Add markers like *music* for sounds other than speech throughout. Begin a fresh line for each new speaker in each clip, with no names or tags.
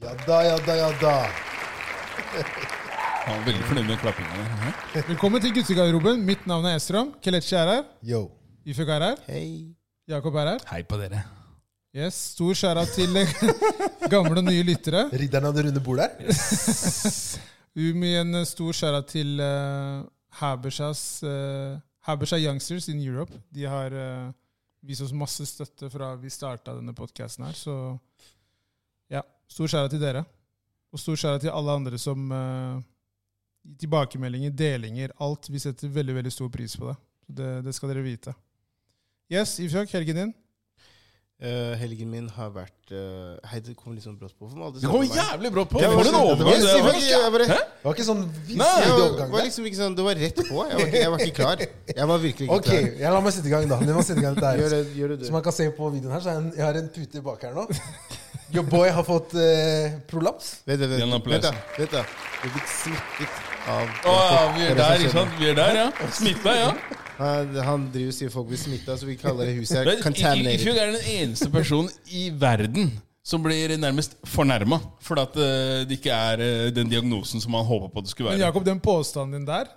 Ja da, ja da, ja da.
Han var veldig fornøyd med klappinga. der.
Velkommen til guttegarderoben. Mitt navn er Estrom. Kelechi er her.
Yo.
Ifek er her.
Hei.
Jakob er her.
Hei på dere.
Yes, Stor skjæra til *laughs* gamle og nye lyttere.
Ridderen av det runde bordet her?
Um, en stor skjæra til eh, Habershas eh, Habersha Youngsters in Europe. De har eh, vist oss masse støtte fra vi starta denne podkasten her, så ja. Stor skjæra til dere. Og stor skjæra til alle andre som eh, gir tilbakemeldinger, delinger, alt. Vi setter veldig, veldig stor pris på det. Det, det skal dere vite. Yes, Ifjok, helgen din.
Eh, helgen min har vært eh, Hei, det kom litt sånn brått på. For man aldri
Det kom
snakker om meg.
jævlig brått på!
Ja,
For
det
en
var-
overgang!
det
Jeg
Det
sier
var-
faktisk, jeg bare-
Hæ?
Det var ikke sånn
Nei,
Nei,
jeg var-
overgang
var
der.
liksom ikke sånn, Det var rett på. Jeg var ikke, jeg var ikke klar. Jeg var virkelig ikke
Ok, jeg la meg sette i gang, da. Vi må sette i gang dette
klar. Gjør
her.
det, gjør det du.
Som man kan se på videoen her, så er jeg en, jeg har en pute bak her nå. Your boy har fått eh, prolaps.
Vent, vent,
Gi en
vent,
applaus.
vent, da, vent da. Du er blitt smittet av
Å ja, vi
Det
er der,
det som
ikke
skjedde.
sant? Vi er der, ja. Smitta, ja.
Han, han driver og sier folk blir smitta, så vi kaller det
Men
huset her
I- I-
contaminated.
Ifjok er den eneste personen i verden som blir nærmest fornærma fordi at eh, det ikke er eh, den diagnosen som han håpa på det skulle
Men
være.
Jakob, den påstanden din der,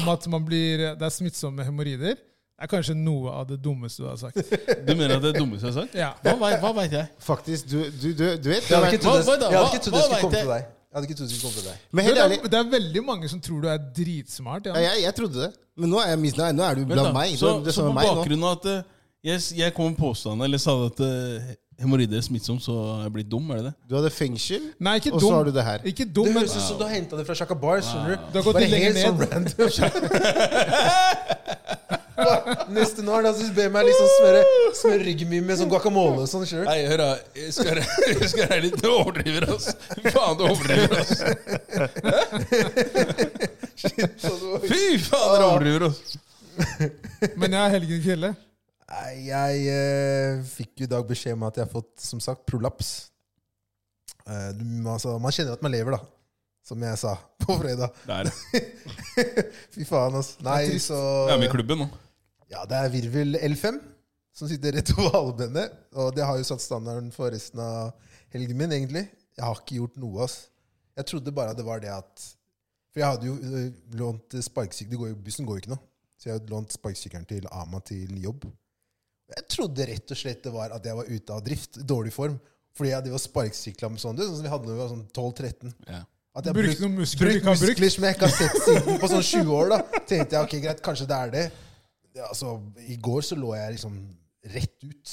om at man blir, eh, det er smittsomme hemoroider, er kanskje noe av det dummeste du har sagt.
*laughs* Du mener at det er dummeste jeg har sagt?
Ja.
Hva, vei- hva veit jeg?
Faktisk, du, du, du, du
Jeg
vet
hadde ikke
du vet-
trodd det,
Hva- hva da?
jeg hadde ikke
Hva-
trodd det
hva
skulle
vet
komme
jeg?
til deg. Jeg hadde ikke trodd det skulle komme til deg.
Men
Det
helt
er,
ærlig,
det er veldig mange som tror du er dritsmart.
ja,
Ja.
jeg, jeg trodde det. Men nå er, jeg mis, nå er, nå er du
Vent
blant
da.
meg. Du
Så,
er det
så
samme
på
meg nå.
bakgrunn av at eh, jeg, s- jeg kom med påstanden eller sa at uh, hemoroide er smittsom, så er jeg blitt dum, er det det?
Du hadde fengsel,
Nei, ikke
og
dum.
så har du det her.
Ikke dum,
Det
men
høres ut som du har henta det fra Shaka Bar. skjønner du?
Du har gått
Bare
litt lenger
helt sånn random. Bare, Neste nå er det at du ber meg liksom smøre, smøre ryggen min med sånn guacamole. og sånn, skjønner du?
Nei, hør da. Jeg skal være- *laughs* jeg skal være litt du overdriver, ass. Fy faen, du overdriver, ass. Fy faen, dere overdriver, ass.
Men jeg er helgen kvelde.
Nei, jeg eh, fikk jo i dag beskjed om at jeg har fått som sagt, prolaps. Eh, du, altså, man kjenner at man lever, da. Som jeg sa på fredag. *laughs*
Der.
Fy faen, altså. Nei,
trist.
så
Jeg er med i klubben nå.
Ja, det er virvel L5 som sitter rett over halebeinet. Og det har jo satt standarden for resten av helgen min, egentlig. Jeg har ikke gjort noe, ass. Jeg trodde bare det var det at For jeg hadde jo øh, lånt sparkesykkel. Bussen går jo ikke nå. Så jeg hadde lånt sparkesykkelen til Ama til jobb. Jeg trodde rett og slett det var at jeg var ute av drift, dårlig form. Fordi jeg hadde sparkesykla med sånn, du, sånn som vi hadde når vi var sånn 12-13.
Ja.
At jeg
Brukte
bruk-
noen muskler du
bruk
ikke har brukt.
muskler som jeg ikke har sett siden på sånn 20 år. da. Tenkte jeg, ok, greit, kanskje det er det. Ja, altså, I går så lå jeg liksom rett ut.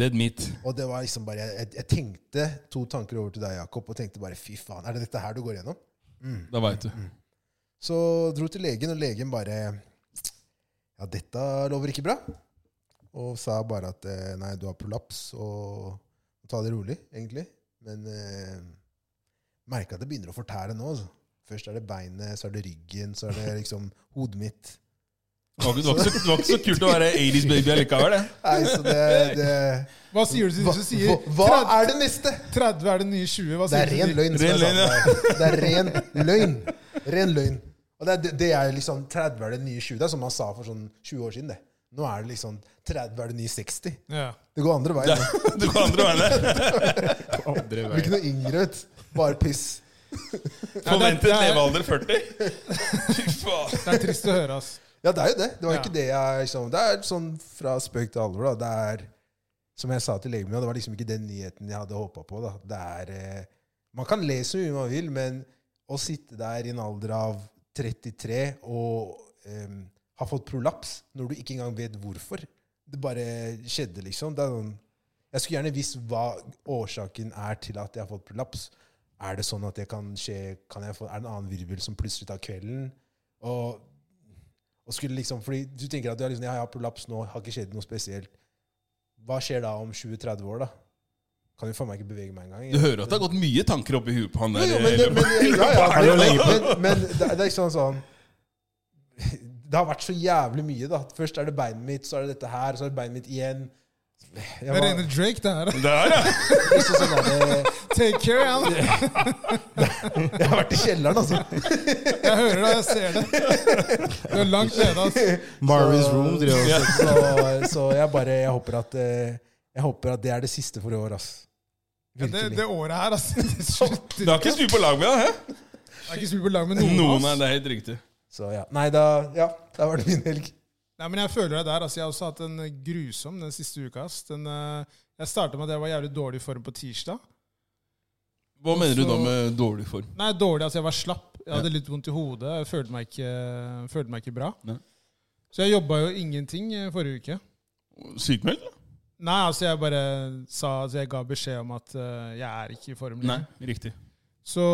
Dead meat.
Og det var liksom bare, jeg, jeg tenkte to tanker over til deg, Jakob, og tenkte bare fy faen, er det dette her du går gjennom?
Da veit du.
Så dro til legen, og legen bare Ja, dette lover ikke bra. Og sa bare at eh, nei, du har prolaps, og ta det rolig, egentlig. Men eh, merka at det begynner å fortære nå. Altså. Først er det beinet, så er det ryggen, så er det liksom hodet mitt.
Det var, ikke, det, var ikke så, det var ikke så kult å være 80's baby allikevel, det.
Nei, så det, det
Hva sier du til de som sier
hva, hva er det neste?
30 er det nye 20? Hva
Altså, Det
sier
er
du til
ren
de?
løgn. som jeg sa
Ren
til deg. Det er ren løgn. Ren løgn. Og det er, det- det er liksom 30 er det nye 20. Det er som man sa for sånn 20 år siden. det. Nå er det liksom 30 er det nye 60.
Ja.
Det går andre veien. nå.
Du går andre veien.
Det blir ikke noe yngre, vet du. Bare piss.
Forventet
det er-
levealder 40. Fy faen.
Det er trist å høre,
*laughs*
ass.
Ja, det er jo det. Det var ikke
Ja.
det jeg liksom, Det er sånn fra spøk til alvor, da. Det er, som jeg sa til legen min, det var liksom ikke den nyheten jeg hadde håpa på, da. Det er eh, Man kan le så mye man vil, men å sitte der i en alder av 33 og em, ha fått prolaps når du ikke engang vet hvorfor Det bare skjedde, liksom. Det er sånn jeg skulle gjerne visst hva årsaken er til at jeg har fått prolaps. Er det sånn at det kan skje kan jeg få, Er det en annen virvel som plutselig tar kvelden? Og, og skulle liksom, fordi Du tenker at du har liksom, jeg har prolaps nå, har ikke skjedd noe spesielt. Hva skjer da om 20-30 år, da? Kan jo faen meg ikke bevege meg engang.
Du hører at det har gått mye tanker opp i huet på han
Jo,
der. eh,
jo, men, det, men, ja, ja,
Er det å legge på?
men, men det, er- det er ikke sånn sånn Det har vært så jævlig mye, da. Først er det beinet mitt, så er det dette her, så er det beinet mitt igjen. Jeg
Det er
*laughs*
rene Drake, det her. *laughs*
Der, ja.
ikke sånn der,
Take care,
*laughs*
han.
Jeg har vært i kjelleren, altså.
Jeg hører det, jeg ser
*laughs*
det. Du er langt nede, ass.
Marvin's room driver og
Ja.
Så, så jeg bare jeg håper, at, eh, jeg håper at det er det siste for i år, ass.
Ja, det,
Virkelig.
det året her, altså. *laughs* Det slutter
Du har ikke spurt på lag med deg, hæ?
Jeg har ikke spilt på lag med noen,
Noen
av
er
oss.
det er helt riktig.
Så ja. Nei, da Ja, da var det min helg.
Nei, men jeg føler deg der. altså. Jeg har også hatt en grusom den siste uka. ass. Den, eh, jeg starta med at jeg var jævlig dårlig i form på tirsdag.
Hva mener du da
så-
med dårlig form?
Nei, dårlig, altså jeg var slapp. Jeg hadde litt vondt i hodet. Jeg følte meg ikke, følte meg ikke bra.
Nei.
Så jeg jobba jo ingenting eh, forrige uke.
Sykmeldt?
Nei, altså jeg bare sa altså Jeg ga beskjed om at eh, jeg er ikke i form.
Nei,
lenger.
riktig.
Så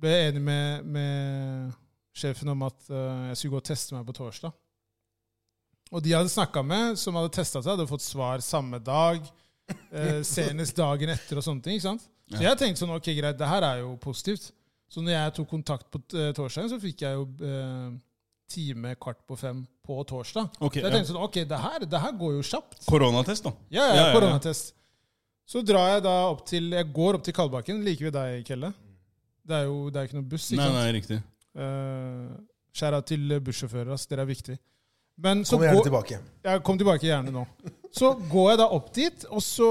ble jeg enig med, med sjefen om at eh, jeg skulle gå og teste meg på torsdag. Og de jeg hadde snakka med, som hadde testa seg, hadde fått svar samme dag.
*laughs*
eh, senest dagen etter og sånne ting. ikke sant? Så jeg tenkte sånn, ok, greit, det her er jo positivt. Så når jeg tok kontakt på eh, torsdagen, så fikk jeg jo eh, time kvart på fem på torsdag.
Ok,
så jeg
ja.
tenkte sånn, ok, det her, det her går jo kjapt.
Koronatest, da.
Ja, ja, koronatest. Så drar jeg da opp til Jeg går opp til Kalbakken. Liker vi deg, Kelle? Det er jo det er ikke noe buss. ikke
Nei,
sant?
nei, riktig.
Eh, Skjæra til bussjåfører, ass. Dere er viktige. Men så
Kom gjerne
går,
tilbake.
jeg kom tilbake gjerne nå. Så går jeg da opp dit, og så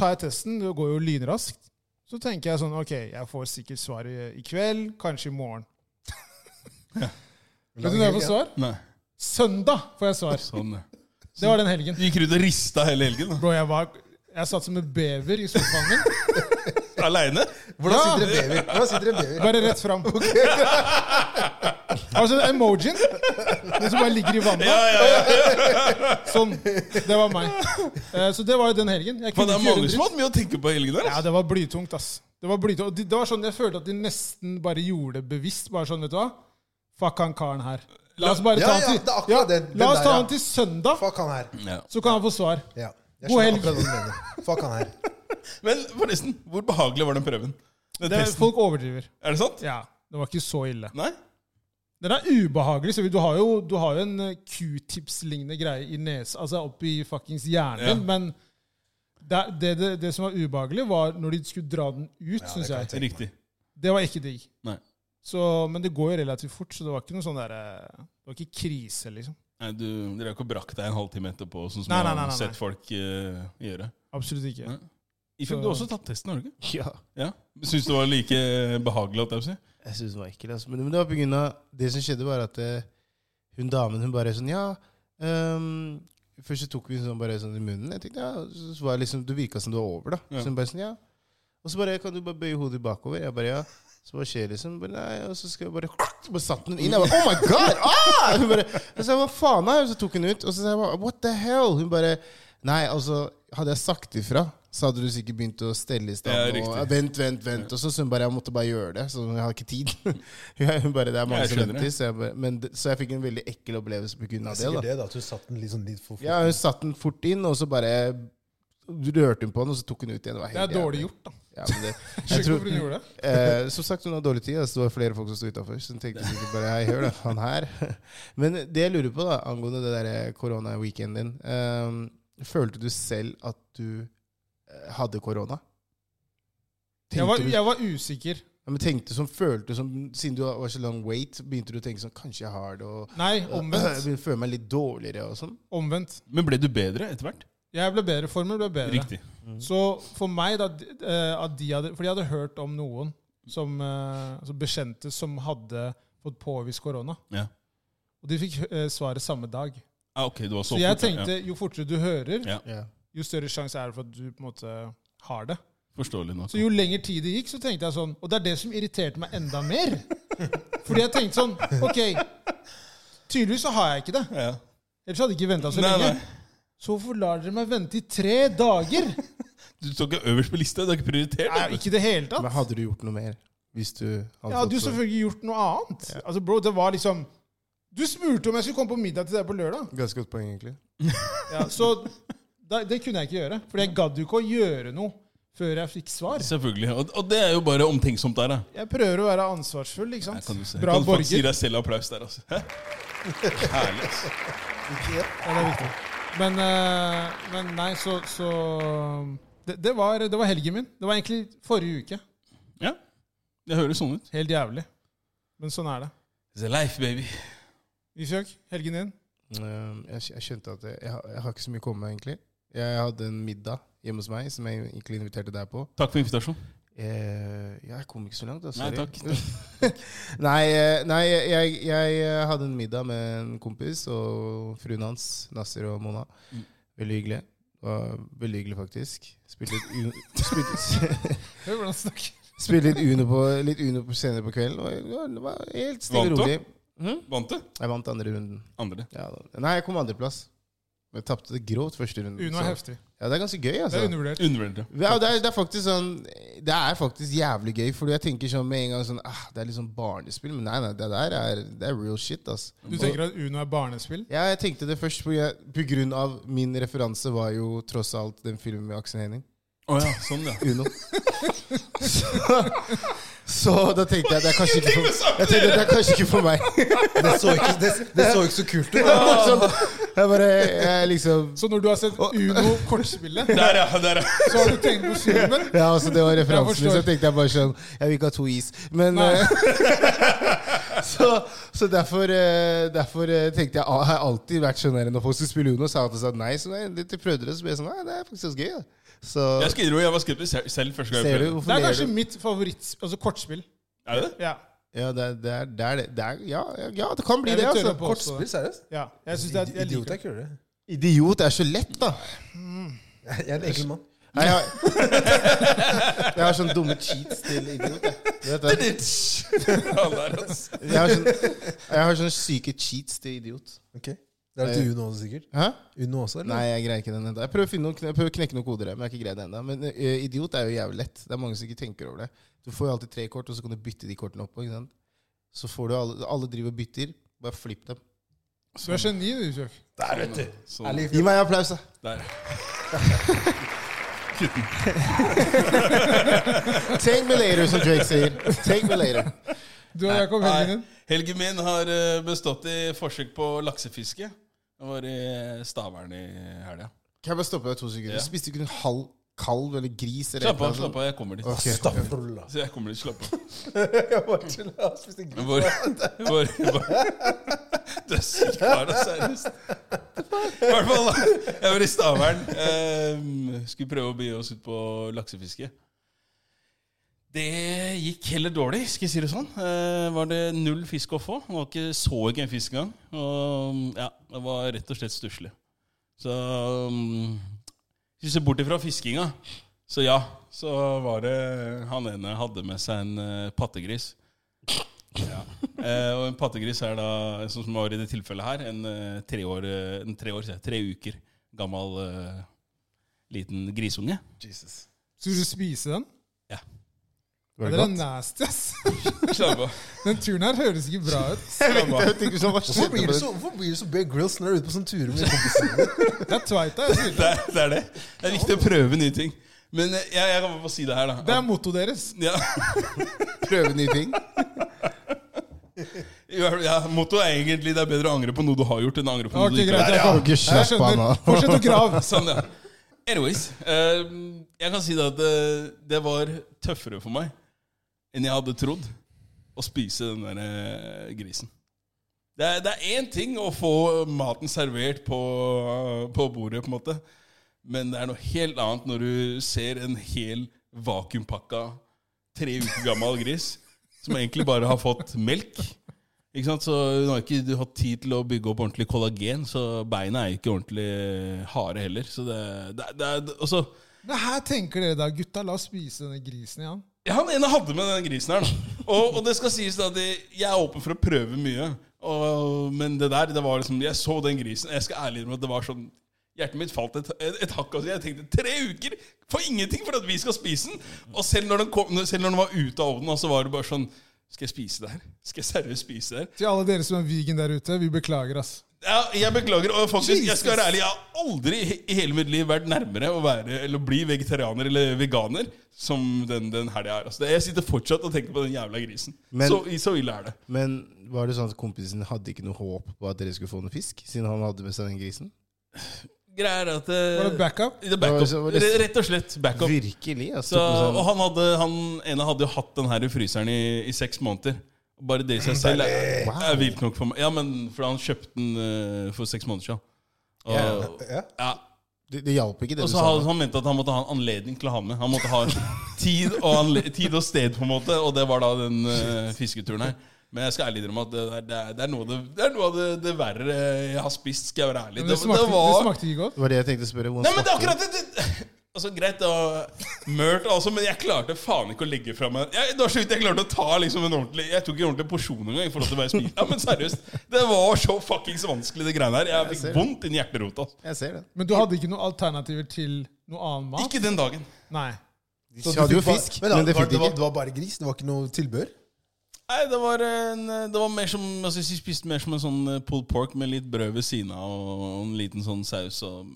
tar jeg testen. Det går jo lynraskt. Så tenker jeg sånn Ok, jeg får sikkert svar i, i kveld, kanskje i *laughs* morgen. Vet du når jeg får svar?
Nei,
Søndag får jeg svar.
sånn det.
Det var den *laughs* helgen.
Gikk rundt og rista hele helgen da.
Bro, jeg var Jeg satt som en bever i sofaen min.
*laughs* Aleine?
Hvordan
Ja.
sitter en baby? Hvordan sitter en baby?
*laughs* Bare rett fram. *laughs* altså emojien. Den som bare ligger i vannet.
*laughs*
Sånn. Det var meg. Eh, Så det var jo den helgen. Jeg
Men
kunne
det er
ikke gjøre
mange som
en dritt.
har hatt mye å tenke på i helgen der. altså.
Ja,
ass.
det var blytungt, ass. Det var blytungt. Og de- Det var sånn jeg følte at de nesten bare gjorde det bevisst. Bare sånn, vet du hva. Fuck han karen her. La oss bare
Ja, ja,
ta
det er
han
akkurat
til, ja,
det. Den
la oss
der,
ta
ja.
han til søndag,
Fuck han her.
Ja.
så kan han få svar.
Ja. Jeg
God
skjønner
helg.
akkurat hva du mener. Fuck han
*laughs*
her.
Men forresten, hvor behagelig var den prøven? Den
Det,
testen.
folk overdriver.
Er det sant?
Ja, det var ikke så ille.
Nei?
Den er ubehagelig. Så du har jo, du har jo en eh, q-tips-lignende greie i nesa, altså oppi fuckings hjernen,
Ja.
men det, det, det, det som var ubehagelig, var når de skulle dra den ut, synes syns jeg.
Riktig.
Det var ikke digg.
Nei.
Så, men det går jo relativt fort, så det var ikke noe sånn der, eh, det var ikke krise, liksom.
Nei, du, Dere har ikke brakt deg en halvtime etterpå, sånn som
Nei,
jeg
nei,
har
nei, nei,
sett
nei.
folk eh, gjøre?
Absolutt ikke.
Nei. I fikk du
Så-
også tatt testen, har du ikke?
Ja,
Ja. Syns du det var like behagelig? holdt jeg på å si?
jeg synes det var ekkelt. Altså. Men, men det var på grunn av Det som skjedde, var at eh, hun damen hun bare sånn Ja. ehm, først så tok vi sånn bare sånn i munnen. Jeg tenkte, ja, så var det liksom, Du virka som du var over, da.
Ja.
Så hun bare sånn, ja. Og så bare Kan du bare bøye hodet bakover? Jeg bare ja. Så hva skjer, liksom? Bare, nei, og så skal jeg bare Så bare satte hun inn. Jeg bare, oh my god! Ah! Hun bare, jeg sa, hva faen er det? Så tok hun ut. Og så sa jeg bare, what the hell? Hun bare Nei, altså, hadde jeg sagt ifra, så hadde du sikkert begynt å stelle i stand.
Ja,
og,
riktig.
vent, vent, vent. Og så sa hun bare jeg måtte bare gjøre det. Så jeg har ikke tid. *laughs* hun bare, det er
Ja,
mange
jeg
som
skjønner
venter. Så jeg, bare, men, det- så jeg fikk en veldig ekkel opplevelse på grunn av
Det er
det. da.
sikkert det, da. At du satte den litt sånn litt for fort.
Ja, hun satte den fort inn, og så bare rørte hun på den, og så tok hun ut igjen. Det, var
Det er
helt
dårlig
jævlig.
gjort, da.
Ja, men
*laughs*
det, jeg
Skjønner ikke
tror,
hvorfor hun gjorde det.
Eh, som sagt, hun har dårlig tid. Altså, det var flere folk som sto utafor. Så hun tenkte sikkert bare Hei, hør da, han her. *laughs* Men det jeg lurer på, da, angående det der koronaweekenden din eh, Følte du selv at du eh, hadde korona?
Jeg var,
Tenkte du-
jeg var usikker.
Ja, men tenkte du som, følte du som, Siden du var så lang wait, begynte du å tenke sånn Kanskje jeg har det, og
Nei,
jeg
*laughs* omvendt.
*laughs* begynte å føle meg litt dårligere og sånn?
Omvendt.
Men ble du bedre etter hvert?
Jeg ble bedre. Formen ble bedre.
Riktig.
Så for meg, da de- eh, at de hadde, For jeg hadde hørt om noen som, eh, altså bekjente som hadde fått påvist korona.
Ja.
Og de fikk eh, svaret samme dag.
Ah, ok, du var så
Så jeg
fort, ja.
tenkte jo fortere du hører,
Ja.
Ja.
jo større sjanse er det for at du på en måte har det.
Ja, forståelig nok.
Så jo lengre tid det gikk, så tenkte jeg sånn Og det er det som irriterte meg enda mer. Fordi jeg tenkte sånn Ok, tydeligvis så har jeg ikke det.
ja.
Ellers hadde jeg ikke venta så
Nei,
lenge.
nei.
Så hvorfor lar dere meg vente i tre dager?
Du står ikke øverst på lista, du har ikke prioritert?
Nei,
vet du.
ikke i det hele tatt.
Men hadde du gjort noe mer? Hvis du hadde
Jeg hadde jo
fått Altså, så-
selvfølgelig gjort noe annet. Altså, bro, det var liksom Du spurte om jeg skulle komme på middag til deg på lørdag.
Ganske godt poeng, egentlig.
Ja, så da, det kunne jeg ikke gjøre. Fordi jeg gadd jo ikke å gjøre noe før jeg fikk svar.
Selvfølgelig. Og, og det er jo bare omtenksomt der, da.
Jeg prøver å være ansvarsfull, ikke
Her
sant?
kan du se.
Bra
kan du faktisk gi
borger.
deg selv applaus der, altså. Hæ? Herlig, altså.
Ja, det er viktig. Men, eh, men nei, så, så det, det, var, det var helgen min. Det var egentlig forrige uke.
Ja. Det høres sånn ut.
Helt jævlig. Men sånn er det.
It's a life, baby.
Ifjøk, helgen din?
Ehm, Eh, Jeg, skj- jeg skjønte at jeg, jeg, har- jeg har ikke så mye å komme med, egentlig. Jeg hadde en middag hjemme hos meg som jeg egentlig inviterte deg på.
Takk for invitasjonen.
Eh, jeg kom ikke så langt, da.
Nei,
Sorry. *laughs*
takk.
nei, eh, nei jeg, jeg eh, hadde en middag med en kompis og fruen hans, Nasser og Mona.
Mm.
Veldig hyggelig. Og veldig hyggelig, faktisk. Spilte litt Uno, spilte, *laughs*
Hør hvordan han snakker.
spilte litt uno, på, litt uno på senere på kvelden. Og det var helt stille og
Vant du?
rolig. Hm?
Vant du?
Jeg vant andre runden.
Andre.
Ja, da. Nei, jeg kom andreplass. Men jeg tapte det grovt første runden.
Uno er
så-
heftig.
Ja, det er ganske gøy,
Det
altså.
er undervurdert.
Undervurderte.
Ja, det, er, det er faktisk sånn Det er faktisk jævlig gøy, Fordi jeg tenker sånn med en gang sånn ah, Det er litt sånn barnespill, men nei, nei, det der er, det er real shit, ass.
Du tenker at Uno er barnespill?
Ja, jeg tenkte det først på, jeg, på grunn av min referanse var jo tross alt den filmen med Aksel Henning.
Å ja, sånn, ja.
Uno. så, så da tenkte jeg det er kanskje ikke for, jeg tenkte, det er kanskje ikke for *laughs* meg.
Det så ikke, det, det så ikke så kult
*laughs*
ut. da.
sånn, jeg bare jeg liksom
Så når du har sett Uno
*laughs*
kortspillet,
Der, ja. Der, ja.
så har du tenkt på filmen?
Ja, altså det var referansen min,
forstår.
så tenkte jeg bare sånn Jeg vil ikke ha to is. Men
Nei.
eh, *laughs* Så, så derfor, eh, derfor eh, tenkte jeg ah, Jeg har alltid vært sånn her når folk skulle spille Uno, sa at de sa nei. Så nei, de prøvde det, så ble jeg sånn Nei, det er faktisk ganske gøy. Da. Så
Jeg skal innrømme, jeg var skeptisk selv- selv første gang jeg
ser du
prøvde.
hvorfor
Det er
ler
kanskje
du?
mitt favoritt, altså kortspill.
Er det det?
Ja,
Ja, det er det. Er, det, er, det er, ja, ja, ja, det kan bli
Jeg vil
det,
tørre
altså.
på-
Kortspill, seriøst?
ja. Jeg synes det er, jeg
Idiot
liker
er
det.
kulere.
Idiot er så lett, da.
*laughs* Jeg er en enkel mann.
Nei, jeg, har, *laughs* jeg har sånne dumme cheats til idiot. Jeg,
*laughs*
du vet det.
Ja, der, altså.
jeg, har sånne, jeg har sånne syke cheats til idiot.
Ok. Det er til Uno også, sikkert.
Hæ?
Uno også, eller?
Nei, jeg greier ikke den enda. Jeg prøver å, finne noen, jeg prøver å knekke noen koder, her, men jeg har ikke greid det enda. Men eh, idiot er jo jævlig lett. Det er mange som ikke tenker over det. Du får jo alltid tre kort, og så kan du bytte de kortene oppå. ikke sant? Så får du alle, alle driver og bytter. Bare flipp dem.
Du er geni, du, Kjøk.
Der, vet du!
Sånn.
Ærlig.
Gi meg en applaus, da.
Der. Kutten.
Take me later, som Drake sier. Take me later.
Du og Jakob
Nei,
Helgen din.
Helgen min har eh, bestått i forsøk på laksefiske. Jeg var i Stavern i helga.
Kan jeg bare stoppe deg to sekunder?
Ja.
Du spiste ikke en halv kalv eller gris? Eller
Slapp av, slapp av, jeg kommer dit.
Ok.
Staffrolla.
*laughs* Så jeg kommer dit, slapp av.
Jeg *laughs* bare tuller. Jeg spiste
Jeg
gris.
Var, jeg var, jeg var, du er syk kar, ass, seriøst. I hvert fall, da. Jeg var i Stavern. eh, skulle prøve å begi oss ut på laksefiske. Det gikk heller dårlig, skal jeg si det sånn. Eh, var det null fisk å få. Det var ikke så ikke en fisk engang. Og ja, det var rett og slett stusslig. Så um, hvis du ser bort ifra fiskinga, så ja, så var det Han ene hadde med seg en eh, pattegris. Ja. Eh, og en pattegris er da, sånn som var i det tilfellet her, en eh, tre år, eh, en tre, år sier jeg, tre uker gammel eh, liten
*laughs*
grisunge.
Jesus.
Skulle du spise den?
Ja.
Var
Det er nasty, ass. *laughs*
Slapp av.
Den turen her høres ikke bra ut.
Slapp av.
Hvorfor blir du så, hvorfor blir du så Bear Grylls når du er ute på sånn sånne turer med kompiser?
Det er tveita. jeg sier
Det er, det er det. Det er viktig å prøve nye ting. Men eh, jeg, jeg kan bare få si det her, da.
Det er mottoet deres.
ja,
Prøve nye ting.
ja, *laughs* Mottoet er egentlig det er bedre å angre på noe du har gjort, enn å angre på noe
Ok,
du ikke har
greit.
gjort.
ja.
Jakob.
Ok, slapp
Jeg skjønner.
av nå.
Fortsett å grave.
*laughs* Sånn, ja. Anyways, eh, jeg kan si det at det, det var tøffere for meg enn jeg hadde trodd å spise den der eh, grisen. Det er, det er én ting å få maten servert på, på bordet, på en måte, men det er noe helt annet når du ser en hel vakuumpakka tre uker gammel gris som egentlig bare har fått melk. Ikke sant? Så Hun har ikke hatt tid til å bygge opp ordentlig kollagen, så beina er ikke ordentlig harde heller. Så det, det, det, er- og så-
Det her tenker dere da, gutta. La oss spise denne grisen igjen.
ja, Han ene hadde med den grisen her. Da. Og, og det skal sies da at jeg jeg er åpen for å prøve mye. Og, men det der, det var liksom Jeg så den grisen. Jeg skal ærlig innrømme at det var sånn Hjertet mitt falt et, et, et hakk. Altså. Jeg tenkte tre uker for ingenting for at vi skal spise den! Og selv når den, kom, selv når den var ute av ovnen, så var det bare sånn Skal jeg spise det her? Skal jeg seriøst spise det her?
Til alle dere som er vegan der ute, vi beklager, ass.
Ja, jeg beklager. Og faktisk, jeg skal
Jesus.
være ærlig, jeg har aldri i i hele mitt liv vært nærmere å være, eller bli vegetarianer eller veganer som den, den helga her. Altså, det- jeg sitter fortsatt og tenker på den jævla grisen.
Men-
så, så ille er det.
Men var det sånn at kompisen hadde ikke noe håp på at dere skulle få noe fisk? Siden han hadde med seg den grisen?
Greia er at eh,
Var det backup?
Det er backup.
Det var så- var det-
Re- Rett og slett backup.
Virkelig. Altså,
Så, og
tok med seg-
han, hadde, han ene hadde jo hatt den her i fryseren i, i seks måneder. Bare det i seg selv er, er vilt nok for meg. Ja, men for han kjøpte den eh, for seks måneder siden. Og,
Ja.
ja.
Det, det hjalp ikke, det
Og
du
så
sa.
han, han mente at han måtte ha en anledning til å ha med. Han måtte ha tid og, anle- tid og sted, på en måte, og det var da den eh, fisketuren her. Men jeg skal ærlig innrømme at det, er- det, er, det, er noe av det, det er noe av det, det verre jeg har spist. skal jeg være ærlig.
Men det, smakte,
var-
det smakte ikke godt.
Det var det jeg tenkte å spørre. hvordan
Nei, men det er
smakte
akkurat det! det *laughs* altså, Greit, da. Mørt altså, men jeg klarte faen ikke å legge fra meg jeg, Det var så vidt jeg klarte å ta liksom en ordentlig Jeg tok ikke en ordentlig porsjon engang. i forhold til hva jeg spiste. Ja, men seriøst, Det var så fuckings vanskelig, det greiene her. Jeg
ser
fikk
det.
vondt inni hjerterota. altså.
Jeg ser det.
Men du hadde ikke noen alternativer til noe annen mat?
Ikke den dagen.
Nei.
Så
hadde jo
fikk bare-
fisk,
men, da,
men det
var,
fikk de
det, var,
ikke.
det var bare gris? Det var ikke noe tilbør?
Nei, det var, en, det var mer som altså, Jeg spiste mer som en sånn eh, pulled pork med litt brød ved siden av og en liten sånn saus. Og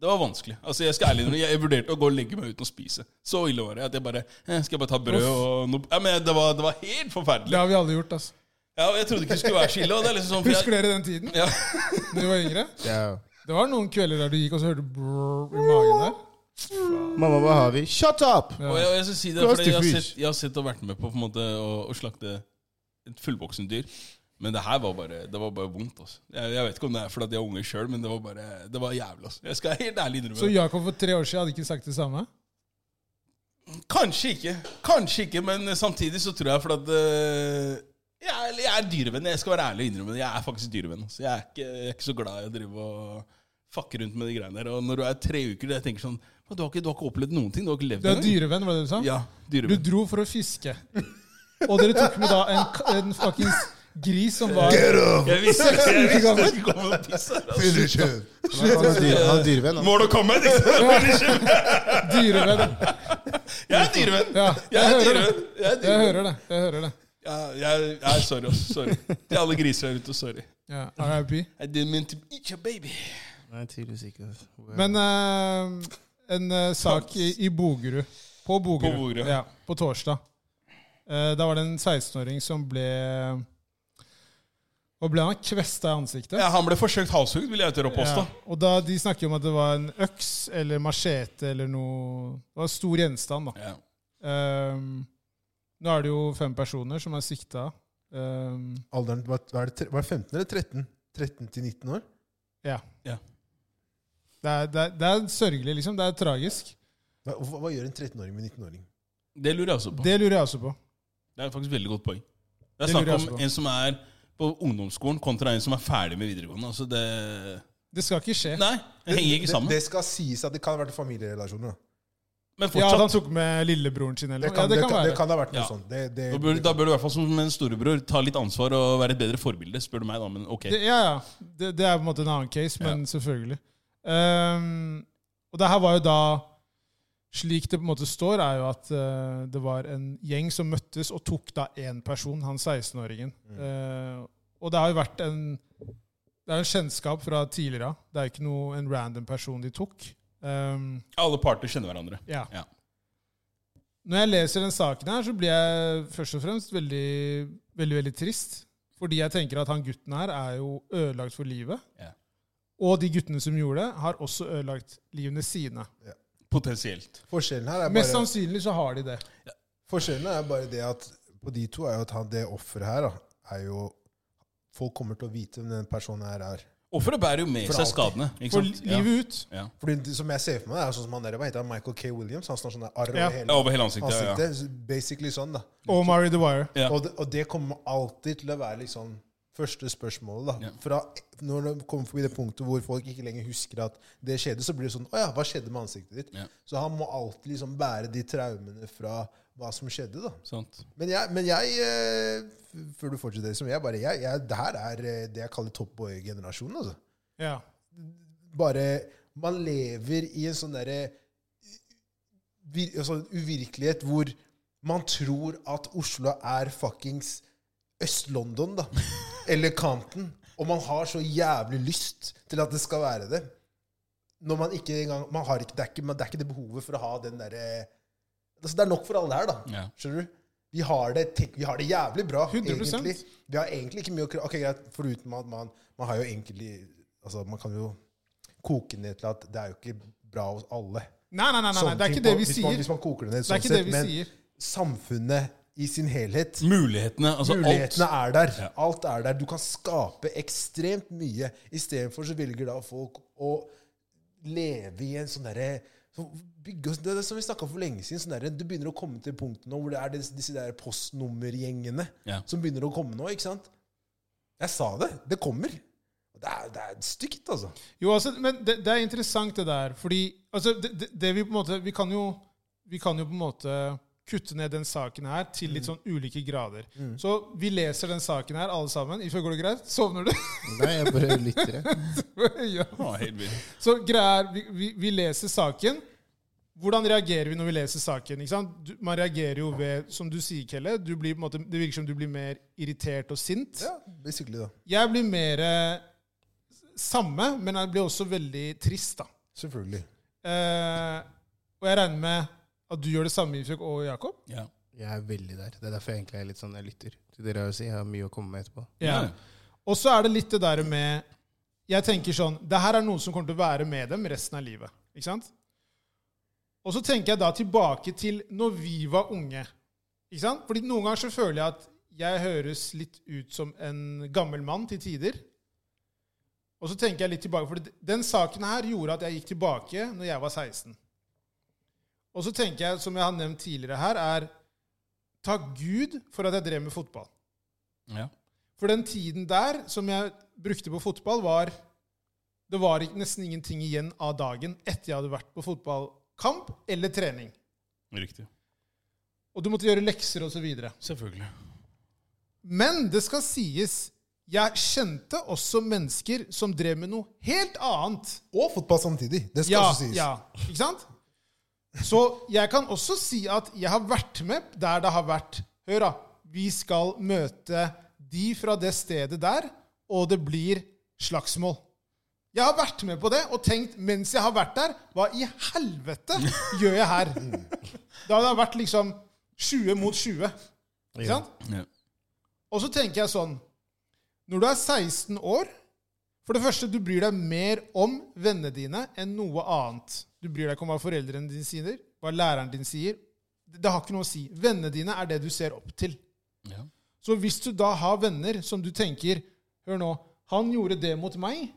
det var vanskelig. Altså, Jeg skal ærlig innrømme, jeg vurderte å gå og legge meg uten å spise. Så ille var det. at jeg bare, eh, Skal jeg bare ta brød og noe ja, men det, var, det var helt
Det
forferdelig.
har vi alle gjort, altså.
Ja, og Jeg trodde ikke det skulle være så ille. Og det er liksom sånn, for
Husker
jeg,
dere den tiden?
ja.
Da vi var yngre?
Ja.
Det var noen kvelder der du gikk, og så hørte du brrr i magen der.
Mamma, hva har vi? Shut up!
Og jeg, og jeg skal si det,
Close
fordi
to
jeg har,
fish.
sett, jeg har sett og vært med på, på en måte, å, å slakte et fullvoksen dyr. Men det her var bare, det var bare vondt. Altså. Jeg, jeg vet ikke om det er fordi at jeg er unge sjøl, men det var bare, det var jævlig. Altså. Jeg skal helt ærlig innrømme
Så
det.
Jakob for tre år siden hadde ikke sagt det samme?
Kanskje ikke. Kanskje ikke, men samtidig så tror jeg fordi at eh, jeg, er- jeg er dyrevenn. Jeg skal være ærlig og innrømme det. Jeg er faktisk dyrevenn. Altså. Jeg, er ikke, jeg er ikke så glad i å drive og fucke rundt med de greiene der. Og når du er tre uker, jeg tenker sånn "Men du har, ikke, du har ikke opplevd noen ting. Du har ikke levd
Du er
engang."
dyrevenn, var det det du sa?
Ja,
Du
dyrevenn.
dro for å fiske. Og dere tok med da en, k- en fuckings gris som var
Jeg visste ikke jeg visste det skulle komme noe piss her. altså.
Han er dyre- han er dyrevenn. han.
Må du komme, liksom?
dyrevenn.
Jeg er dyrevenn.
Ja,
Jeg
jeg
er
hører
dyrevenn. Jeg er
Jeg
dyrevenn.
hører det. jeg hører det.
Ja, jeg, jeg, sorry, ass. Sorry. Til alle griser her ute, sorry.
Ja, RIP.
I didn't mean to eat your baby.
Nei, tydeligvis ikke. altså.
Men eh, en eh, sak i, i Bogerud. På Bogerud.
På Bogerud.
Ja, på torsdag. Eh, da var det en 16-åring som ble Og ble han kvesta i ansiktet?
Ja, han ble forsøkt halshugd, vil jeg tørre å påstå.
Ja, Og da, de snakker om at det var en øks eller machete eller noe Det var en stor gjenstand, da.
Ja.
Ehm, nå er det jo fem personer som er sikta. Ehm,
Alderen var, var, det, tre- var det 15 eller 13? 13 til 19 år?
ja.
Ja.
Det, er, det, er, det er sørgelig, liksom. Det er tragisk.
Hva, hva, hva gjør en 13-åring med en 19-åring?
Det lurer jeg også på. Det,
Det lurer jeg også på.
er faktisk et veldig godt poeng. Det
Det
er
lurer
snakk
jeg også
om
på.
en som er på ungdomsskolen, kontra en som er ferdig med videregående. Altså, det
Det skal ikke skje.
Nei, det henger ikke sammen.
Det, det skal sies at det kan ha vært familierelasjoner. Da.
Men
Ja, at han
fortsatt.
tok med lillebroren sin eller
Det
noe.
kan,
Ja, det kan
det
være.
kan ha vært noe
Ja.
sånt. Det, det,
Da bør, da bør du i hvert fall som en storebror ta litt ansvar og være et bedre forbilde, spør du meg, da. Men ok.
Det, ja, ja. Det, det er på en måte en annen case, men selvfølgelig. Ehm, og det her var jo da Slik det på en måte står, er jo at eh, det var en gjeng som møttes og tok da én person, han 16-åringen. Eh, og det har jo vært en Det er jo en kjennskap fra tidligere av. Det er jo ikke noe, en random person de tok. Ehm,
Alle parter kjenner hverandre.
ja.
Ja.
Når jeg leser den saken her, så blir jeg først og fremst veldig, veldig, veldig trist. Fordi jeg tenker at han gutten her er jo ødelagt for livet.
Ja.
Og de guttene som gjorde det, har også ødelagt livene sine.
Potensielt.
forskjellen her er
Mest
bare,
sannsynlig så har de det.
forskjellen er bare det at på de to er jo at han, det offeret her da, er jo Folk kommer til å vite hvem den personen her er.
Offeret bærer jo med
For
seg
alltid.
skadene. Ikke
For
sant?
livet ut.
Ja. Ja.
Fordi det som jeg ser for meg, er sånn som han der hva heter han, Michael K. Williams. Han står sånn der arr over
Ja.
Ja,
hele
Over hele ansiktet. ja, Ja.
ansiktet. Basically sånn, da.
Og Mari The Wire.
Ja.
Og, det, og det kommer alltid til å være liksom første spørsmålet. da.
Ja.
Fra Når det kommer forbi det punktet hvor folk ikke lenger husker at det skjedde, så blir det sånn Å ja, hva skjedde med ansiktet ditt?
Ja.
Så han må alltid liksom bære de traumene fra hva som skjedde, da.
Sant.
Men jeg, men jeg eh, Før du fortsetter, liksom, jeg bare jeg, jeg, Det her er eh, det jeg kaller toppboy-generasjonen, altså
Ja.
bare Man lever i en sånn derre vir- altså, uvirkelighet hvor man tror at Oslo er fuckings Øst-London, da. Eller Canton. Og man har så jævlig lyst til at det skal være det. Når man ikke engang man har ikke, det, er ikke, man, det er ikke det behovet for å ha den derre altså, Det er nok for alle her, da.
Ja.
Skjønner du? Vi har det, tenk, vi har det jævlig bra,
100%.
egentlig. Vi har egentlig ikke mye å kreve. Ok, greit, foruten at man, man har jo egentlig Altså, man kan jo koke ned til at det er jo ikke bra hos alle.
Nei, nei, nei, nei, nei.
Sånne
det
ting
er ikke det
på-
vi
hvis Man,
sier.
hvis man koker det ned
Det
sånn
er ikke det
sett,
vi
men
sier.
samfunnet i sin helhet
Mulighetene. Altså
Mulighetene
alt.
er der.
Ja.
Alt er der. Du kan skape ekstremt mye. Istedenfor så velger da folk å leve i en sånn derre så bygge oss- Det er det som vi snakka for lenge siden. Sånn derre- du begynner å komme til punktet nå hvor det er disse, disse der postnummergjengene
Ja.
som begynner å komme nå. ikke sant? Jeg sa det. Det kommer. Og Det er, det er stygt, altså.
Jo, altså, men det, det er interessant det der, fordi altså, det, det- det vi på en måte vi kan, jo, vi kan jo på en måte kutte ned den saken her til litt sånn ulike grader. Så vi leser den saken her, alle sammen. Ifølge går det greit? Sovner du? *laughs*
Nei, jeg bare lytter. jeg.
ja.
Ja, helt vilt.
Så greia er, vi, vi, vi leser saken. Hvordan reagerer vi når vi leser saken? Ikke sant? Du, man reagerer jo ved, som du sier, Kelle, du blir, på en måte, det virker som du blir mer irritert og sint.
Ja, Basically, da.
Jeg blir mer eh, samme, men jeg blir også veldig trist, da.
Selvfølgelig.
Eh, og jeg regner med at du gjør det samme, Ifjok og Jakob.
Ja.
Jeg er veldig der. Det er derfor jeg egentlig er litt sånn jeg lytter til dere. Jeg, si. jeg har mye å komme med etterpå.
Ja.
Og så er det litt det der med Jeg tenker sånn Det her er noe som kommer til å være med dem resten av livet. Ikke sant? Og så tenker jeg da tilbake til når vi var unge. Ikke sant? Fordi noen ganger så føler jeg at jeg høres litt ut som en gammel mann til tider. Og så tenker jeg litt tilbake, for den saken her gjorde at jeg gikk tilbake når jeg var 16. Og så tenker jeg, som jeg har nevnt tidligere her, er takk Gud for at jeg drev med fotball.
Ja.
For den tiden der som jeg brukte på fotball, var Det var ikke- nesten ingenting igjen av dagen etter jeg hadde vært på fotballkamp eller trening.
Riktig.
Og du måtte gjøre lekser osv.
Selvfølgelig.
Men det skal sies, jeg kjente også mennesker som drev med noe helt annet.
Og fotball samtidig. Det skal
Ja,
også sies.
ja, ikke sant? Så jeg kan også si at jeg har vært med der det har vært Hør, da. Vi skal møte de fra det stedet der, og det blir slagsmål. Jeg har vært med på det og tenkt mens jeg har vært der, hva i
*laughs*
helvete gjør jeg her? Da hadde det vært liksom 20 mot 20. Ikke sant?
Ja.
Og så tenker jeg sånn Når du er 16 år For det første, du bryr deg mer om vennene dine enn noe annet. Du bryr deg ikke om hva foreldrene dine sier, hva læreren din sier. Det det har ikke noe å si. Vennene dine er det du ser opp til.
Ja.
Så hvis du da har venner som du tenker Hør nå, han gjorde det mot meg.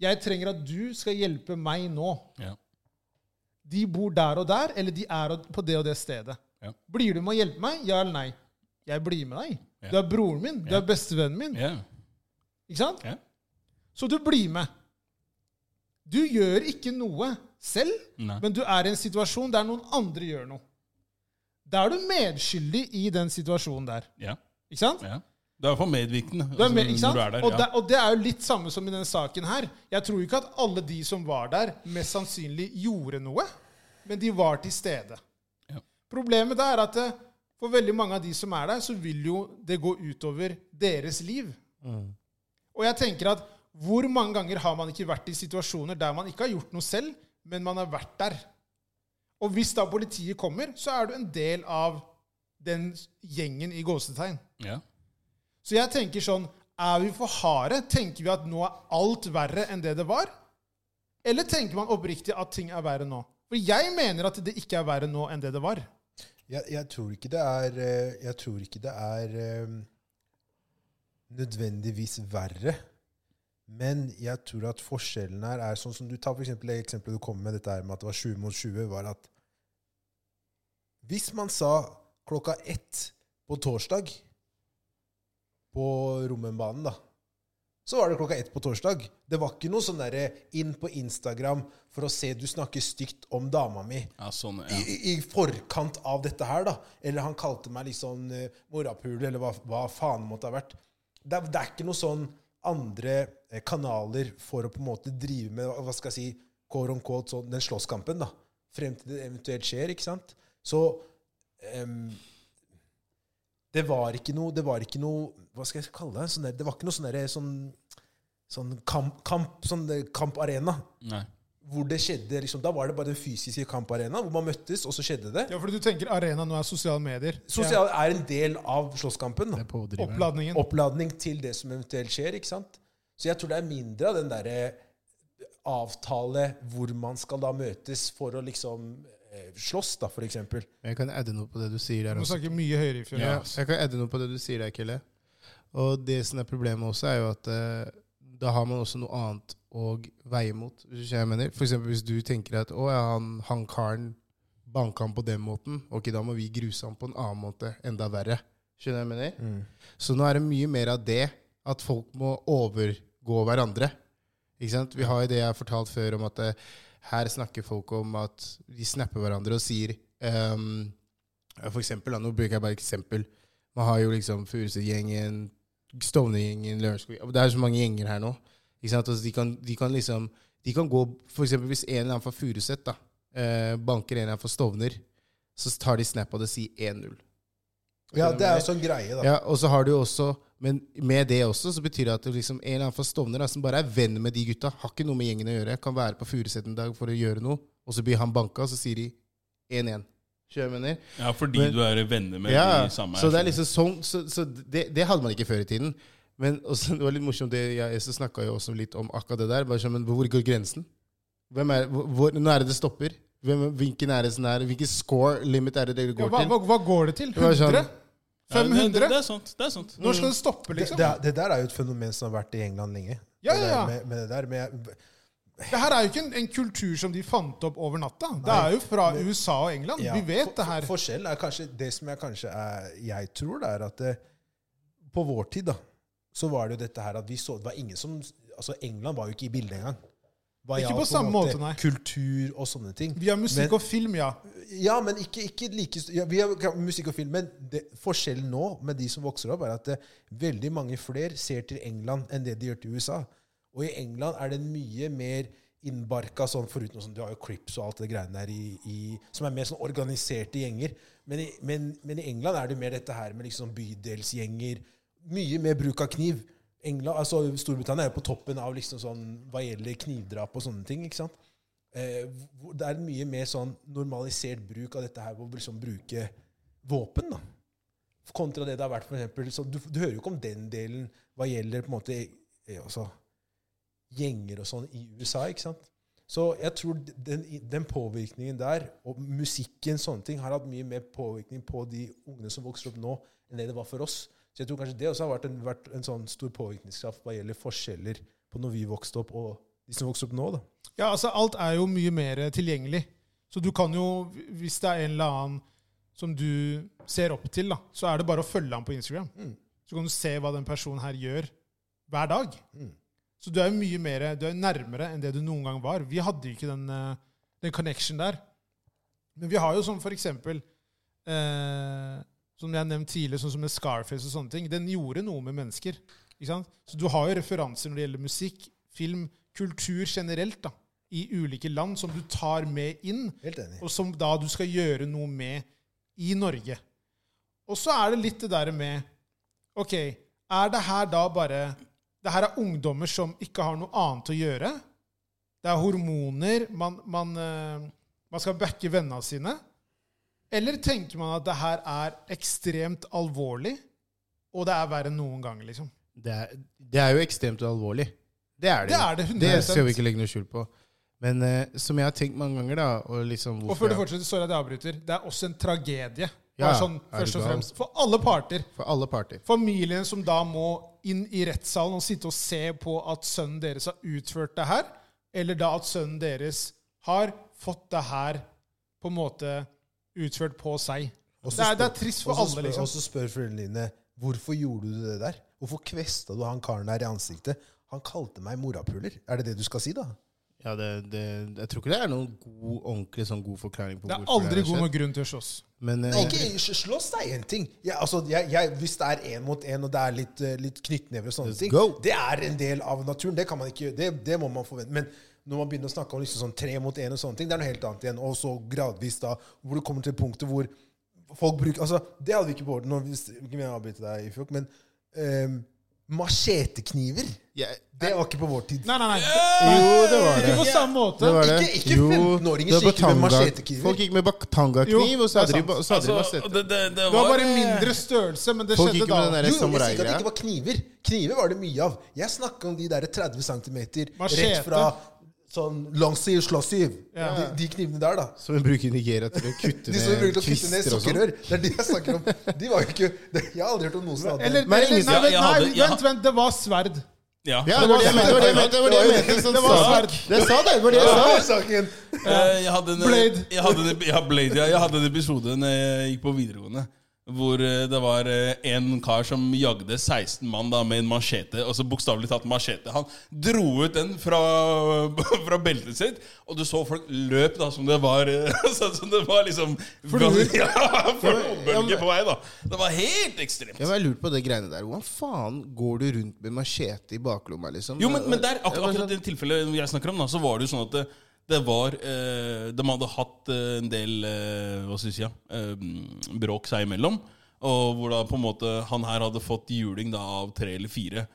Jeg trenger at du skal hjelpe meg nå.
Ja.
De bor der og der, eller de er og- på det og det stedet.
Ja.
Blir du med å hjelpe meg? Ja eller nei? Jeg blir med deg.
Ja.
Du er broren min. Du
Ja.
er bestevennen min.
Ja.
Ikke sant?
Ja.
Så du blir med. Du gjør ikke noe selv,
Nei.
men du er i en situasjon der noen andre gjør noe. Da er du medskyldig i den situasjonen der.
Ja.
Ikke sant?
ja. Du er iallfall medvirkende
Du er med,
altså,
ikke sant?
når du er der.
og,
ja.
det, og det er jo litt samme som i denne saken her. Jeg tror ikke at alle de som var der, mest sannsynlig gjorde noe, men de var til stede.
Ja.
Problemet da er at eh, for veldig mange av de som er der, så vil jo det gå utover deres liv.
Mm.
Og jeg tenker at hvor mange ganger har man ikke vært i situasjoner der man ikke har gjort noe selv, men man har vært der? Og hvis da politiet kommer, så er du en del av den gjengen i gåsetegn.
Ja.
Så jeg tenker sånn Er vi for harde? Tenker vi at nå er alt verre enn det det var? Eller tenker man oppriktig at ting er verre nå? For jeg mener at det ikke er verre nå enn det det var.
Jeg, jeg tror ikke det er eh, Jeg tror ikke det er eh, nødvendigvis verre. Men jeg tror at forskjellen her er sånn som du tar for eksempel, det eksempelet du kom med, dette her med at det var 20 mot 20, var at hvis man sa klokka ett på torsdag på Rommenbanen, da så var det klokka ett på torsdag. Det var ikke noe sånn derre inn på Instagram for å se du snakker stygt om dama mi
ja, sånn. Ja.
i, i forkant av dette her, da. Eller han kalte meg liksom uh, morapule, eller hva, hva faen måtte ha vært. Det er, det er ikke noe sånn andre eh, kanaler for å på en måte drive med hva skal jeg si, quote on quote, sånn, den slåsskampen, da. Frem til det eventuelt skjer, ikke sant? Så em, det var ikke noe Det var ikke noe Hva skal jeg kalle det? Sånn der, det var ikke noe sånn derre sånn, sånn kamp, kamp, sånn eh, kamparena
Nei.
hvor det skjedde liksom, Da var det bare den fysiske kamparena hvor man møttes, og så skjedde det.
Ja, fordi du tenker arena nå er sosiale medier.
Sosial er en del av slåsskampen. da.
Det er pådriveren.
Oppladningen.
Oppladning til det som eventuelt skjer. ikke sant? Så jeg tror det er mindre av den derre avtale hvor man skal da møtes for å liksom eh, slåss, da, for eksempel.
Jeg kan adde noe på det du sier der
Du må
også.
snakke mye høyere i fjor.
Ja, jeg kan edde noe på det du sier der, Kelle. Og det som er problemet også, er jo at eh, da har man også noe annet å veie mot. Hvis du skjønner hva jeg mener. For eksempel hvis du tenker at å, ja, han, han karen banka han på den måten, ok, da må vi gruse han på en annen måte. Enda verre. Skjønner du hva jeg mener?
Mm.
Så nå er det mye mer av det at folk må overgå hverandre. Ikke sant? Vi har jo det jeg har fortalt før om at eh, her snakker folk om at de snapper hverandre og sier ehm, ja, For eksempel, da, nå bruker jeg bare eksempel. Man har jo liksom Furuset-gjengen, Stovner-gjengen, Lørenskog Det er så mange gjenger her nå. Ikke sant? Altså, de, kan, de kan liksom De kan gå For eksempel hvis en eller annen fra Furuset da, eh, banker en eller annen fra Stovner, så tar de snap av det og sier 1-0.
Ja, det er jo sånn greie, da.
Ja, og så har du jo også Men med det også så betyr det at det liksom en eller annen fra Stovner da, som bare er venn med de gutta, har ikke noe med gjengen å gjøre, kan være på Furuset en dag for å gjøre noe, og så blir han banka, og så sier de 1-1. Skjønner du hva jeg mener?
Ja, fordi
Men-
du er venner med
Ja,
de samme. her,
så det er
skjønner
liksom sånn Så, så det, det hadde man ikke før i tiden. Men også, det var litt morsomt, det jeg så snakka jo også litt om akkurat det der. Bare sånn, men hvor går grensen? Hvem er, hvor, hvor, når er det det stopper? Hvem, hvilken er det som er Hvilken score limit er det dere
Ja,
går
hva,
til?
hva, hva går det til?
var sånn-
100?
jeg. Ja, det, det,
500?
det er sant. Det er sant.
Når skal det stoppe,
Det,
liksom?
det, det der er jo et fenomen som har vært i England lenge.
Ja,
Det
ja,
der
ja.
Med, med det der. Men jeg,
Det her er jo ikke en, en kultur som de fant opp over natta. Det er jo fra USA og England.
ja,
Vi vet det her.
for- Forskjellen er kanskje det som jeg kanskje er, jeg tror, det er at det, på vår tid da, så var det jo dette her at vi så Det var ingen som Altså, England var jo ikke i bildet engang. Hva
Ikke
jeg
på
en
samme måte, nei.
Kultur og sånne ting.
Vi har musikk og film, ja.
Ja, men ikke, ikke like ja, Vi har ja, musikk og film, men det, forskjellen nå med de som vokser opp, er at eh, veldig mange flere ser til England enn det de gjør til USA. Og i England er det mye mer innbarka sånn, foruten sånn, Du har jo Crips og alt det greiene der i, i, som er mer sånn organiserte gjenger. Men i, men, men i England er det mer dette her med liksom bydelsgjenger. Mye mer bruk av kniv. England, altså Storbritannia er jo på toppen av liksom sånn, hva gjelder knivdrap og sånne ting. ikke sant? eh, hvor det er mye mer sånn normalisert bruk av dette her, hvor vi liksom bruke våpen, da. Kontra det det har vært, for eksempel. Så du, du hører jo ikke om den delen hva gjelder på en måte eh, altså, gjenger og sånn i USA, ikke sant? Så jeg tror den, den påvirkningen der, og musikken, sånne ting, har hatt mye mer påvirkning på de ungene som vokser opp nå, enn det det var for oss. Så jeg tror kanskje det også har vært en, vært en sånn stor påvirkningskraft hva gjelder forskjeller på når vi vokste opp, og de som vokser opp nå, da.
Ja, altså Alt er jo mye mer tilgjengelig. Så du kan jo, hvis det er en eller annen som du ser opp til, da, så er det bare å følge ham på Instagram.
Mm.
Så kan du se hva den personen her gjør hver dag.
Mm.
Så du er jo mye mer, du er nærmere enn det du noen gang var. Vi hadde jo ikke den, eh, den connection der. Men vi har jo sånn for eksempel eh, Som jeg har nevnt tidligere, sånn som med Scarface og sånne ting. Den gjorde noe med mennesker. Ikke sant? Så du har jo referanser når det gjelder musikk, film, kultur generelt, da, i ulike land, som du tar med inn,
Helt enig.
og som da du skal gjøre noe med i Norge. Og så er det litt det der med Ok, er det her da bare Det her er ungdommer som ikke har noe annet å gjøre. Det er hormoner. Man, man, eh, man skal backe vennene sine. Eller tenker man at det her er ekstremt alvorlig, og det er verre enn noen gang, liksom?
Det er, det er jo ekstremt alvorlig. Det er det.
Det
jo.
er det 100%.
Det skal vi ikke legge noe skjul på. Men eh, som jeg har tenkt mange ganger, da og liksom
Og før du
jeg-
fortsetter, sorry at jeg avbryter, det er også en tragedie.
Ja,
Bare sånn,
er du
først og
gal?
fremst. For alle parter.
For alle parter.
Familien som da må inn i rettssalen og sitte og se på at sønnen deres har utført det her, eller da at sønnen deres har fått det her på en måte utført på seg.
Og så
Det er,
spør-
det er trist for
og så
alle,
spør-
liksom.
Og så spør foreldrene dine hvorfor gjorde du det der? Hvorfor kvesta du han karen der i ansiktet? Han kalte meg morapuler. Er det det du skal si, da?
Ja, det, det, jeg tror ikke det er noen god, ordentlig sånn god forklaring på
Det er
hvorfor
aldri
har
god
skjedd.
nok grunn til å slåss.
Men eh,
Nei, ikke sl- slåss er én ting. Jeg, altså, jeg, jeg, hvis det er én mot én, og det er litt, eh, litt knyttnever og sånne
Let's
ting,
go.
det er en del av naturen. Det, kan man ikke, gjøre. det, det må man forvente. Men når man begynner å snakke om liksom sånn tre mot én og sånne ting, det er noe helt annet igjen. Og så gradvis, da, hvor du kommer til punktet hvor folk bruker Altså, det hadde vi ikke på orden. Nå hvis- ikke meningen å avbryte deg, Ifjok, men eh, machetekniver
jeg,
Det var ikke på vår tid.
Nei, nei, nei.
Jo, det var det.
Ikke på samme måte.
Det var det.
Ikke- ikke
Jo,
15-åringer
det var
som gikk med
batanga-
machetekniver.
Folk gikk med batangakniv,
Jo,
og så
det
hadde
er
de, ba- så hadde de
Altså,
machete.
det, det, det,
Det var bare mindre størrelse, men det
Folk
skjedde
gikk med den
da.
der-
Jo, jo, jeg sier ikke at det
samurai-greia.
ikke var kniver. Kniver var det mye av. Jeg snakker om de der 30 cm
Machete.
rett fra sånn langsiv, slåssiv.
Ja.
De, de knivene der, da.
Som vi bruker i Nigeria til å kutte
De som
ned
bruker til å kutte ned
kvister og sånn.
sukkerrør. Det er de jeg snakker om. De var jo ikke det, Jeg har aldri hørt om noen som hadde
Eller,
det.
eller nei,
ingen-
Ja,
vent,
jeg
nei,
hadde- jeg
vent, vent, det var sverd.
Ja.
Ja, det var det jeg mente! Det var det jeg mente! Det var det jeg mente. Sånn sak. Jeg sa det! Det var det jeg sa!
Saken.
Eh, Jeg hadde en,
Blade.
Jeg hadde en, ja, Blade, ja. Jeg hadde en episode når jeg gikk på videregående. Hvor eh, det var eh, en kar som jagde 16 mann da med en machete. Og så bokstavelig talt machete. Han dro ut den fra, fra *laughs* beltet sitt, og du så folk løp da som det var eh, *laughs* Sånn som det var liksom
Fluer.
*laughs* Ja, flobølger på vei, da. Det var helt ekstremt.
Jeg har lurt på det greiene der. Hvordan faen går du rundt med machete i baklomma, liksom?
Jo, men, men der, ak
Jeg bare
akkurat
sånn-
det tilfellet jeg snakker om, da, så var det jo sånn at det, det var eh, De hadde hatt eh, en del eh, hva skal jeg si, ja, eh, bråk seg imellom. Og hvor da på en måte han her hadde fått juling da av tre eller fire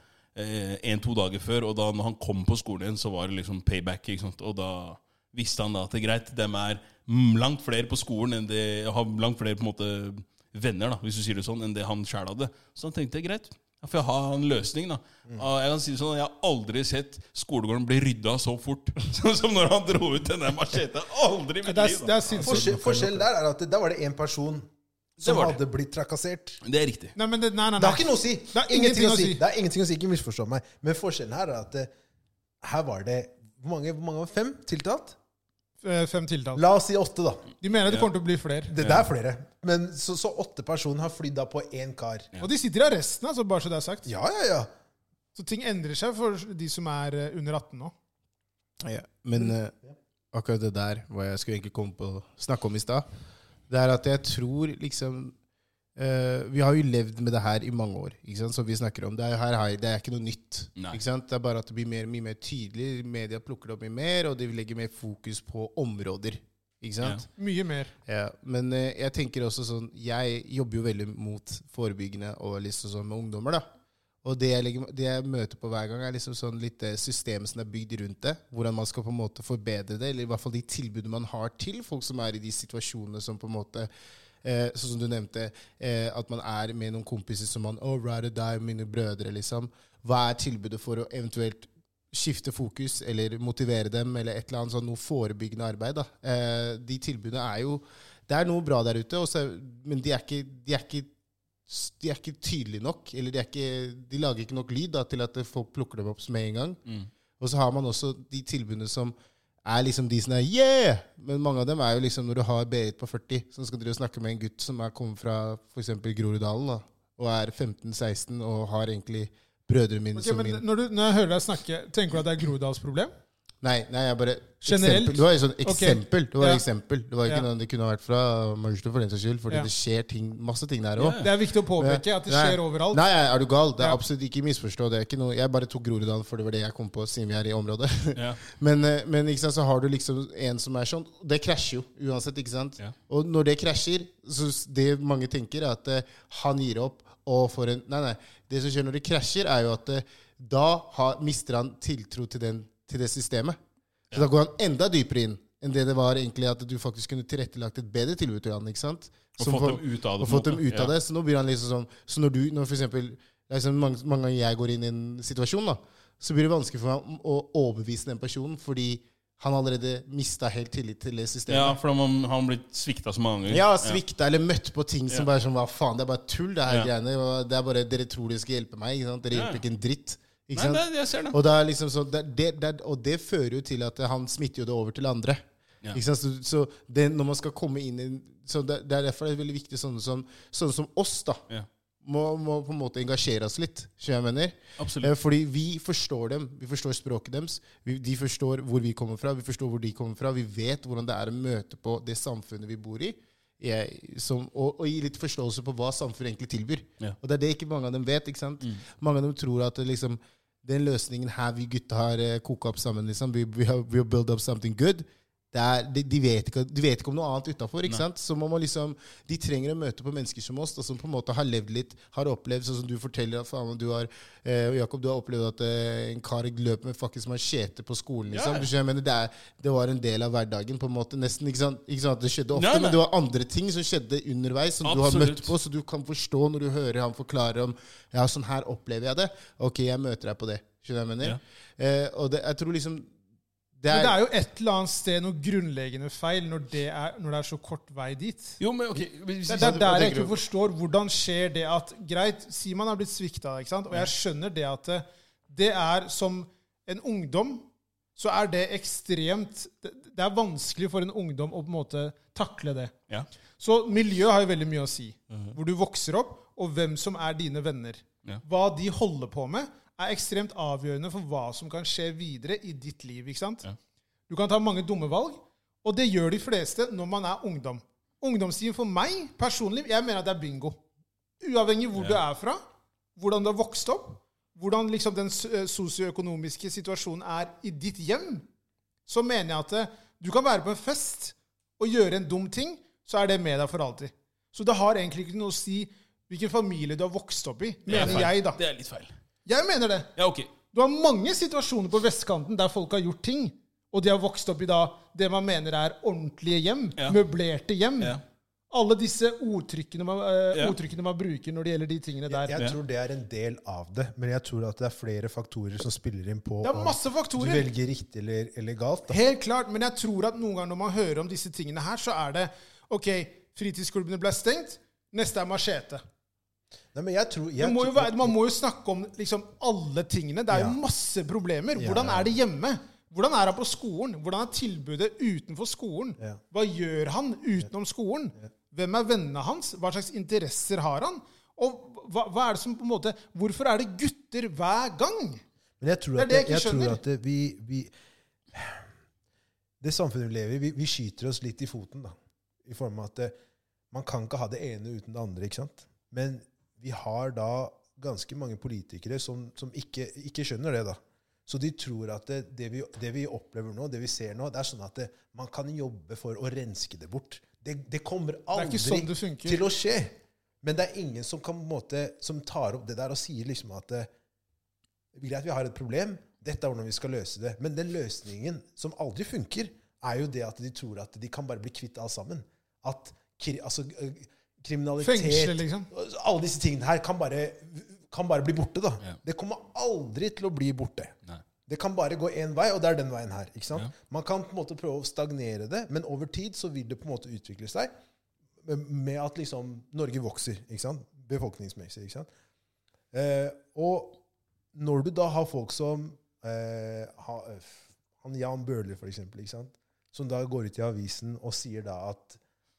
én-to dager før. Og da når han kom på skolen igjen, så var det liksom payback. ikke sant? Og da visste han da at det er greit, dem er mm, langt flere på skolen enn det har langt flere på en måte venner, da, hvis du sier det sånn, enn det han sjæl hadde. Så han tenkte greit, da får jeg ha en løsning, da. Og Jeg kan si det sånn, jeg har aldri sett skolegården bli rydda så fort *laughs* som som når han dro ut den der macheta. Aldri i mitt
Det er,
liv.
det
Da.
er sinnssykt.
Forskjell, forskjell der er at det, der var det én person som
var det.
hadde blitt trakassert.
Det er riktig.
Nei, men det, nei, nei,
Det har
nei.
ikke noe å si!
Det har ingenting å si.
Det har ingenting å si, Ikke misforstå meg. Men forskjellen her er at eh, her var det Hvor mange, hvor mange var det? fem tiltalt?
Eh, Fem tiltalt.
La oss si åtte, da.
De mener det kommer til å bli flere.
Det der er flere. Men så, så åtte personer har flydd av på én kar.
Og de sitter i arresten, altså, bare så det er sagt.
Ja, ja, ja.
Så ting endrer seg for de som er eh, under 18 nå.
Ja, men eh, akkurat det der hva jeg skulle egentlig komme på å snakke om i stad, det er at jeg tror liksom eh, Vi har jo levd med det her i mange år, ikke sant, som vi snakker om. Det er, her, har- det er ikke noe nytt.
Nei.
Ikke sant? Det er bare at det blir mer, mye mer tydelig. Media plukker det opp mye mer, og de legger mer fokus på områder. Ikke sant?
Mye mer.
Ja, men eh, jeg tenker også sånn Jeg jobber jo veldig mot forebyggende og liksom sånn med ungdommer, da. Og det jeg, legger, det jeg møter på hver gang, er liksom sånn litt det systemet som er bygd rundt det. Hvordan man skal på en måte forbedre det, eller i hvert fall de tilbudene man har til folk som er i de situasjonene som på en måte Eh, sånn som du nevnte, eh, at man er med noen kompiser som man oh, rather die, mine brødre, liksom. Hva er tilbudet for å eventuelt skifte fokus, eller motivere dem, eller et eller annet sånn noe forebyggende arbeid, da. Eh, de tilbudene er jo Det er noe bra der ute, og så- men de er ikke, de er ikke de er ikke tydelige nok, eller de, er ikke, de lager ikke nok lyd da, til at folk plukker dem opp med en gang. Og så har man også de tilbudene som er liksom de som er yeah! Men mange av dem er jo liksom når du har Berit på 40, så skal dere jo snakke med en gutt som er kommet fra f.eks. Groruddalen, da, og er 15-16 og har egentlig brødrene mine
Ok,
som
men
min
når, du, når jeg hører deg snakke, tenker du at det er Groruddals problem?
Nei, nei, jeg bare
Generelt?
Eksempel. Det var et sånt
Ok.
eksempel. Det var
Ja.
et eksempel. Det var ikke
Ja.
noe det kunne ha vært fra Manchester, for den saks skyld, fordi
Ja.
det skjer ting, masse ting der
Ja,
òg.
ja.
Det er viktig å påpeke at det skjer
Nei.
overalt.
Nei, er du gal? Det er
Ja.
absolutt ikke misforstå. Det er ikke noe. Jeg bare tok Groruddalen, for det var det jeg kom på, siden vi er i området. *laughs*
Ja.
men eh, men ikke sant, så har du liksom en som er sånn. Det krasjer jo uansett, ikke sant?
Ja.
Og når det krasjer, så s- det mange tenker, er at eh, han gir opp og får en Nei, nei. Det som skjer når det krasjer, er jo at eh, da har, mister han tiltro til, den, til det systemet. Så da går han enda dypere inn enn det det var egentlig at du faktisk kunne tilrettelagt et bedre tilbud til han, ikke sant?
Og
Som
fått
for-
dem ut av det.
og
på en
fått dem
måte.
ut av det. Så nå blir han liksom sånn Så når du, når for eksempel det er sånn mange, mange ganger jeg går inn i en situasjon, da, så blir det vanskelig for meg å overbevise den personen, fordi han allerede mista helt tillit til det
Ja, ja
systemet.
for han har han blitt svikta så mange ganger.
Ja, svikta eller møtt på ting
Ja.
som bare er sånn Hva faen, det er bare tull, det
Ja.
her greiene. og Det er bare Dere tror dere skal hjelpe meg, ikke sant? Dere
Ja.
hjelper ikke en dritt. Ikke
Nei,
sant?
det, jeg ser det.
Og, det er liksom sånn- det, det, det, og det fører jo til at han smitter jo det over til andre.
Ja.
Ikke sant? Så, så det, når man skal komme inn i så det, det er derfor det er veldig viktig sånne som, sånne som oss, da.
Ja.
Må, må på en måte engasjere oss litt, skjønner jeg mener.
Absolutt.
Eh, Fordi vi forstår dem. Vi forstår språket deres. Vi, de forstår hvor vi kommer fra. Vi forstår hvor de kommer fra. Vi vet hvordan det er å møte på det samfunnet vi bor i. Jeg, som, og, og gi litt forståelse på hva samfunnet egentlig tilbyr.
Ja. Mm.
Og det er det ikke mange av dem vet. ikke sant? Mange av dem tror at det liksom, den løsningen her vi gutta har eh, koka opp sammen, liksom, we, we, have, we have built up something good, det er, de, de, vet ikke, de vet ikke om noe annet utafor. Så man må liksom, de trenger å møte på mennesker som oss, da, som på en måte har levd litt, har opplevd, sånn som du forteller at faen, du har, eh, Jakob, du har opplevd at eh, en kar løp med faktisk machete på skolen. Liksom.
Ja.
Du skjønner, jeg mener, det, er, det var en del av hverdagen, på en måte, nesten. Ikke sant, ikke sant at det skjedde ofte,
Nei, nei.
men det var andre ting som skjedde underveis, som du har
Absolutt.
møtt på, så du kan forstå når du hører han forklare om ja, sånn her opplever jeg det. Ok, jeg møter deg på det. Skjønner du hva jeg mener? Eh, og det, jeg tror liksom det
Men
er,
det er jo et eller annet sted noe grunnleggende feil når det er, når det er så kort vei dit.
Jo, men ok hvis,
Det er der,
altså, Hva tenker
jeg ikke
du?
forstår hvordan skjer det at Greit, Simon er blitt svikta, ikke sant? Og jeg skjønner det at eh, Det er som en ungdom så er det ekstremt Det det er vanskelig for en ungdom å på en måte takle det.
Ja.
Så miljø har jo veldig mye å si. Hvor du vokser opp, og hvem som er dine venner.
Mhm. Ja.
Hva de holder på med, er ekstremt avgjørende for hva som kan skje videre i ditt liv. ikke sant?
Ja.
Du kan ta mange dumme valg, og det gjør de fleste når man er ungdom. Ungdomstiden for meg personlig, jeg mener at det er bingo. Uavhengig hvor du er fra, hvordan du har vokst opp, hvordan liksom den s- eh, sosioøkonomiske situasjonen er i ditt hjem, så mener jeg at eh, du kan være på en fest og gjøre en dum ting, så er det med deg for alltid. Så det har egentlig ikke noe å si hvilken familie du har vokst opp i,
Det er
mener
feil.
jeg, da.
Det er litt feil.
Jeg mener det.
Ja, ok.
Du har mange situasjoner på vestkanten der folk har gjort ting, og de har vokst opp i da det man mener er ordentlige hjem,
Ja.
møblerte hjem.
Ja.
Alle disse ordtrykkene man, eh,
Ja.
ordtrykkene man bruker når det gjelder de tingene der.
Jeg tror det er en del av det, men jeg tror at det er flere faktorer som spiller inn på
Det er
om
masse
du
faktorer.
velger riktig eller, eller galt. Da.
Helt klart, men jeg tror at noen ganger når man hører om disse tingene her, så er det OK, fritidsklubbene ble stengt. Neste er machete.
Nei, men jeg tror,
Det
jeg,
må jo
tror-
være, man må jo snakke om liksom alle tingene. Det er
Ja.
jo masse problemer.
Ja,
Hvordan
ja.
er det hjemme? Hvordan er han på skolen? Hvordan er tilbudet utenfor skolen?
Ja.
Hva gjør han utenom skolen? Hvem er vennene hans? Hva slags interesser har han? Og hva, hva er det som på en måte Hvorfor er det gutter hver gang?
Men jeg tror
Det er
at, jeg,
det jeg ikke skjønner.
tror at det, vi, vi Det samfunnet vi lever i, vi, vi skyter oss litt i foten, da. I form av at eh, man kan ikke ha det ene uten det andre, ikke sant? Men vi har da ganske mange politikere som, som ikke, ikke skjønner det, da. Så de tror at det, det, vi, det vi opplever nå, det vi ser nå, det er sånn at det, man kan jobbe for å renske det bort. Det, det kommer
er
aldri
ikke sånn det funker.
til å skje. Men det er ingen som, kan, på en måte, som tar opp det der og sier liksom at eh, greit, vi har et problem, dette er hvordan vi skal løse det. Men den løsningen som aldri funker, er jo det at de tror at de kan bare bli kvitt alt sammen. At kri, altså, øh, kriminalitet
Fengsle, liksom.
Alle disse tingene her kan bare, kan bare bli borte, da.
Ja.
Det kommer aldri til å bli borte.
Nei.
Det kan bare gå én vei, og det er den veien her. ikke sant? Man kan på en måte prøve å stagnere det, men over tid så vil det på en måte utvikle seg med at liksom Norge vokser, ikke sant? Befolkningsmessig, ikke sant? Eh, og når du da har folk som eh, ha, f- han Jan Bøhler, for eksempel, ikke sant? som da går ut i avisen og sier da at,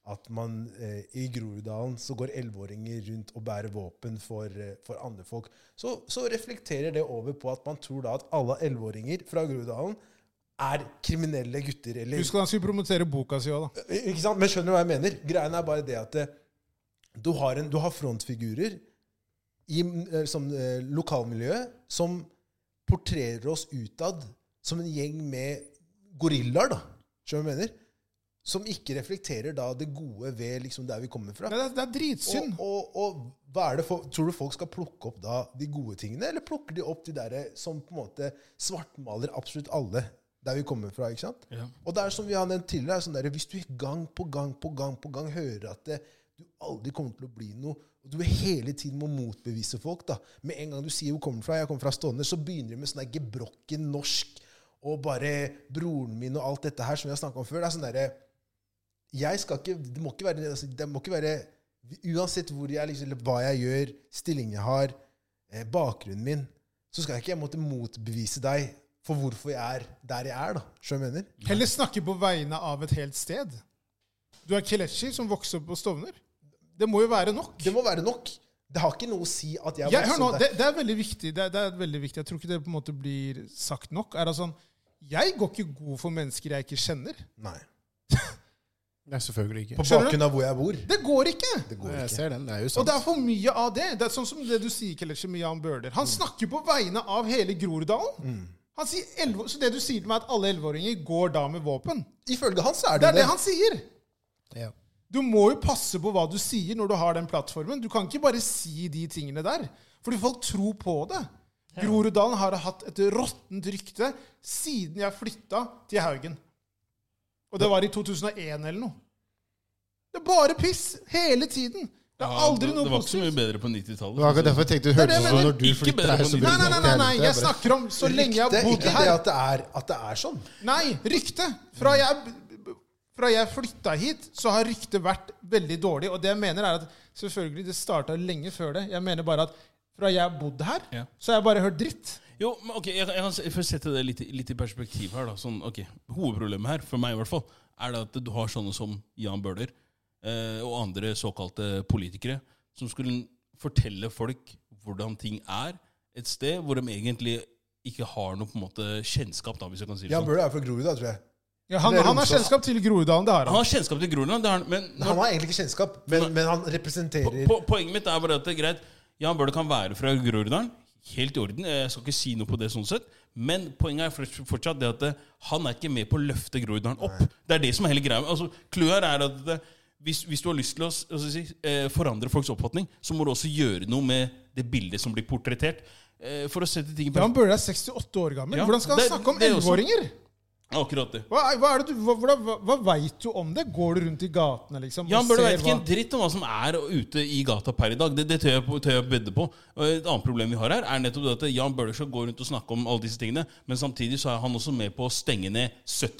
at man eh, i Groruddalen så går elleveåringer rundt og bærer våpen for, eh, for andre folk, så, så reflekterer det over på at man tror da at alle elleveåringer fra Groruddalen er kriminelle gutter. Eller,
Husk at han skulle promotere boka si òg, da.
ikke sant? Men skjønner du hva jeg mener? Greien er bare det at eh, du har, en, du har frontfigurer i eh, som, eh, lokalmiljøet som portrerer oss utad som en gjeng med gorillaer, da. Skjønner du hva jeg mener? Som ikke reflekterer da det gode ved liksom der vi kommer fra.
Nei, Det, er- det er dritsyn.
Og, og, og hva er det for, tror du folk skal plukke opp da de gode tingene, eller plukker de opp de der eh, som på en måte svartmaler absolutt alle der vi kommer fra? ikke sant?
Ja.
Og det er som vi har nevnt tidligere, er sånn der, hvis du gang på gang på gang på gang hører at det, du aldri kommer til å bli noe, og du hele tiden må motbevise folk da, Med en gang du sier 'hvor kommer du fra', 'jeg kommer fra Stovner', så begynner de med sånn der gebrokken norsk og bare 'broren min' og alt dette her som vi har snakka om før. det er sånn der, jeg skal ikke, det må ikke være, altså, det må ikke være Uansett hvor jeg, er, liksom, eller hva jeg gjør, stillingen jeg har, eh, bakgrunnen min, så skal ikke jeg måtte motbevise deg for hvorfor jeg er der jeg er. da. Skjønner du hva jeg mener?
Heller snakke på vegne av et helt sted. Du er Kelechi som vokste opp på Stovner. Det må jo være nok.
Det må være nok. Det har sånn ikke noe å si at jeg
Ja, hør nå,
opp
det, det er veldig viktig. Det, er- det er veldig viktig. Jeg tror ikke det på en måte blir sagt nok. Er det sånn, Jeg går ikke god for mennesker jeg ikke kjenner.
Nei.
Nei, selvfølgelig ikke.
På
Skjønner du?
bakgrunn av hvor jeg bor.
Det går ikke!
Det går
Jeg
ikke.
ser den. Det er jo
Og
sant.
det er for mye av det. Det er Sånn som det du sier, Kelechi, med Jan Bøhler.
Mm.
Han snakker på vegne av hele Groruddalen. Han sier 11 Så det du sier til meg, er at alle 11-åringer går da med våpen?
Ifølge han så er
Det
det
er det han sier!
Ja.
Du må jo passe på hva du sier når du har den plattformen. Du kan ikke bare si de tingene der. Fordi folk tror på det. Groruddalen har hatt et råttent rykte siden jeg flytta til Haugen. Og det var i 2001 eller noe. Det er bare piss hele tiden. Det er
Ja,
aldri
det,
noe
det var ikke så mye
positivt.
bedre på
Det var
90-tallet.
akkurat derfor jeg tenkte det
Det er det
hørtes ut
jeg
som
mener.
når du
Ikke
flytter
bedre
her,
på
så
nytt.
Nei,
blir
nei, nei,
det nok
nei,
det
nei.
helvete.
Jeg
bare-
snakker om så lenge jeg
Det
har
er
bodd
ikke det
her.
at det er, at det er sånn.
Nei, rykte. Fra jeg, fra jeg flytta hit, så har ryktet vært veldig dårlig. Og det jeg mener, er at selvfølgelig det starta lenge før det. Jeg mener bare at fra jeg har bodd her,
Ja.
så har jeg bare hørt dritt.
Jo, men ok, jeg, jeg kan s- først sette det litt, i- litt i perspektiv her. da sånn, ok, Hovedproblemet her, for meg i hvert fall, er det at du har sånne som Jan Bøhler eh, og andre såkalte politikere som skulle fortelle folk hvordan ting er et sted hvor de egentlig ikke har noe på en måte kjennskap, da, hvis jeg kan si det
Jan
sånn.
Bøhler er fra Groruddalen, tror jeg.
Ja, han,
Det er
han har
Romsdal.
kjennskap til Groruddalen, det
Han
har han.
har kjennskap til Groruddalen, det har han, men
Han har egentlig ikke kjennskap, men, men han representerer
Po- Poenget mitt er bare at det er greit. Jan Bøhler kan være fra Groruddalen. Helt i orden. Jeg skal ikke si noe på det sånn sett. Men poenget er forts- fortsatt det at eh, han er ikke med på å løfte Groruddalen opp. Det er det som er hele greia. Altså, Clouet her er at det, hvis, hvis du har lyst til å s- hva skal jeg si, eh, forandre folks oppfatning, så må du også gjøre noe med det bildet som blir portrettert. Eh, For å sette ting i
Jan
perspektiv.
Bøhler er 68 år gammel.
Ja,
Hvordan skal han
det-
snakke om
det er også-
11-åringer?
Akkurat det.
Hva, er- hva, er det du- hva, hvordan- hva, hva veit du om det? Går du rundt i gatene, liksom?
Jan
og
Bøhler
ser
vet ikke en
hva-
dritt om hva som er ute i gata per i dag. Det, det tør jeg, på- tør jeg vedde på. Og Et annet problem vi har her, er nettopp det at Jan Bøhler skal gå rundt og snakke om alle disse tingene, men samtidig så er han også med på å stenge ned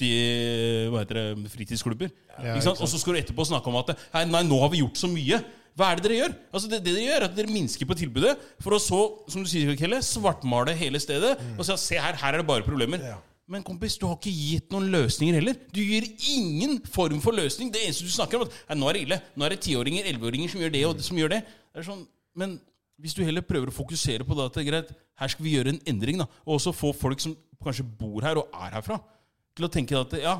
70 hva heter det, fritidsklubber. ikke sant? Og så skal du etterpå snakke om at Hei, nei, nå har vi gjort så mye. Hva er det dere gjør? Altså det, det Dere gjør er at dere minsker på tilbudet for å så, som du sier, Kelle, svartmale hele stedet. Og så, se her, her er det bare problemer.
Ja.
Men kompis, du har ikke gitt noen løsninger heller. Du gir ingen form for løsning. Det eneste du snakker om, er at «Nei, nå er det ille. Nå er det tiåringer, elleveåringer som gjør det og som gjør det. Det er sånn, Men hvis du heller prøver å fokusere på det at det er greit, her skal vi gjøre en endring, da. Og også få folk som kanskje bor her og er herfra, til å tenke at ja,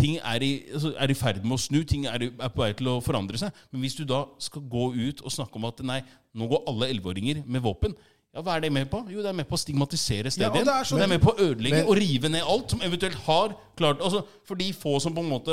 ting er i, altså, er i ferd med å snu, ting er, i, er på vei til å forandre seg. Men hvis du da skal gå ut og snakke om at nei, nå går alle elleveåringer med våpen. Ja, Hva er det med på? Jo, det er med på å stigmatisere stedet
Ja, og
igjen.
det er sånn-
det er med på å ødelegge
Men-
og rive ned alt som eventuelt har klart altså, For de få som på en måte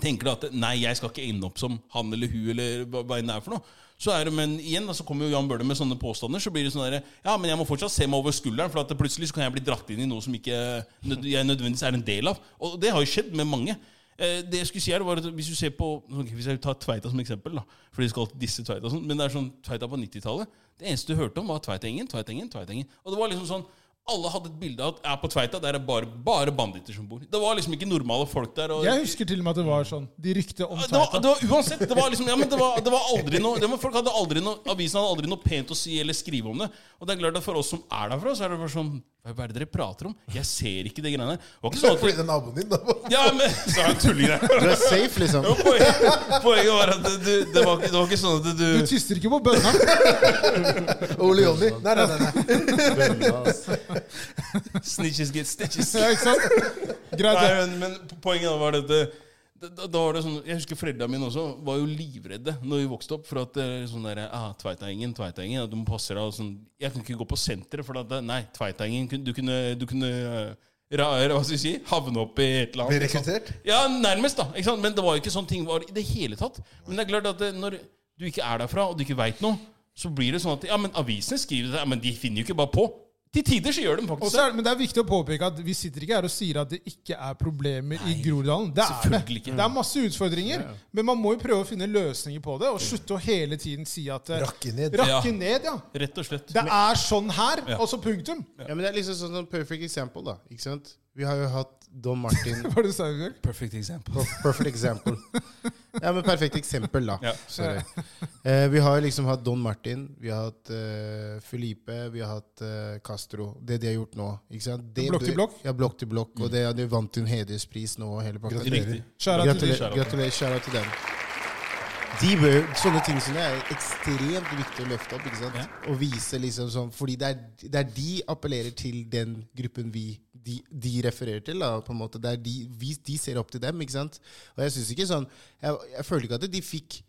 tenker da at nei, jeg skal ikke ende opp som han eller hun eller hva, hva enn det er for noe. Så er det, Men igjen da, så kommer jo Jan Bøhler med sånne påstander. Så blir det sånn der, Ja, men jeg må fortsatt se meg over skulderen, for at plutselig så kan jeg bli dratt inn i noe som ikke nød, jeg nødvendigvis er en del av. Og det har jo skjedd med mange. Eh, Det jeg skulle si her var at Hvis du ser på ok, Hvis jeg tar Tveita som eksempel, da Fordi de skal alltid disse Tveita og sånn Men det er sånn Tveita på 90-tallet Det eneste du hørte om, var Tveitangen, Tveitangen, Tveitangen. Og det var liksom sånn Alle hadde et bilde av at ja, på Tveita der er det bare, bare banditter som bor. Det var liksom ikke normale folk der. Og,
Jeg husker til og med at det var sånn. De rykte om
det var,
Tveita.
det var uansett det var liksom, ja, men det var, det var aldri noe, det var, folk hadde aldri noe Avisen hadde aldri noe pent å si eller skrive om det. Og det er klart at For oss som er derfra, så er det bare sånn Hva hva er det dere prater om? Jeg ser ikke de greiene der. Det var ikke sånn
*laughs*
at
Fordi det er naboen din, da.
*laughs* Ja, men Så er det en tulling der.
Du er safe, liksom.
Jo, Poenget, poenget var at du, det, var, ikke- det var ikke sånn at
Du
du
tyster ikke på bønna. *laughs*
Ole Jonny. Nei, nei, nei. nei.
Snitches get stitches.
Ja, ikke sant? Greit,
Nei,
det.
men, men poenget var dette da, da, da var det sånn, Jeg husker foreldrene mine også var jo livredde når vi vokste opp. For at eh, sånn der, ah, Tveitaengen, Tveitaengen, at du må passe deg. og Sånn, jeg kunne ikke gå på senteret, for at, nei, Tveitaengen kun- Du kunne, du kunne eh, ra, ra, hva skal jeg si, havne opp i et eller annet.
Blir
ikke sant?
rekruttert.
Ja, nærmest, da. Ikke sant? Men det var jo ikke sånn ting var i det hele tatt. Men det er klart at eh, når du ikke er derfra, og du ikke veit noe, så blir det sånn at Ja, men avisene skriver det, ja, men de finner jo ikke bare på. Til tider så gjør de
Og
faktisk
så
det.
er, det- men det er viktig å påpeke at vi sitter ikke her og sier at det ikke er problemer i Groruddalen. Det er det.
selvfølgelig ikke.
Det er masse utfordringer, men man må jo prøve å finne løsninger på det. Og slutte å hele tiden si at eh,
Rakke ned.
Rakke
Ja.
ned, ja.
Rett og slett.
Det er sånn her, og så punktum. *laughs*
Ja, men Det er liksom sånn sånn perfect example, da. Ikke sant? Vi har jo hatt Don Martin
Hva var det du sa, Bjørg?
Perfect example.
Per- Perfect example. Ja, men perfekt eksempel, da.
Ja.
Sorry. Eh, vi har liksom hatt Don Martin, vi har hatt eh, Felipe, vi har hatt eh, Castro. Det de har gjort nå. ikke sant? Det
Blokk til
bør-
blokk? Mm.
Ja, blokk til blokk. Og det, de vant jo en hederspris nå. og Hele pakka.
Riktig.
Skjæra til
Gratulerer.
deg.
Shout out.
Gratulerer. Shout out til dem. De bør, sånne ting som det er ekstremt viktig å løfte opp. ikke sant? Og vise liksom sånn, Fordi det er, det er de appellerer til den gruppen vi de, de refererer til. da, på en måte. Det er de, vi, de ser opp til dem. ikke sant? Og jeg synes ikke sånn, jeg, jeg føler ikke at de fikk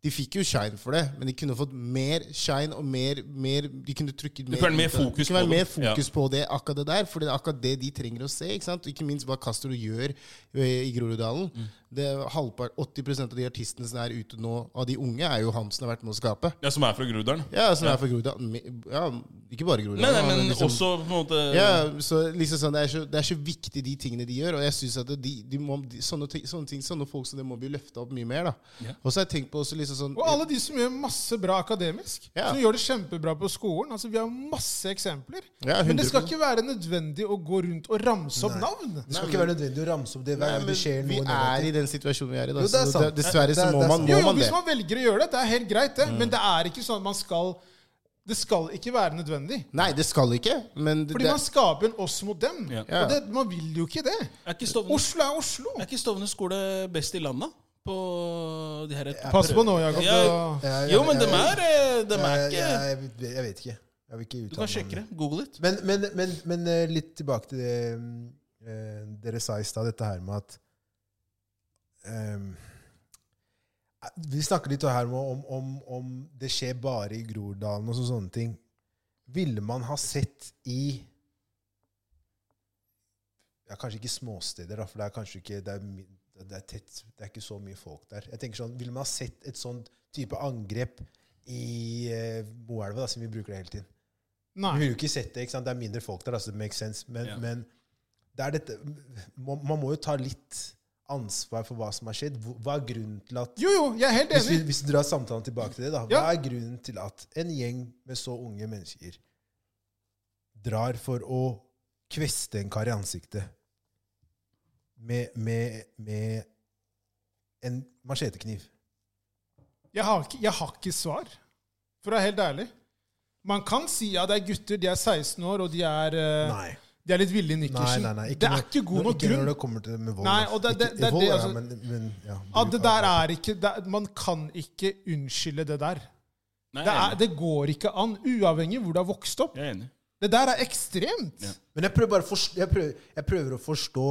de fikk jo shine for det, men de kunne fått mer shine og mer, mer De kunne trykket mer
kunne vært mer
ut av det.
fokus
Det
på
kunne vært mer
det. Ja.
fokus fokus på det, akkurat det der. For det er akkurat det de trenger å se. Ikke sant? Og Ikke minst hva Castro gjør eh, i Groruddalen.
Mm.
Det er halvpart, 80 av de artistene som er ute nå, av de unge, er jo han som har vært med å skape.
Ja, som er fra Groruddalen?
Ja, som er fra Groruddalen. Me- Ja, ikke bare Groruddalen.
Nei, nei, men
han er liksom-
også på en måte
ja, så liksom sånn, det, er så, det er så viktig, de tingene de gjør. Og jeg synes at de, de må, de, sånne, ting, sånne ting, sånne folk som det må bli løfta opp mye mer. da
Ja.
Og så har jeg tenkt på også liksom sånn
Og alle de som gjør masse bra akademisk.
Ja.
Som gjør det kjempebra på skolen. Altså, Vi har masse eksempler.
Ja,
Men det
100%.
skal ikke være nødvendig å gå rundt og ramse opp navn.
Det skal ikke være nødvendig å ramse opp det hver
Nei,
gang
men
det skjer
Vi
noe
er i
negativt.
den situasjonen vi er i. Da,
Jo, det er
så
sant.
dessverre
Det
så
er-
må
det er
man,
sant.
må
Jo, jo,
man det.
Hvis man velger å gjøre det, det er helt greit, det. Men det er ikke sånn at man skal Det skal ikke være nødvendig.
Nei, det skal ikke, men det,
Fordi man skaper en oss mot dem.
Ja.
Ja.
Og det, man vil jo ikke det.
Er ikke Stovner,
Oslo er Oslo.
er ikke Stovner skole best i landet? På de her
Pass på nå, Jakob.
Ja.
da-
Jeg-
Jo, men
jeg-
dem er eh, Dem er
jeg,
ikke
jeg, jeg, jeg vet ikke. Jeg vil ikke
Du
uttale
kan sjekke det. Google litt.
Men, men, men, men eh, litt tilbake til det eh, dere sa i stad, dette her med at ehm, Vi snakker litt her om, om, om, om det skjer bare i Groruddalen og så, sånne ting. Ville man ha sett i ja, Kanskje ikke småsteder, da, for det er kanskje ikke det er, mi- det er tett, det er ikke så mye folk der. Jeg tenker sånn, Ville man ha sett et sånt type angrep i eh, Moelva, da, siden vi bruker det hele tiden?
Nei.
Vi vil jo ikke sett det. ikke sant? Det er mindre folk der, altså det makes sense. Men,
Ja.
men det er dette man, man må jo ta litt ansvar for hva som har skjedd. Hvor- Hva er grunnen til at
Jo, jo, jeg er helt
hvis, vi,
enig.
hvis du drar samtalen tilbake til det, da.
Ja.
Hva er grunnen til at en gjeng med så unge mennesker drar for å kveste en kar i ansiktet med, med, med en machetekniv?
Jeg har, ikke, jeg har ikke svar, for å være helt ærlig. Man kan si ja, det er gutter, de er 16 år, og de er, eh,
Nei.
de er litt ville i
Nei,
nikkersen.
nei, nei.
Det er
når-
ikke god
når-
nok
ikke
grunn.
når det kommer til det med vold.
Nei,
da.
og det- det-
Ikke-
det er
vold,
det,
ja,
altså.
men, men, ja,
At det
bruk av-
der er ikke, det, er- Man kan ikke unnskylde det der.
Nei,
Det,
jeg
er,
er enig.
det går ikke an, uavhengig hvor du har vokst opp.
Jeg er enig.
Det der er ekstremt.
Ja.
Men jeg prøver, bare å forst- jeg, prøver, jeg prøver å forstå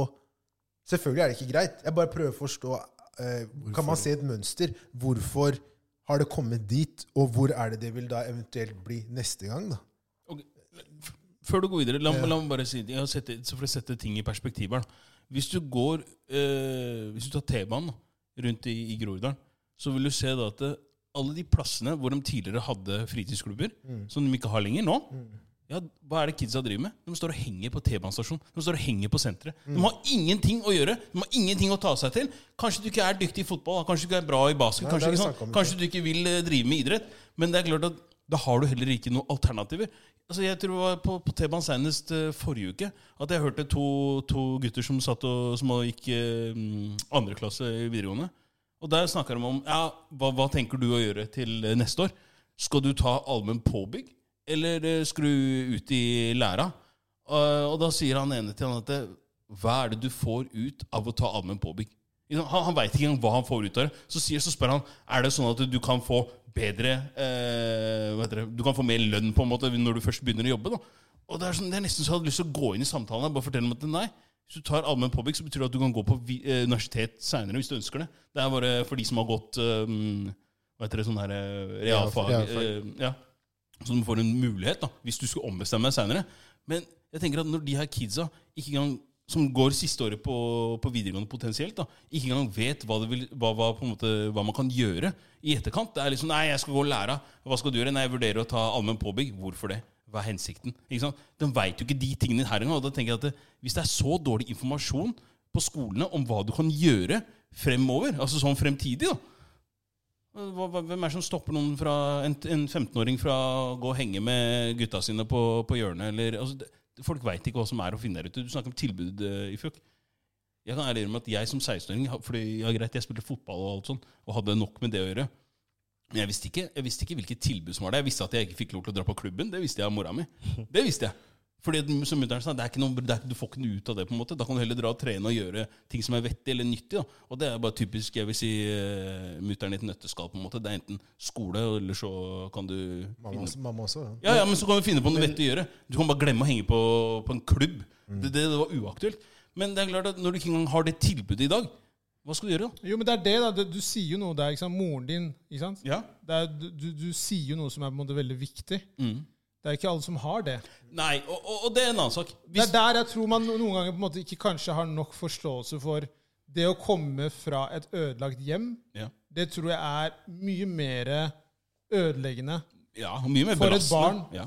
Selvfølgelig er det ikke greit. Jeg bare prøver å forstå eh, Kan man se et mønster? Hvorfor har det kommet dit? Og hvor er det det vil da eventuelt bli neste gang? da?
Ok, f- Før du går videre, la, la meg bare si jeg har sett, det- så For å sette ting i perspektiv her. da. Hvis du går eh, Hvis du tar T-banen da, rundt i, i Groruddalen, så vil du se da at eh, alle de plassene hvor de tidligere hadde fritidsklubber,
Mm.
som de ikke har lenger nå ja, Hva er det kidsa driver med? De står og henger på T-banestasjonen. De står og henger på senteret.
Mm.
De har ingenting å gjøre. De har ingenting å ta seg til. Kanskje du ikke er dyktig i fotball, da. kanskje du ikke er bra i basket,
Nei, det
kanskje,
har vi
ikke
snakket om.
sånn. kanskje du ikke vil eh, drive med idrett. Men det er klart at da har du heller ikke noen alternativer. Altså, jeg tror det var på, på T-banen senest eh, forrige uke at jeg hørte to, to gutter som, satt og, som gikk eh, mm, andre klasse i videregående. Og der snakker de om ja, hva, hva tenker du å gjøre til eh, neste år. Skal du ta allmenn påbygg, eller eh, skru ut i læra? Eh, og da sier han ene til han at eh, hva er det du får ut av å ta allmenn påbygg? Ikke sant? Han, han veit ikke engang hva han får ut av det. Så, sier, så spør han er det sånn at du kan få bedre eh, hva heter det? Du kan få mer lønn på en måte når du først begynner å jobbe. da. Og Det er, sånn, det er nesten så jeg hadde lyst til å gå inn i samtalen her, bare fortelle dem at nei. Hvis du tar allmenn påbygg, så betyr det at du kan gå på vi, eh, universitet seinere hvis du ønsker det. Det er bare for de som har gått eh, hva heter det, sånn her, eh, realfag.
Realfag.
Eh, ja. Så du får en mulighet, da, hvis du skulle ombestemme deg seinere. Men jeg tenker at når de her kidsa ikke engang som går siste året på, på videregående potensielt, da, ikke engang vet hva, det vil, hva, hva, på en måte, hva man kan gjøre i etterkant. Det er liksom 'Nei, jeg skal gå og lære. Hva skal du gjøre?' 'Nei, jeg vurderer å ta allmenn påbygg.' Hvorfor det? Hva er hensikten? Ikke sant? De veit jo ikke de tingene her engang. Og da tenker jeg at det, hvis det er så dårlig informasjon på skolene om hva du kan gjøre fremover, altså sånn fremtidig, da, hva, hva, hvem er det som stopper noen fra, en, en 15-åring fra å gå og henge med gutta sine på, på hjørnet? Eller, altså, det, folk veit ikke hva som er å finne der ute. Du snakker om tilbud eh, i Føk. Jeg kan ærlig innrømme at jeg som 16-åring har- fordi, ja, greit, jeg spilte fotball og alt sånn, og hadde nok med det å gjøre. Men jeg visste ikke, jeg visste ikke hvilket tilbud som var der. Jeg visste at jeg ikke fikk lov til å dra på klubben. Det visste jeg av mora mi. Det visste jeg. Fordi at, som mutteren sa, det er ikke noe, det er, ikke- Du får ikke noe ut av det. på en måte Da kan du heller dra og trene og gjøre ting som er vettig eller nyttig. Da. Og det er bare typisk jeg vil si uh, mutter'n i et nøtteskall. på en måte Det er enten skole, eller så kan du
Mamma, også- mamma også. Ja.
ja, ja, men så kan du finne på noe vettig å gjøre. Du kan bare glemme å henge på, på en klubb.
Mm.
Det, det, det var uaktuelt. Men det er klart at når du ikke engang har det tilbudet i dag, hva skal du gjøre da?
Jo, men det er det, da. Det- Du sier jo noe der. ikke sant? Moren din, ikke sant?
Ja.
Det er, du, du, du sier jo noe som er på en måte veldig viktig.
Mm.
Det er ikke alle som har det.
Nei, og, og, og det er en annen sak.
Det
Hvis,
er der jeg tror man no- noen ganger på en måte ikke kanskje har nok forståelse for det å komme fra et ødelagt hjem.
ja.
Det tror jeg er mye mer ødeleggende
ja, mye mer
For et
belastende.
barn.
Ja,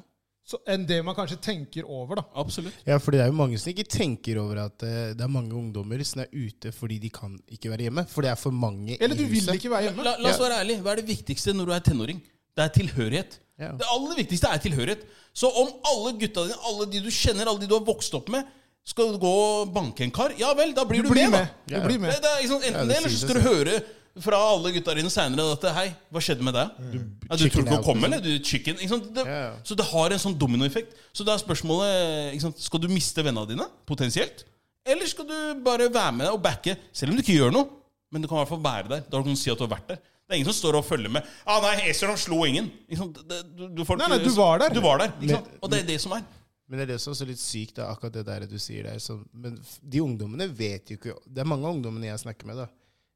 så, enn det man kanskje tenker over, da.
absolutt.
Ja, for det er jo mange som ikke tenker over at eh, det er mange ungdommer som er ute fordi de kan ikke være hjemme. For det er for mange
Eller du
i
vil
huset.
ikke være hjemme.
La, la oss være ærlig. Hva er det viktigste når du er tenåring? Det er tilhørighet.
Ja.
Det aller viktigste er tilhørighet. Så om alle gutta dine, alle de du kjenner, alle de du har vokst opp med, skal gå og banke en kar, ja vel, da blir
Du
du,
blir
med,
med.
da.
Du blir
Det,
med.
det er ikke sant,
Ja,
enten
det
det, eller
sier
så
seg
skal du høre fra alle gutta dine seinere at Hei, hva skjedde med deg? Ja, du
chicken
tror ikke
out,
å komme, eller? Du chicken ikke sant? Det,
Ja, ja.
Så det har en sånn dominoeffekt. Så da er spørsmålet ikke sant? Skal du miste vennene dine, potensielt? Eller skal du bare være med og backe, selv om du ikke gjør noe? Men du kan i hvert fall være der. Da kan du si at du har vært der. Det er ingen som står og følger med. Ah, nei, Ezra slo ingen. Ikke sant? Det, du, du får
Nei,
ikke-
nei, du var der.
Du var der, ikke sant? Og det er det som er.
Men det er det som er så litt sykt, da, akkurat det der du sier der. Som, men f- de ungdommene vet jo ikke Det er mange av ungdommene jeg snakker med, da.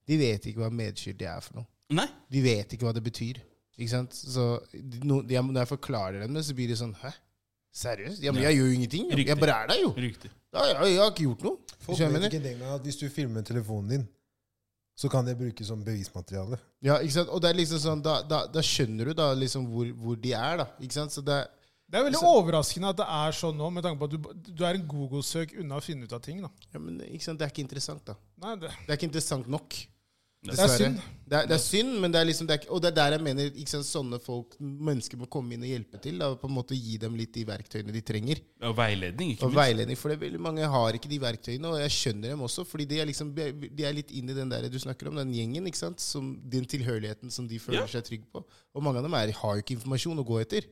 De vet ikke hva medskyldig er for noe.
Nei.
De vet ikke hva det betyr. Ikke sant? Så de- no, de, når jeg forklarer dem det, så blir de sånn Hæ? Seriøst? Ja, men jeg gjør jo ingenting. Jeg, jeg
Riktig.
bare er der, jo.
Riktig.
Ja, ja, jeg har ikke gjort noe.
Folk
Skjønner
vet
du?
ikke engang at hvis du filmer telefonen din, så kan det brukes som bevismateriale. *laughs*
Ja, ikke sant? Og det er liksom sånn, da, da, da skjønner du da liksom hvor, hvor de er, da. Ikke sant? Så det er
Det er veldig
Altså-
overraskende at det er sånn nå, med tanke på at du, du er en Google-søk unna å finne ut av ting. da.
ja, men ikke sant? Det er ikke interessant, da.
Nei, det,
Det er ikke interessant nok.
det er synd.
Det er, det er synd, men det er liksom det er, ikke- Og det er der jeg mener ikke sant, sånne folk, mennesker må komme inn og hjelpe til. Da, og på en måte Gi dem litt de verktøyene de trenger.
Og veiledning, ikke
Og
minst.
veiledning, for det er veldig mange har ikke de verktøyene. Og jeg skjønner dem også, fordi de er, liksom, de er litt inn i den der du snakker om, den gjengen. ikke sant? Som, den tilhørigheten som de føler
Ja.
seg trygge på. Og mange av dem er, har jo ikke informasjon å gå etter.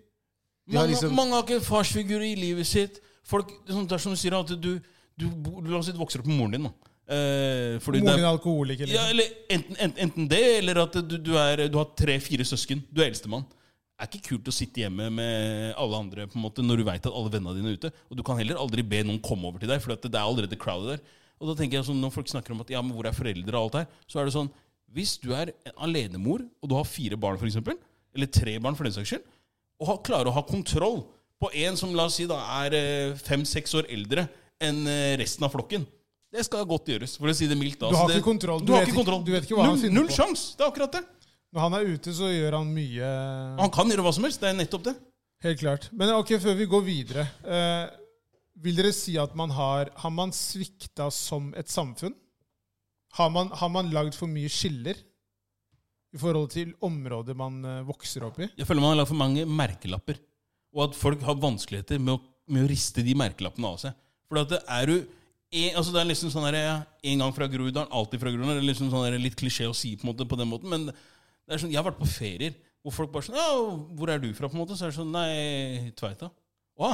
De har
Mange,
liksom-
mange har ikke en farsfigur i livet sitt. Folk, det er sånn- det er som du sier, at du, du, bo- La oss si du vokser opp med moren din. da. Eh, fordi
Moren
det er,
din er alkoholiker.
ja,
Liksom.
eller enten, enten, enten det, eller at du, du, er, du har tre-fire søsken. Du er eldstemann. Det er ikke kult å sitte hjemme med alle andre på en måte, når du veit at alle vennene dine er ute. Og du kan heller aldri be noen komme over til deg, for det er allerede crowded der. Og da tenker jeg sånn, Når folk snakker om at ja, men hvor er foreldre og alt her, så er det sånn Hvis du er en alenemor, og du har fire barn, for eksempel, eller tre barn for den saks skyld, og ha, klare å ha kontroll på en som la oss si da er eh, fem-seks år eldre enn eh, resten av flokken. Det skal godt gjøres, for å si det mildt. da.
Du har
Så det,
ikke kontroll.
Du,
Du
har
vet
ikke
ikke-
kontroll.
du vet ikke hva han
null,
finner
Null
på.
sjans! Det er akkurat det.
Når han er ute, så gjør han mye
Han kan gjøre hva som helst. Det er nettopp det.
Helt klart. Men ok, før vi går videre eh, Vil dere si at man har Har man svikta som et samfunn? Har man, har man lagd for mye skiller i forhold til områder man eh, vokser opp i?
Jeg føler man har lagd for mange merkelapper. Og at folk har vanskeligheter med å, med å riste de merkelappene av seg. For at det er du en, altså det er liksom sånn der, ja, en gang fra Groruddalen, alltid fra Groruddalen. Det er liksom sånn der, litt klisjé å si på, en måte, på den måten. Men det er sånn, jeg har vært på ferier hvor folk bare sånn ja, 'Hvor er du fra?' på en måte. Så er det sånn Nei, Tveita. Å,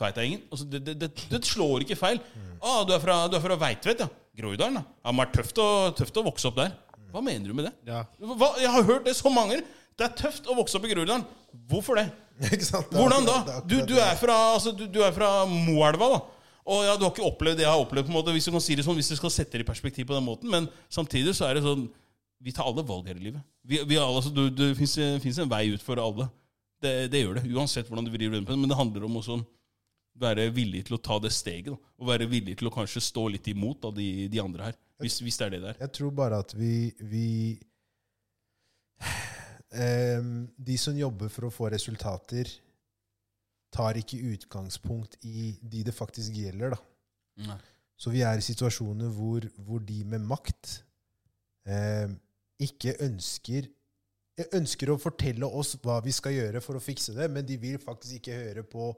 Tveitaengen. Altså, det, det, det, det slår ikke feil. Å, du er fra, du er fra Veitvet, ja. Groruddalen, ja. Ja, men det er tøft å, tøft å vokse opp der. Hva mener du med det?
Ja.
Hva? Jeg har hørt det så mange ganger. Det er tøft å vokse opp i Groruddalen. Hvorfor det?
Ikke sant? Det er
Hvordan
akkurat- det
da?
er akkurat
Du, du
det.
er fra, altså, du, du er fra Moelva, da. Og ja, du har ikke opplevd det jeg har opplevd, på en måte, hvis du kan si det sånn, hvis du skal sette det i perspektiv på den måten. Men samtidig så er det sånn Vi tar alle valg her i livet. Vi, vi alle, altså, du, du, finnes, finnes en vei ut for alle. Det, det gjør det. Uansett hvordan du vrir rundt på det. Men det handler om også å være villig til å ta det steget. Da. Og være villig til å kanskje stå litt imot da, de, de andre her. Hvis, hvis det er det det er.
Jeg tror bare at vi, vi Em, De som jobber for å få resultater, tar ikke utgangspunkt i de det faktisk gjelder. da.
Nei.
Så vi er i situasjoner hvor, hvor de med makt em, ikke ønsker eh, ønsker å fortelle oss hva vi skal gjøre for å fikse det, men de vil faktisk ikke høre på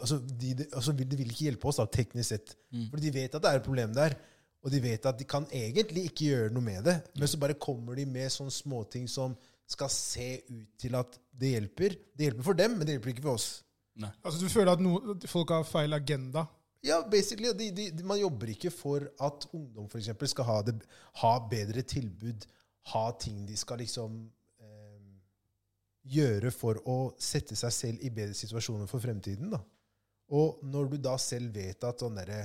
altså de, de, altså vil- de vil ikke hjelpe oss, da, teknisk sett. For de vet at det er et problem der, og de vet at de kan egentlig ikke gjøre noe med det. Men så bare kommer de med sånne småting som skal se ut til at det hjelper. Det hjelper for dem, men det hjelper ikke for oss.
Altså, Du føler at no, folk har feil agenda?
Ja, basically. og De, de, de, man jobber ikke for at ungdom for eksempel, skal ha, det, ha bedre tilbud, ha ting de skal liksom eh, gjøre for å sette seg selv i bedre situasjoner for fremtiden. da. Og når du da selv vet at sånn derre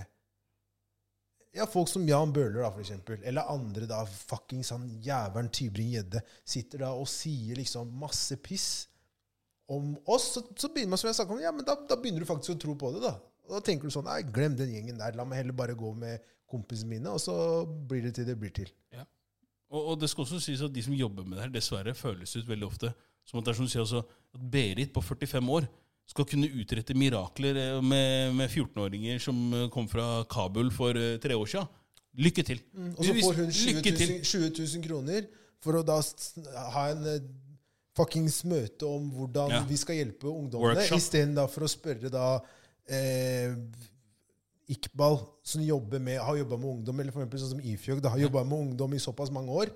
ja, Folk som Jan Bøhler, da, for eksempel, eller andre da, fuckings han jævelen Tybring-Gjedde, sitter da og sier liksom masse piss om oss, så, så begynner man som jeg snakket om, ja, men da, da begynner du faktisk å tro på det. Da Og da tenker du sånn Nei, glem den gjengen der. La meg heller bare gå med kompisene mine, og så blir det til det blir til.
Og, og det skal også sies at de som jobber med det her, dessverre føles ut veldig ofte som at det er som du sier også, at Berit på 45 år skal kunne utrette mirakler eh, med, med 14-åringer som eh, kom fra Kabul for eh, tre år siden. Lykke til.
Mm, Og så
Hvis-
får hun 20
lykke til.
000, 20 000 kroner for å da s- ha en eh, fuckings møte om hvordan
Ja.
vi skal hjelpe ungdommene,
Workshop.
istedenfor å spørre da eh, Iqbal, som jobber med, har jobba med ungdom, eller for eksempel sånn som Ifjøg, da, har jobba med ungdom i såpass mange år.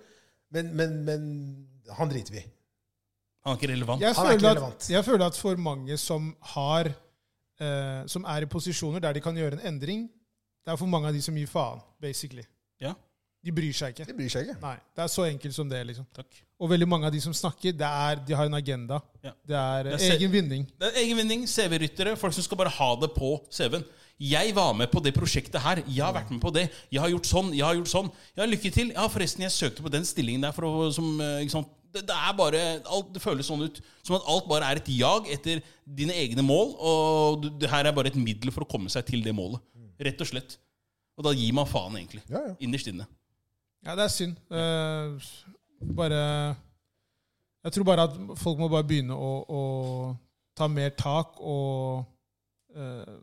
Men, men, men han driter vi i.
Han er ikke relevant.
Jeg
Han er ikke
føler, at,
relevant.
jeg føler at for mange som har eh, Som er i posisjoner der de kan gjøre en endring, det er for mange av de som gir faen, basically.
Ja.
De bryr seg ikke.
Det bryr seg ikke.
Nei, Det er så enkelt som det. liksom.
Takk.
Og veldig mange av de som snakker, det er, de har en agenda.
Ja.
Det er eh,
Jeg ser-
egen vinning.
Det er egenvinning, CV-ryttere, folk som skal bare ha det på CV-en. Jeg var med på det prosjektet her. Jeg har vært med på det. Jeg har gjort sånn, jeg har gjort sånn. Ja, lykke til. Ja, forresten, jeg søkte på den stillingen der for å som, eh, ikke sant? Det, det er bare alt, Det føles sånn ut. Som at alt bare er et jag etter dine egne mål, og du, det her er bare et middel for å komme seg til det målet. Rett og slett. Og da gir man faen, egentlig.
Ja, ja.
Innerst inne.
Ja, det er synd. Eh, bare Jeg tror bare at folk må bare begynne å, å ta mer tak og eh,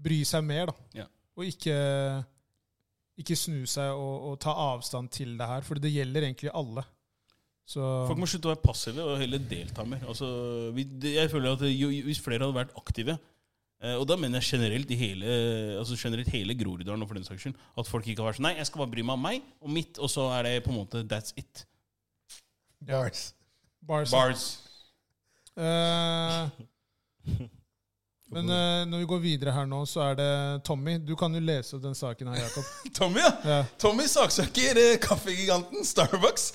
bry seg mer, da.
Ja.
Og ikke, ikke snu seg og, og ta avstand til det her, for det gjelder egentlig alle. Så
Folk må slutte å være passive og heller delta mer. Altså, vi, det- jeg føler at jo, jo- Hvis flere hadde vært aktive eh, Og da mener jeg generelt i hele altså generelt hele Groruddalen og for den saks skyld at folk ikke har vært sånn Nei, jeg skal bare bry meg om meg og mitt, og så er det på en måte that's it.
Bars.
bars.
Bars.
sånn. Eh, men eh, når vi går videre her nå, så er det Tommy. Du kan jo lese opp den saken her,
*laughs*
Jakob.
*laughs* Tommy, ja.
Ja.
Tommy saksøker eh, kaffegiganten Starbucks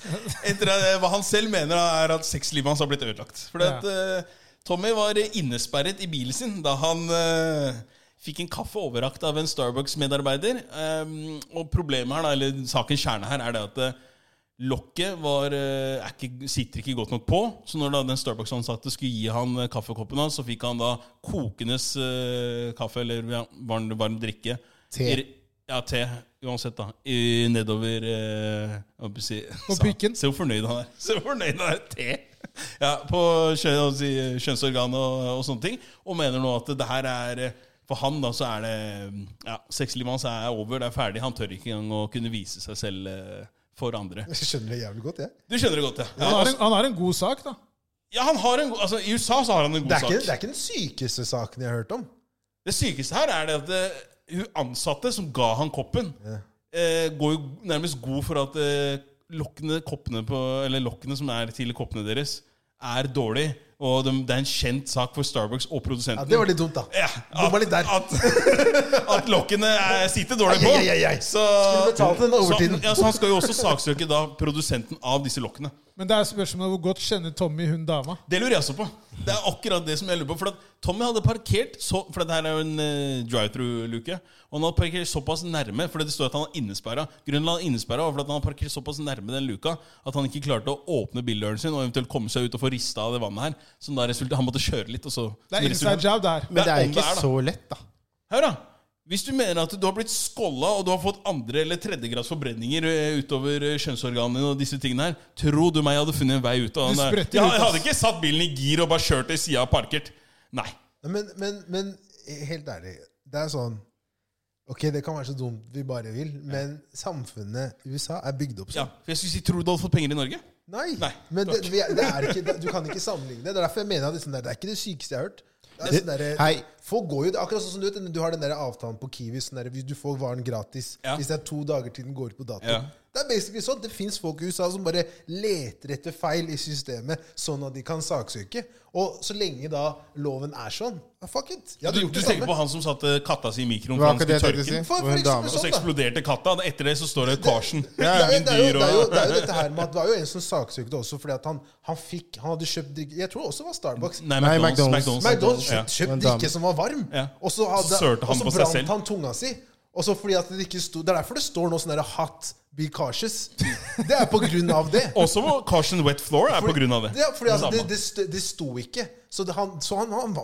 etter eh, hva han selv mener er at sexlivet hans har blitt ødelagt. Fordi
Ja.
at eh, Tommy var eh, innesperret i bilen sin da han eh, fikk en kaffe overrakt av en Starbucks-medarbeider. Ehm, og problemet her, da, eller sakens kjerne her, er det at eh, lokket var, eh, er ikke, sitter ikke godt nok på. Så når da den Starbucks-ansatte skulle gi han eh, kaffekoppen hans, så fikk han da kokendes eh, kaffe, eller ja, varm, varm drikke.
Te.
I- ja, te. Uansett, da. I, nedover eh, hva skal jeg si,
På
sa-
pikken.
Se hvor fornøyd han er. *laughs* Se hvor fornøyd han er. Te. Ja, på kjø- hva skal jeg si, kjønnsorgan og, og sånne ting. Og mener nå at det her er eh, For han, da, så er det ja, Sexlivet hans er over, det er ferdig. Han tør ikke engang å kunne vise seg selv eh, for andre.
Jeg skjønner det jævlig godt, jeg.
Du skjønner det godt, ja.
Han
Ja,
har
altså,
en, han har en god sak, da.
ja han har en god altså, I USA så har han en god
Det er, ikke, det
sak.
er ikke den sykeste saken jeg har hørt om.
Det sykeste her er det at eh, hun ansatte som ga han koppen,
Ja.
eh, går jo nærmest god for at eh, lokkene, koppene på, eller lokkene som er til koppene deres, er dårlig. Og de, det er en kjent sak for Starbucks og
Ja,
produsenten.
det var litt dumt, da.
Ja,
Bomma litt der.
At, at lokkene er, sitter dårlig på.
Ai, ai, ai, ai.
Så,
Skulle betalt den overtiden.
Så, ja, så han skal jo også saksøke da produsenten av disse lokkene.
Men det er spørsmålet hvor godt kjenner Tommy hun dama?
Det lurer jeg også på. Det er akkurat det som jeg lurer på. For at Tommy hadde parkert så, For dette her er jo en eh, drive-through-luke. Og han hadde parkert såpass nærme, for det står at han var innesperra. Grunnen til at han var innesperret var for at han hadde parkert såpass nærme den luka at han ikke klarte å åpne bildøren sin og eventuelt komme seg ut og få rista av det vannet her. Som da resulterte Han måtte kjøre litt, og så
Det
som
er inside job der.
Det
Men
er
det er
om
ikke
det er, da.
så lett, da.
Hør, da. Hvis du mener at du har blitt skålla og du har fått andre- eller tredjegrads forbrenninger eh, utover eh, kjønnsorganene, dine og disse tingene her, tro du meg jeg hadde funnet en vei ut av
Du
den der.
spretter
Jeg,
ut,
jeg
ass.
hadde ikke satt bilen i gir og bare kjørt til sida og parkert. Nei.
Men, men, men helt ærlig, det er sånn Ok, det kan være så dumt vi bare vil, men samfunnet USA er bygd opp
Ja,
sånn.
for jeg skulle si, Tror du du hadde fått penger i Norge?
Nei!
Nei,
men det, vi er- det er ikke, det, du kan ikke sammenligne det. Det er derfor jeg mener at det, er sånn der, det er ikke det sykeste jeg har hørt. Det er
Det-
sånn derre-
Hei.
folk går jo, det er akkurat sånn som Du vet, du har den der avtalen på Kiwi. Sånn der, du får varen gratis
Ja.
hvis det er to dager til den går ut på dato.
Ja.
Det er basically sånn, det fins folk i USA som bare leter etter feil i systemet, sånn at de kan saksøke. Og så lenge da loven er sånn, ja, fuck it. Jeg hadde
Du,
gjort
du
det
tenker
samme.
på han som satte katta si i mikroen
Hva
for han
er ikke det
skulle tørke
jeg tenkte å si?
den?
For- for
Hvor en dame.
eksempel
Og så
Sånn, da.
eksploderte katta. og Etter det så står det Carson.
Det er, jo, det, er jo,
Dyr
det, er jo,
og-
det er jo dette her med at det var jo en som saksøkte også fordi at han, han fikk Han hadde kjøpt drikke Jeg tror det også var Starbucks.
Nei,
Nei,
McDonald's. McDonald's.
McDonald's.
McDonald's
Ja.
kjøpt, kjøpt
en dame.
drikke som var varm,
Ja.
og så, hadde,
Så sørte
og
han
så
på seg
brant
selv.
han tunga si. Og så fordi at Det ikke sto Det er derfor det står nå sånn der 'hot be cautious'. Det er på grunn av
*laughs*
det.
Også må Carson Wet Floor er på grunn av det.
Det, er fordi at
Samme.
det, det, sto, det sto ikke. Så, det, han, så han, han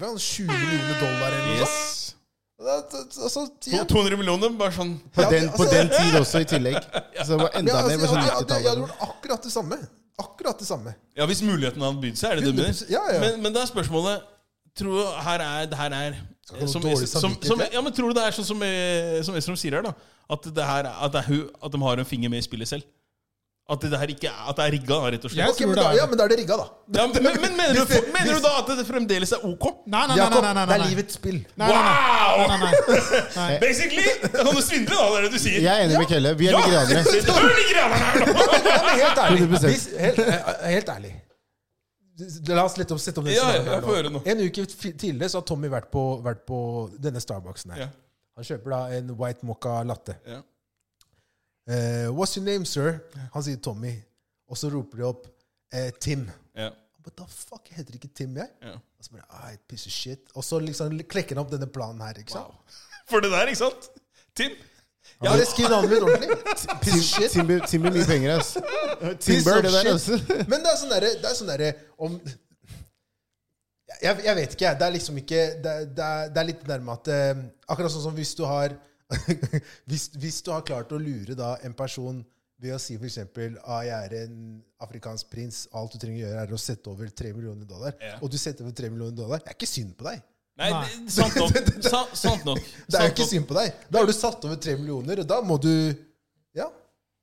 vant 20 millioner dollar eller noe sånt.
Yes.
Det- Altså,
To-
jeg-
200 millioner, bare sånn
På
Ja,
den,
altså-
på den tid også, i tillegg. Så det var
ja,
enda
altså,
mer
jeg
på sånn
hadde- jeg hadde- jeg hadde
90-tallet.
gjort akkurat det samme. Akkurat det samme.
Ja, hvis muligheten hadde bydd seg, er det det du mener?
100% ja, ja.
Men, men det er spørsmålet Tror du her er, det her
Skal
er
ikke ha noe
som,
dårlig
som,
samvittighet,
som,
ja.
ja, men Tror du det er sånn som, eh, som Estrom sier her, da? At, det her, er- at, det er hun, at de har en finger med i spillet selv? At det her ikke er, at det er rigga, da, rett og slett.
Jeg
Ok, men
tror det
da,
er
ja,
det.
men da er det rigga, da.
Ja, men, men mener, du, mener du da at det fremdeles er ok?
Nei, nei, nei.
Jakob,
nei, nei,
det
nei,
er
nei.
livets spill.
Nei, nei, nei.
Wow!
Nei, nei, nei.
Basically! Da kan du svindle, da. Det er det du sier. Ah!
Jeg er enig med Kelle. Vi er litt
*laughs*
granere.
Selvfølgelig ligger jeg her nå!
Ja, men helt ærlig.
100%.
Hvis, helt, eh, helt ærlig. La oss litt opp, sette opp det
Ja, ja,
scenarioet her
jeg får høre nå.
En uke fi- tidligere så har Tommy vært på, vært på denne Starbucksen her.
Ja.
Han kjøper da en white mocha latte.
Ja.
Eh, what's your name, sir? Han sier Tommy. Og så roper de opp eh, Tim.
Ja.
What the fuck, jeg heter ikke Tim, jeg?
Ja.
Og så bare, ah, et piece of shit. Og så liksom klekker han opp denne planen her, ikke sant?
For det der, ikke sant? Tim?
Ja, det skriver navnet mitt ordentlig. Piece of shit.
Timber Timber mye penger,
*laughs*
ass.
Piece
Timber,
of
det der, ass. *laughs*
shit. Men det er sånn derre det er sånn derre om jeg, jeg vet ikke, jeg. Det er liksom ikke Det, er- det, er, det er litt nærme at eh, Akkurat sånn som hvis du har *laughs* hvis, hvis du har klart å lure da en person ved å si f.eks. ah, 'Jeg er en afrikansk prins, alt du trenger å gjøre, er å sette over 3 millioner dollar',
Ja.
og du setter over 3 millioner dollar, det er ikke synd på deg.
Nei,
Nei.
det- sant
*laughs*
nok. Sa, sant nok.
Det er jo
Sant
ikke
nok.
synd på deg. Da har du satt over 3 millioner, og da må du Ja.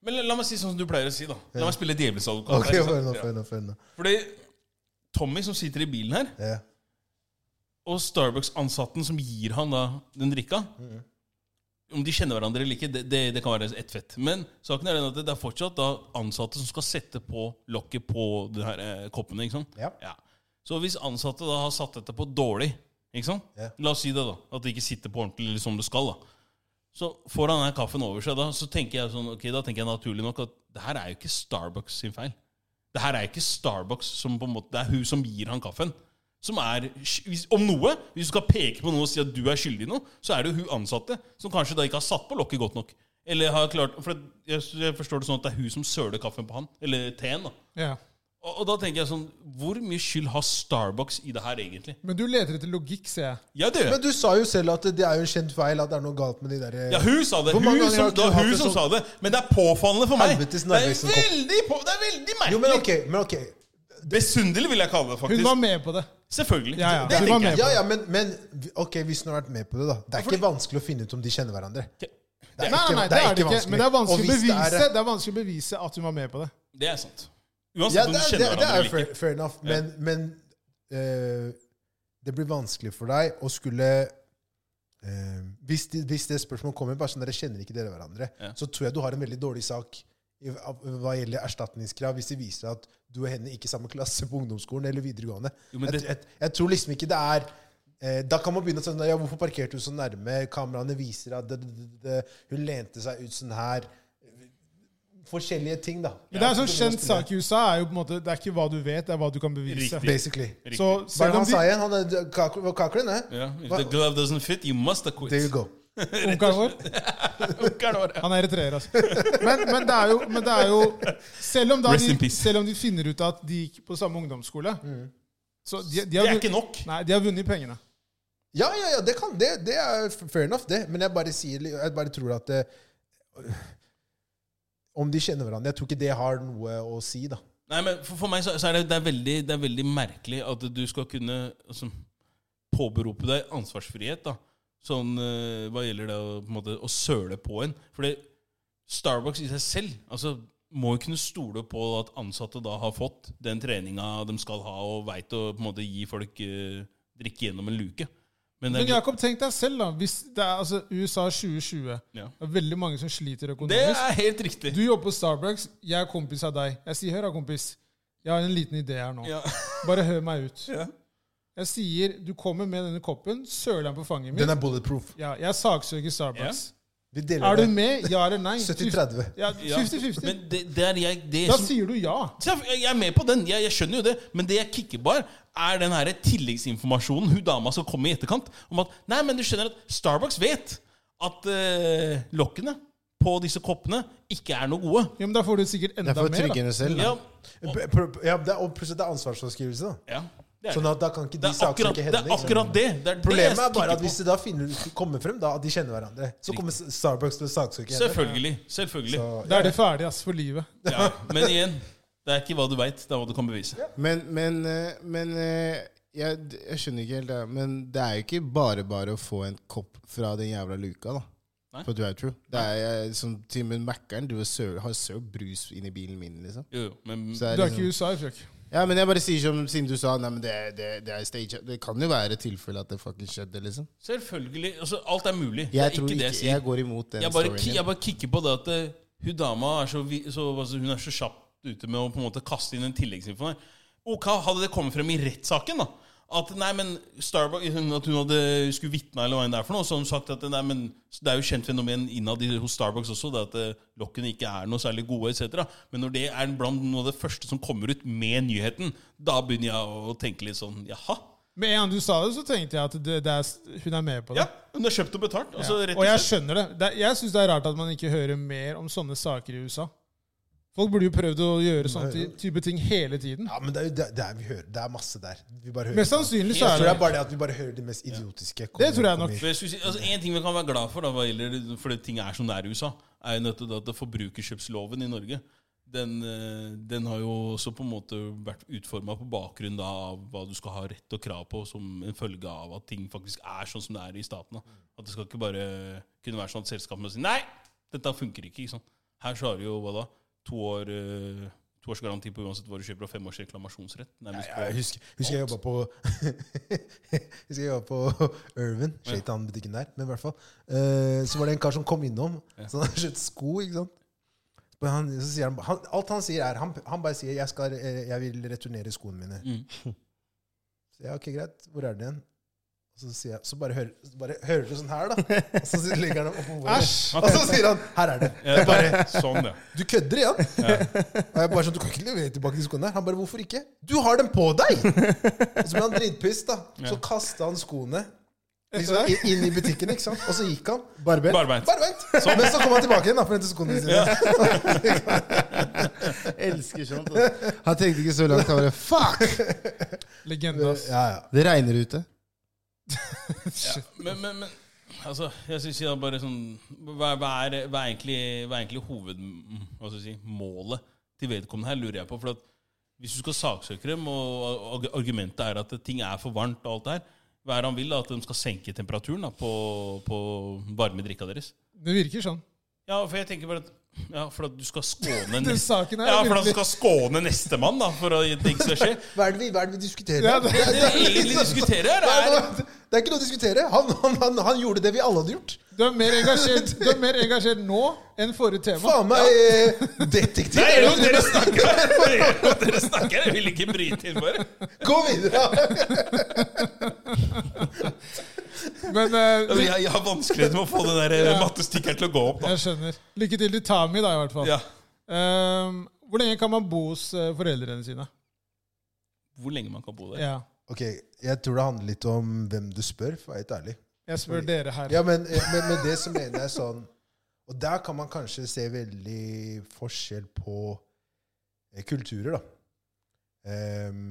Men la, la meg si sånn som du pleier å si, da. La meg spille djevelens advokat.
Ok,
her, ikke
få høre nå,
sant?
få høre nå, få høre nå.
sånn? Ja. Fordi Tommy som sitter i bilen her,
Ja.
og Starbucks-ansatten som gir han da den drikka
Mm.
Om de kjenner hverandre eller ikke, det, det, det kan være ett fett. Men saken er den at det er fortsatt da ansatte som skal sette på lokket på de her eh, koppene. ikke sant?
Ja.
Så hvis ansatte da har satt dette på dårlig ikke sant?
Ja.
La oss si det, da. At det ikke sitter på ordentlig eller som det skal. da. Så får han den kaffen over seg, da så tenker jeg sånn, ok, da tenker jeg naturlig nok at det her er jo ikke Starbucks sin feil. Det her er ikke Starbucks som på en måte, det er hun som gir han kaffen. Som er, hvis- Om noe, hvis du skal peke på noe og si at du er skyldig i noe, så er det jo hun ansatte som kanskje da ikke har satt på lokket godt nok. Eller har klart, for jeg, jeg forstår det sånn at det er hun som søler kaffen på han. Eller teen, da.
Ja.
Og, og da tenker jeg sånn, hvor mye skyld har Starbucks i det her egentlig?
Men du leter etter logikk, ser jeg.
Ja, det gjør jeg.
Men du sa jo selv at det er jo en kjent feil at det er noe galt med de eh, derre
Ja, hun sa det.
Hvor mange
Hun
ganger
som,
har
det var
du hatt en
hun som
sånn-
sa det. Men det er påfallende for meg. Det
Helvetes
er
nervøsen kopp.
veldig, på, det er veldig merkelig.
Jo, men ok. men ok
Besynderlig vil jeg kalle det,
Hun
faktisk.
var med på det.
Selvfølgelig.
Ja, ja.
Det
Hun
tenker
var
jeg.
med
Ja, ja, men, men ok, hvis hun har vært med på det, da. Det er ikke vanskelig å finne ut om de kjenner hverandre. er
Nei, nei,
ikke- det
nei, det
er
er det
ikke
ikke. Men det er
vanskelig. Og
vanskelig å
hvis det er-
bevise, det er vanskelig å bevise at hun var med på det.
Det er sant.
Ja,
Uansett om
det, er-
du
det,
kjenner
det
hverandre
er
eller
fair,
ikke.
fair enough, men, men eh, det blir vanskelig for deg å skulle eh, hvis, de, hvis det spørsmålet kommer bare sånn dere kjenner ikke dere hverandre,
Ja.
så tror jeg du har en veldig dårlig sak i- av- hva gjelder erstatningskrav, hvis det viser at du og henne ikke er samme klasse på ungdomsskolen eller videregående.
Jo, men
jeg,
det-
jeg, jeg tror liksom ikke det er eh, da kan man begynne sånn ja, 'Hvorfor parkerte du så nærme?' Kameraene viser at det, det, det, hun lente seg ut sånn her. Forskjellige ting, da.
Men det er en sånn kjent sak i USA. er jo på en måte, Det er ikke hva du vet, det er hva du kan bevise.
Riktig.
Basically.
Riktig.
Hva
Så
er det
selv om
han
de,
sa igjen? Han er kak- var kaklen, eh?
Ja, if the glove doesn't fit, you must have
There you
quit.
go.
onkelen vår
*laughs* Onkelen vår, ja.
Han er eritreer, altså. Men, men, det er jo, men det er jo selv om, da
Rest in
de,
peace.
selv om de finner ut at de gikk på samme ungdomsskole så de, de,
Det
har
er
vunnet,
ikke nok.
nei, de har vunnet pengene.
Ja, ja, ja, det kan det. Det er fair enough, det. Men jeg bare, sier, jeg bare tror at eh, Om de kjenner hverandre Jeg tror ikke det har noe å si, da.
Nei, men For, for meg så, så er det, det, er veldig, det er veldig merkelig at du skal kunne altså, påberope deg ansvarsfrihet da. Sånn, eh, hva gjelder det å, på en måte, å søle på en. Fordi Starbucks i seg selv altså, må jo kunne stole på at ansatte da har fått den treninga de skal ha, og veit å på en måte, gi folk eh, drikke gjennom en luke. Men det
Men
er,
Jakob, tenk deg selv, da. Hvis det er altså, USA 2020.
Ja.
Det er veldig mange som sliter
det
økonomisk.
er helt riktig.
Du jobber på Starbucks, jeg er kompis av deg. Jeg sier 'hør da, kompis', jeg har en liten idé her nå. *laughs*
Ja.
Bare hør meg ut.
Ja.
Jeg sier 'du kommer med denne koppen, søler den på fanget mitt'.
Den er bulletproof.
Ja, jeg saksøker Starbucks.
Vi deler
Er du
det.
med? Ja eller nei?
70-30.
Ja,
Ja.
50-50.
Men det, det er jeg det
Da
som,
sier du ja.
Så Jeg jeg er med på den, jeg, jeg skjønner jo det. Men det jeg kicker på, her, er den her tilleggsinformasjonen hun dama skal komme i etterkant. Om at Nei, men du skjønner at Starbucks vet at eh, lokkene på disse koppene ikke er noe gode.
Ja, men Da får du sikkert
Det
enda
er for å
mer.
trygge
da.
henne selv. da.
Ja,
P- pr- Ja, det er, og plutselig det er ansvarsfraskrivelse, da.
ja det er
Sånn
det.
at da kan ikke
Det
de
er akkurat
saksøke
det.
henne.
Er
ikke sant?
akkurat det. det, er det jeg
Problemet er
kikker
bare at
på.
hvis det da finner, kommer frem da, at de kjenner hverandre, så kommer Starbucks til å saksøke henne.
Selvfølgelig. selvfølgelig.
Så-
Da er det ferdig ass, for livet.
Ja. Men igjen, det er ikke hva du veit, det er hva du kan bevise.
Men, men, eh, men eh, jeg, jeg skjønner ikke helt det. Men det er jo ikke bare bare å få en kopp fra den jævla luka, da.
Nei.
For du er true. Det er jeg, som til og med Mac-eren. Du er søl, har søl brus inni bilen min, liksom.
Jo, jo, men
Så det
Du er
liksom-
ikke i USA, Fjøk.
Ja, men jeg bare sier som siden du sa, nei, men det, er- det, er- det er stage. Det kan jo være tilfelle at det fucking skjedde, liksom.
selvfølgelig altså, Alt er mulig. det
Jeg
er ikke
tror
det
ikke,
jeg sier.
jeg går imot den
Jeg bare, ki-
storyen.
jeg bare kikker på det at eh, hun dama er så, vi- så, altså, hun er så kjapt ute med å på en måte kaste inn en tilleggsinfo der. Ok, Hadde det kommet frem i rettssaken, da at nei, men Starbuck, at hun hadde, skulle vitne, eller hva enn det er for noe, så har hun sagt at nei, men det er jo kjent fenomen innad i- hos Starbucks også, det at eh, lokkene ikke er noe særlig gode, etc. Men når det er blant noe av det første som kommer ut med nyheten, da begynner jeg å tenke litt sånn jaha.
Med en gang du sa det, så tenkte jeg at det, det er, hun er med på det.
Ja, hun har kjøpt og betalt. Altså,
Ja.
rett
Og
og
jeg
slett.
skjønner det. det er- jeg syns det er rart at man ikke hører mer om sånne saker i USA. Folk burde jo prøvd å gjøre sånne ty- type ting hele tiden.
Ja, men det er, jo det, det er, vi hører, det er masse der. Vi bare hører
Mest sannsynlig så
Jeg tror det
er
er
det
bare det at vi bare hører de mest idiotiske.
Det tror jeg nok.
For jeg skulle si, altså En ting vi kan være glad for, da, hva gjelder, fordi ting er som det er i USA, er jo nettopp det at forbrukerkjøpsloven i Norge den, eh, den har jo også på en måte vært utforma på bakgrunn da, av hva du skal ha rett og krav på, som en følge av at ting faktisk er sånn som det er i staten. Da. At det skal ikke bare kunne være sånn at selskapene sier nei, dette funker ikke. ikke sant? Her så har du jo hva da, to år, eh, to års garanti på uansett hva du kjøper, og fem års reklamasjonsrett. Nærmest
Ja, jeg husker, husker jeg jobba på *laughs* Husker jeg jobba på Urban, Shaitan-butikken der. Men i hvert fall eh, Så var det en kar som kom innom. Så han hadde kjøpt sko. ikke sant? Men Han, så sier han, han, alt han sier, er Han, han bare sier jeg, skal, eh, 'Jeg vil returnere skoene mine'.
Mm.
Så jeg, ok, greit. Hvor er den igjen? Og så, sier jeg, så bare, hører, så bare hører du sånn her, da. Og så legger han den oppå bordet.
Æsj!
Og så sier han 'Her er det'.
Ja, bare, sånn, ja.
Du kødder igjen! Og jeg bare sånn, du kan ikke levere tilbake de skoene her. Han bare, hvorfor ikke? Du har dem på deg! Og så ble han dritpiss, da. Så kasta han skoene liksom, i- inn i butikken, ikke sant? Og så gikk han.
Barber?
Barbeint.
Bare vent! Men så kom han tilbake igjen da, for å hente skoene sine.
Elsker sånt. altså. Han tenkte ikke så langt. Han bare Fuck!
Legende, ass.
Ja, ja.
Det regner ute.
Shit.
Men, men, men altså, jeg synes jeg bare sånn Hva, hva, er, hva, er, egentlig, hva er egentlig hoved... Hva skal jeg si Målet til vedkommende her, lurer jeg på. For at hvis du skal saksøke dem, og arg- argumentet er at ting er for varmt og alt det her Hva er det han vil? da? At de skal senke temperaturen da, på, på varme drikka deres?
Det virker sånn.
Ja, for jeg tenker bare at ja, for at du skal *laughs* skåne
Den
neste,
saken her
ja,
er
for at du
virkelig
skal skåne nestemann, da, for at det ikke skal *laughs* skje.
Hva er det vi, hva er det vi diskuterer?
Ja,
det,
det-
Det vi egentlig diskuterer, er
det er ikke noe å diskutere. Han, han, han, han gjorde det vi alle hadde gjort.
Du er mer engasjert, du er mer engasjert nå enn forrige tema.
Faen meg eh, detektiv.
Nei, jeg vet dere snakker her! *laughs* Jeg vet dere snakker her, jeg vil ikke bryte inn, bare.
Gå videre!
Men eh,
Altså, jeg, jeg har vanskeligheter med å få det der eh, mattestikkeren til å gå opp. Da.
jeg skjønner. Lykke til til Tami, da, i hvert fall.
Ja.
Ehm, hvor lenge kan man bo hos eh, foreldrene sine?
Hvor lenge man kan bo der.
Ja.
Ok, jeg tror det handler litt om hvem du spør, for å være helt ærlig.
Jeg spør dere her.
Ja, men, eh, men med det så mener jeg sånn Og der kan man kanskje se veldig forskjell på eh, kulturer, da. Ehm,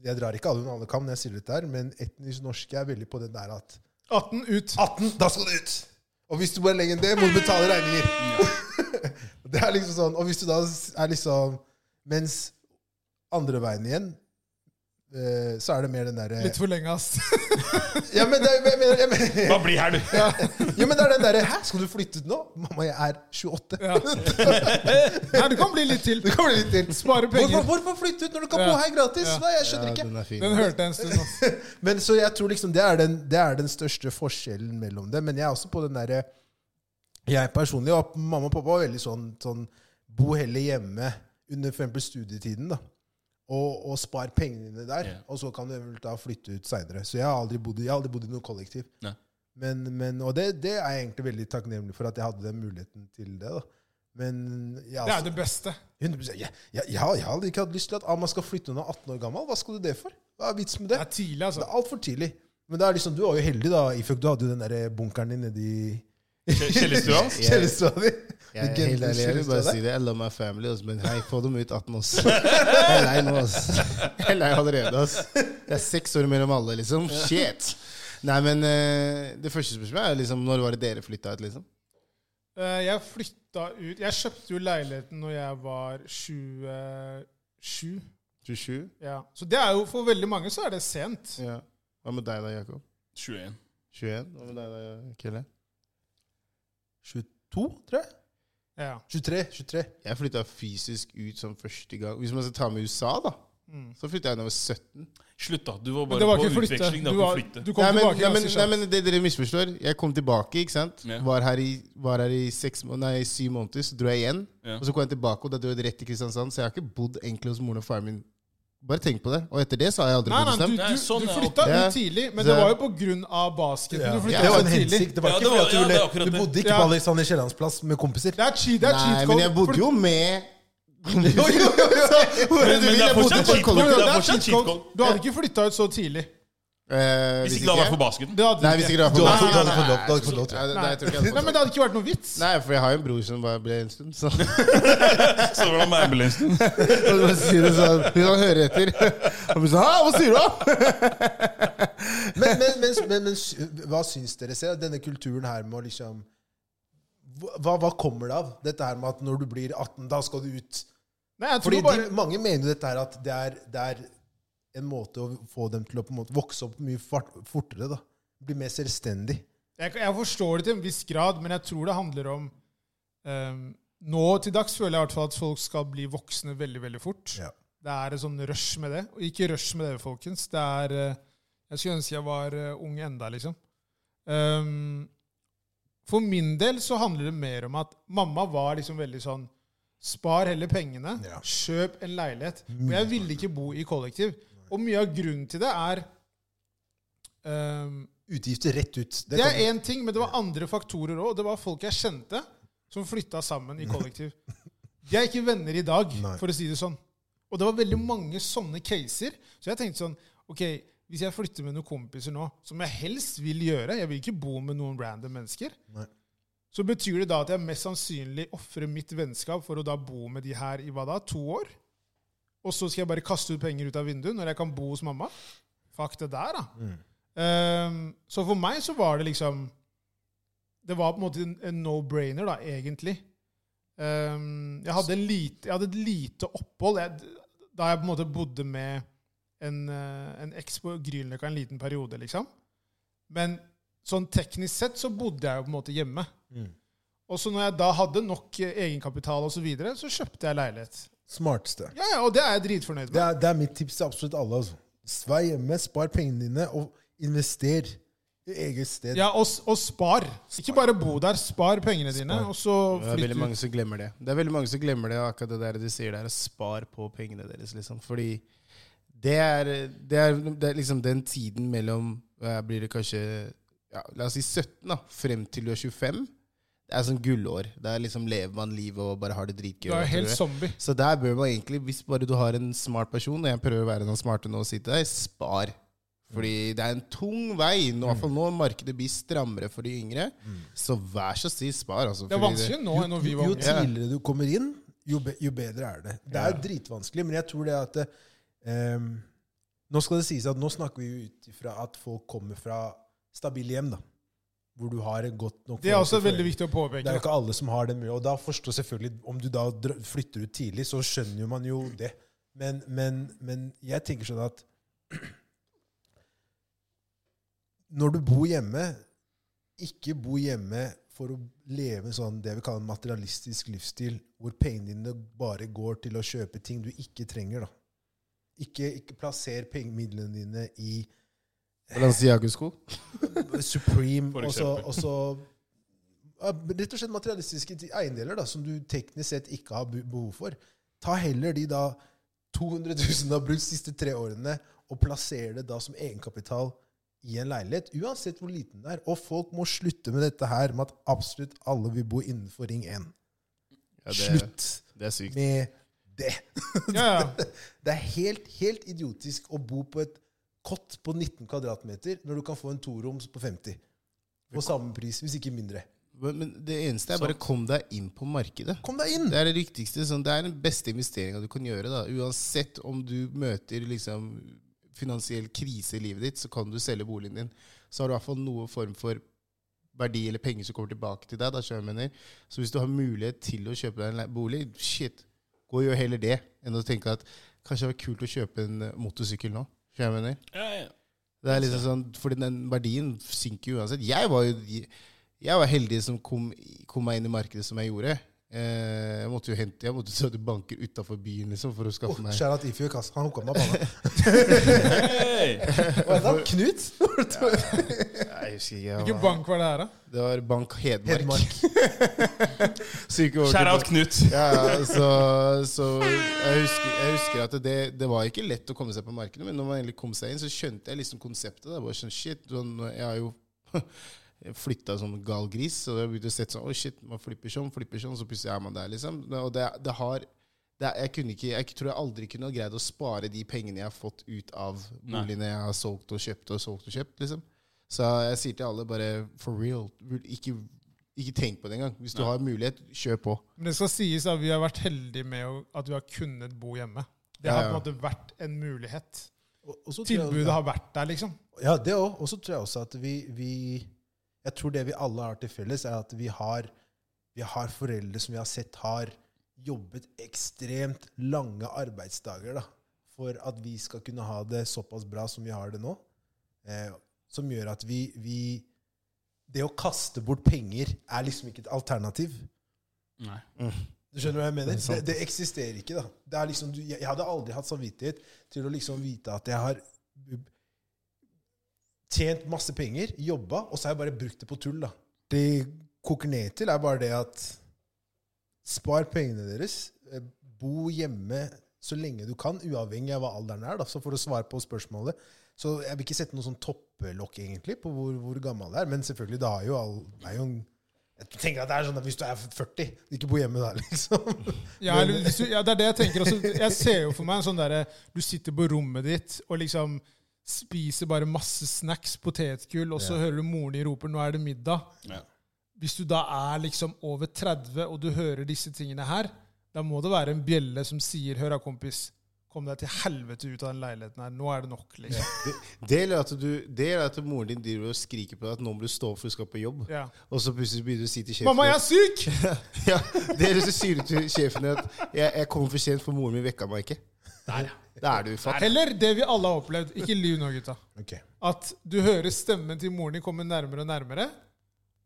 jeg drar ikke alle under alle kam når jeg sier dette, her, men etnisk norske er veldig på den der at
18 ut.
18, da skal du ut! Og hvis du bare legger enn det, må du betale regninger. det er liksom sånn, Og hvis du da er liksom Mens andre veien igjen, eh, så er det mer den derre
Litt for lenge, ass. *laughs*
ja, men det, er- jeg mener, jeg mener,
Bare bli her, du! *laughs*
ja, men det er den derre Hæ, skal du flytte ut nå? Mamma, jeg er 28.
Ja. Nei, det kan bli litt til.
Det kommer litt til.
Spare
Hvorfor,
penger.
hvorfor flytte ut når du kan
Ja.
bo her gratis?
Ja.
Nei, jeg skjønner
Ja,
ikke.
den er fin.
Den hørte jeg en stund. ass.
Men så jeg tror liksom det er, den, det er den største forskjellen mellom det. Men jeg er også på den derre Jeg personlig og mamma og pappa var veldig sånn, sånn Bo heller hjemme under for eksempel studietiden, da. Og, og spar pengene dine der,
Ja.
og så kan du eventuelt da flytte ut seinere. Så jeg har aldri bodd, i- jeg har aldri bodd i noe kollektiv.
Nei.
Men, men, og det, det er jeg egentlig veldig takknemlig for, at jeg hadde den muligheten til det. da. Men jeg,
Det er
altså,
det beste.
100%, jeg, jeg, jeg, har- jeg hadde ikke hatt lyst til at ah, man skal flytte når man er 18 år gammel. Hva skal du det for? Hva er vits med det?
Det er tidlig,
Det
altså.
er altfor tidlig. Men det er liksom, du var jo heldig, da, Ifjok. Du hadde jo den der eh, bunkeren din nedi
Kjellerstua hans.
kjellerstua di.
Jeg er helt
Legenden
ærlig, jeg vil
kjellerstua
bare
der.
si det. I love my family, ass, men hei, få dem ut 18 også. Jeg er lei nå, ass. Jeg er lei allerede, ass. Det er seks år mellom alle, liksom. Shit! Nei, men eh, det første spørsmålet er liksom når var det dere flytta ut, liksom?
Eh, Jeg flytta ut Jeg kjøpte jo leiligheten når jeg var 27.
27?
Ja. Så det er jo for veldig mange så er det sent.
Ja. Hva med deg da, Jakob?
21.
21? Hva med deg da, Kelle?
22, tror jeg.
Ja.
23. 23.
Jeg flytta fysisk ut som første gang. Hvis man skal ta med USA, da,
Mm.
så flytta jeg da jeg var 17.
Slutt, da. Du var
Men
bare
det var
på
ikke flytte.
utveksling. Det
Du,
var
var,
ikke flytte.
du kom
nei, men,
tilbake
nei, men,
ganske
nei,
kjapt.
men det dere misforstår. Jeg kom tilbake, ikke sant?
Ja.
Var, her i, var her i seks, må- nei, syv måneder, så dro jeg igjen.
Ja.
Og så kom jeg tilbake, og da dro jeg rett til Kristiansand. Så jeg har ikke bodd egentlig hos moren og faren min. Bare tenk på det. Og etter det så har jeg aldri
Nei, nei,
bodd
du,
hos dem.
du,
Nei, sånn
du
er
flytta
alt.
ut tidlig, men
Så-
det var jo på grunn av basketen.
Ja.
Du flytta
Det var
ut
en
tidlig.
hensikt. Det var
Ja,
ikke
det
fordi
var-
at du,
ja, det er
ville,
akkurat
du
det.
bodde ikke
Ja.
på Alexander Kiellands plass med kompiser.
Det er cheat, det er
Nei,
cheat
men
code.
jeg bodde jo med
Jo, jo, jo, jo.
Hvor
Men-
du
men
vil,
det er
jeg bodde
fortsatt
på
cheat
kollektiv.
code,
Bro,
det er
det
fortsatt
er cheat
cheat
code.
code.
Du hadde ikke flytta ut så tidlig.
Eh,
Hvis ikke det hadde vært for basketen.
Det hadde
Nei,
du
hvis
ikke.
ikke det
Du
var for
hadde
Nei,
fått- du hadde
nei,
fått lov,
nei,
du hadde fått lov til.
Nei, nei, jeg tror ikke jeg
Nei, men
hadde fått lov.
det hadde ikke vært noe vits.
Nei, for jeg har jo en bror som bare ble en stund, så *laughs*
Så var det med ambulansen.
Og så bare sier det sånn, Hvis han hører etter *laughs* Han blir sånn Hæ, hva sier du? da?»
Men, men, men, men, men sy- hva syns dere selv? Denne kulturen her med å liksom hva, hva kommer det av? Dette her med at når du blir 18, da skal du ut.
Nei, jeg
Fordi
tror bare
de, mange mener jo dette her at det er, det er en måte å få dem til å på en måte vokse opp mye fart, fortere. da. Bli mer selvstendig.
jeg, jeg forstår det til en viss grad, men jeg tror det handler om ehm, Nå til dags føler jeg i hvert fall at folk skal bli voksne veldig veldig fort.
Ja.
Det er et sånn rush med det. Og ikke rush med det, folkens. Det er eh, Jeg skulle ønske jeg var eh, ung enda, liksom. Ehm, for min del så handler det mer om at mamma var liksom veldig sånn Spar heller pengene.
Ja.
Kjøp en leilighet. For jeg ville ikke bo i kollektiv. Og mye av grunnen til det er ehm,
Utgifter rett ut.
det
kan du-
er én ting, men det var andre faktorer òg. Det var folk jeg kjente, som flytta sammen i
*laughs*
kollektiv. De er ikke venner i dag,
Nei.
for å si det sånn. Og det var veldig mange sånne caser. Så jeg tenkte sånn Ok, hvis jeg flytter med noen kompiser nå, som jeg helst vil gjøre Jeg vil ikke bo med noen random mennesker.
Nei.
Så betyr det da at jeg mest sannsynlig ofrer mitt vennskap for å da bo med de her i hva da? To år? Og så skal jeg bare kaste ut penger ut av vinduet når jeg kan bo hos mamma? Fuck det der, da. Ehm, så for meg så var det liksom Det var på en måte en, en no-brainer, da, egentlig. Ehm, jeg, hadde en lite, jeg hadde et lite opphold jeg, da jeg på en måte bodde med en, eh, en eks på Grünerløkka en liten periode, liksom. Men sånn teknisk sett så bodde jeg jo på en måte hjemme.
Mm.
Og så når jeg da hadde nok eh, egenkapital osv., så, videre, så kjøpte jeg leilighet.
Smarteste.
Ja, ja, Og det er jeg dritfornøyd med.
Det er, det er mitt tips til absolutt alle. altså. Vær hjemme, spar pengene dine, og invester i eget sted.
Ja, og, og spar. Ikke bare bo der, spar pengene dine, og så
Det er
flytt
veldig
ut.
mange som glemmer det. Det er veldig mange som glemmer det, og akkurat det der de sier der, spar på pengene deres, liksom. Fordi det er, det er, det er liksom den tiden mellom eh, Blir det kanskje ja, La oss si 17, da, frem til du er 25. Det er sånn gullår. Det er liksom lever man livet og bare har det dritgøy.
Du er
og
jo helt
tror jeg.
zombie.
Så der bør man egentlig, hvis bare du har en smart person, og jeg prøver å være den smarte nå og sitte der, spar. Fordi det er en tung vei. Nå, i hvert fall nå markedet blir strammere for de yngre. Så vær så snill, spar. Altså,
Det er
fordi
vanskeligere nå enn når vi
Jo,
var
jo
unge.
tidligere du kommer inn, jo, be, jo bedre er det. Det er dritvanskelig, men jeg tror det at eh, em, Nå skal det sies at nå snakker vi jo ut ifra at folk kommer fra stabile hjem, da. Hvor du har et godt nok
Det er
forhold
også
til
veldig
foreldre.
viktig å påpeke.
Det er jo ikke alle som har den muligheten. Og da forstår selvfølgelig, om du da dr- flytter ut tidlig, så skjønner jo man jo det. Men, men, men jeg tenker sånn at *clears throat* når du bor hjemme, ikke bo hjemme for å leve en sånn det vi kaller en materialistisk livsstil, hvor pengene dine bare går til å kjøpe ting du ikke trenger. da. Ikke, ikke plasser pengemidlene dine i
Balenciaga-sko.
Supreme,
For
og så,
eksempel.
og så ja, rett og slett materialistiske ti- eiendeler da, som du teknisk sett ikke har bu- behov for. Ta heller de da 200 000 du har brukt de siste tre årene, og plasser det da som egenkapital i en leilighet, uansett hvor liten den er. Og folk må slutte med dette her med at absolutt alle vil bo innenfor Ring 1.
Ja, det,
Slutt
det er sykt.
med det.
Ja, ja.
*laughs* Det er helt, helt idiotisk å bo på et kott på 19 kvadratmeter når du kan få en toroms på 50. På samme pris, hvis ikke mindre.
Men, men det eneste er bare kom deg inn på markedet.
Kom deg inn!
Det er det viktigste. Sånn, det er den beste investeringa du kan gjøre. da. Uansett om du møter liksom, finansiell krise i livet ditt, så kan du selge boligen din. Så har du i hvert fall noen form for verdi eller penger som kommer tilbake til deg. da, skjønner du hva jeg mener. Så hvis du har mulighet til å kjøpe deg en le- bolig, shit, gå og gjør heller det enn å tenke at kanskje det var kult å kjøpe en eh, motorsykkel nå. Skjønner du hva jeg mener?
*laughs* Ja, ja.
Det er liksom sånn, fordi den verdien synker jo uansett. Jeg var jo Jeg var heldig som kom, kom meg inn i markedet som jeg gjorde. Eh, jeg måtte jo hente, jeg måtte dra til banker utafor byen liksom, for å skaffe meg
Kjære at Ifjok, ass. Han hooka meg opp. han.
Hey!
Hva er det,
*laughs*
da? Knut?
Nei, jeg husker ikke, jeg
Hvilken
var,
bank var det her, da?
Det var Bank Hedmark.
Hedmark.
Så gikk jeg over til
Shout out
bank-
Knut.
Ja, ja, så, så jeg, husker, jeg husker at det, det var ikke lett å komme seg på markedet, men når man egentlig kom seg inn, så skjønte jeg liksom konseptet. Da. Jeg Bare sånn, shit, sånn, jeg har jo *laughs* flytta som en gal gris, så jeg begynte å sette sånn, oh shit, man flipper sånn, flipper sånn, så plutselig er man der, liksom. Og det, det har... Det, er- jeg, kunne ikke, jeg tror jeg aldri kunne ha greid å spare de pengene jeg har fått ut av
Nei.
boligene jeg har solgt og kjøpt og solgt og kjøpt, liksom. Så jeg sier til alle bare, for real, ikke, ikke tenk på det engang. Hvis du har mulighet, kjør på.
Men det skal sies at vi har vært heldige med å- at vi har kunnet bo hjemme. Det
Ja,
har
ja.
på en måte vært en mulighet.
Og- og så tror jeg-
Tilbudet har vært der, liksom.
Ja, det òg. Og så tror jeg også at vi, vi Jeg tror det vi alle har til felles, er at vi har, vi har foreldre som vi har sett har jobbet ekstremt lange arbeidsdager da, for at vi skal kunne ha det såpass bra som vi har det nå. Eh, som gjør at vi, vi Det å kaste bort penger er liksom ikke et alternativ.
Nei.
Du skjønner hva jeg mener?
Det er
Det,
sant.
det eksisterer ikke, da. Det er liksom, du- jeg, jeg hadde aldri hatt samvittighet til å liksom vite at jeg har tjent masse penger, jobba, og så har jeg bare brukt det på tull, da. Det koker ned til, er bare det at spar pengene deres, eh, bo hjemme så lenge du kan, uavhengig av hva alderen er, da, så får du svar på spørsmålet. Så jeg vil ikke sette noe sånn toppelokk, egentlig, på hvor, hvor gammel det er, men selvfølgelig, det har jo all, det er jo en jeg tenker at det er sånn at hvis du er 40, du ikke bor hjemme da, *laughs* liksom.
Ja, eller, hvis du, ja, det er det jeg tenker også. Jeg ser jo for meg en sånn derre Du sitter på rommet ditt og liksom spiser bare masse snacks, potetgull, og så hører du moren din roper 'nå er det middag'.
Ja.
Hvis du da er liksom over 30 og du hører disse tingene her, da må det være en bjelle som sier 'hør da, kompis, kom deg til helvete ut av den leiligheten her, nå er det nok'. liksom.
Det eller at, du, det eller at moren din driver og skriker på deg at nå må du stå opp for du skal på jobb.
Ja.
Og så plutselig begynner du å si til sjefen
Mamma, jeg er syk!
ja, Det eller så sier du til sjefen din at jeg, jeg kom for sent, for moren min vekka meg ikke. Da er du fattig.
Eller det vi alle har opplevd. Ikke lyv nå, gutta.
Ok.
At du hører stemmen til moren din komme nærmere og nærmere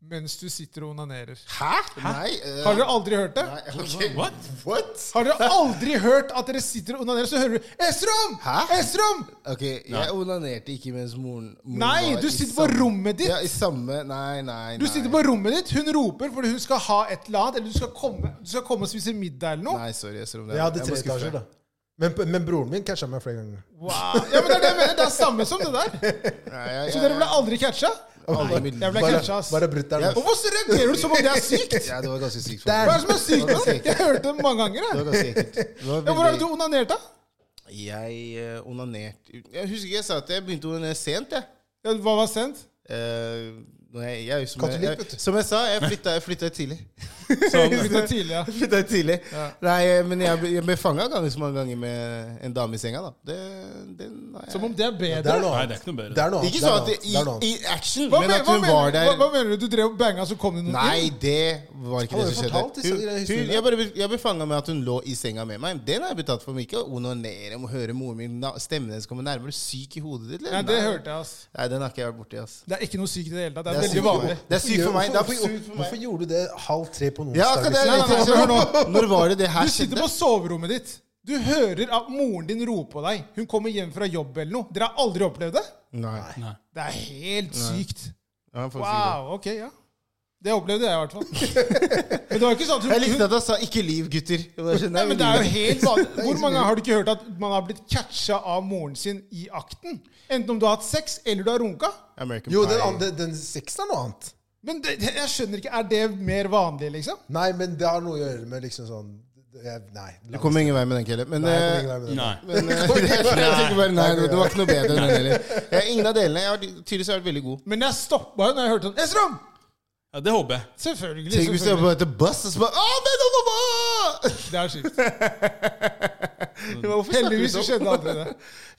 mens du sitter og onanerer.
Hæ? Nei. eh,
Har dere aldri hørt det?
nei ok.
What?
What?
Har dere aldri hørt at dere sitter og onanerer, så hører du 'Estrom!
Hæ?
Estrom!'
Ok, jeg onanerte ikke mens moren, moren
Nei,
var
du
i
sitter på
samme-
rommet ditt.
Ja, i samme Nei, nei, nei.
Du sitter på rommet ditt, hun roper fordi hun skal ha et eller annet, eller du skal komme, du skal komme og spise middag eller noe.
Nei, sorry. Jeg ser om det
Jeg hadde
jeg må
tre
skuffe
etasjer,
deg.
da. Men, men broren min catcha meg flere ganger.
Wow. Ja, men Det er det jeg mener, det er samme som det der.
Nei, jeg,
Så dere ble aldri catcha?
Alle i
Jeg ble
Bare,
catcha, ass.
bare brutter'n.
Og Hvorfor reagerer du som om det er sykt?
Ja, det var ganske sykt. for
Der.
meg.
Hva er det som er sykt nå? Jeg hørte det mange ganger.
Det
Jeg.
var ganske ekkelt. Det var
Ja, hvor har
veldig-
du onanert, da?
Jeg eh, onanerte Jeg husker ikke jeg sa at jeg begynte å onanere sent. jeg.
Ja, Hva var sent?
Eh, når jeg, jeg, som, jeg,
Katolikk, vet du.
jeg, som jeg sa, jeg flytta, jeg flytta tidlig.
Det var tidlig, ja.
Jeg flytta tidlig. Nei, eh, men jeg, ble- jeg ble fanga ganske så mange ganger med en dame i senga. da. Det, den har jeg-
Som om det er
Det er
bedre.
noe
Nei, det er
annet.
ikke noe
Det
bedre.
er noe annet.
Ikke
det er
sånn
noe
at det,
annet,
i,
det er noe annet.
i action,
Hva,
men
men,
at
hva,
hun var
mener, hva,
der
hva mener du? Du drev og banga, så kom det noen inn?
Nei, det var
Han
ikke
har jo
det som skjedde.
fortalt disse
Hun,
historiene.
hun, jeg, bare, ble- jeg ble fanga med at hun lå i senga med meg. Den har jeg betalt for. Men ikke å onanere, må høre moren min, na- stemmen hennes komme nærmere. Syk i hodet ditt,
Nei,
eller?
det hørte jeg, ass.
Nei, den har ikke jeg vært borti, ass.
Det er ikke noe sykt i det hele tatt. Det er,
Det er
veldig
sykt.
vanlig.
Det er sykt for meg. Det er
Hvorfor, hvorfor,
sykt for meg.
hvorfor gjorde du det halv tre på liksom? en
Ja,
onsdag?
akkurat det. sånn-
Nei, nei, nei,
Jeg
hør nå.
tenkte, Når var det det her
Du sitter
skjedde?
på soverommet ditt. Du hører at moren din roper på deg. Hun kommer hjem fra jobb eller noe. Dere har aldri opplevd det?
Nei.
Det er helt sykt.
Ja, faktisk ikke.
Wow, ok, ja. Det opplevde jeg i hvert
*laughs*
fall. Men det var ikke sånn at
Jeg
hun,
likte at han sa 'ikke liv, gutter'. Jeg bare skjønner,
Nei, men det
jeg
er jo
vil lyve.
helt
*laughs*
vanlig. Hvor mange har du ikke hørt at man har blitt catcha av moren sin i akten? Enten om du har hatt sex, eller du har runka.
American
Jo,
Pie.
den, andre, den sexen er noe annet.
Men det, det, jeg skjønner ikke, er det mer vanlig, liksom?
Nei, men det har noe å gjøre med liksom sånn jeg, Nei.
Du kommer ingen vei med den, Kelle. Men,
Nei, jeg
eh,
kommer ingen vei med det.
Nei.
men eh, *laughs* jeg tenker bare, nei, det var ikke noe bedre enn den heller. Jeg er ingen av delene. Jeg har tydeligvis vært veldig god.
Men jeg stoppa jo når jeg hørte sånn Esrom!
Ja, det håper jeg.
Selvfølgelig.
Tenk hvis du er
selvfølgelig.
på et buss og så bare «Ah, men det var bare-
Det er
*laughs*
kjipt.
Hvorfor snakker du
Heldigvis så
sånn?
skjedde aldri det.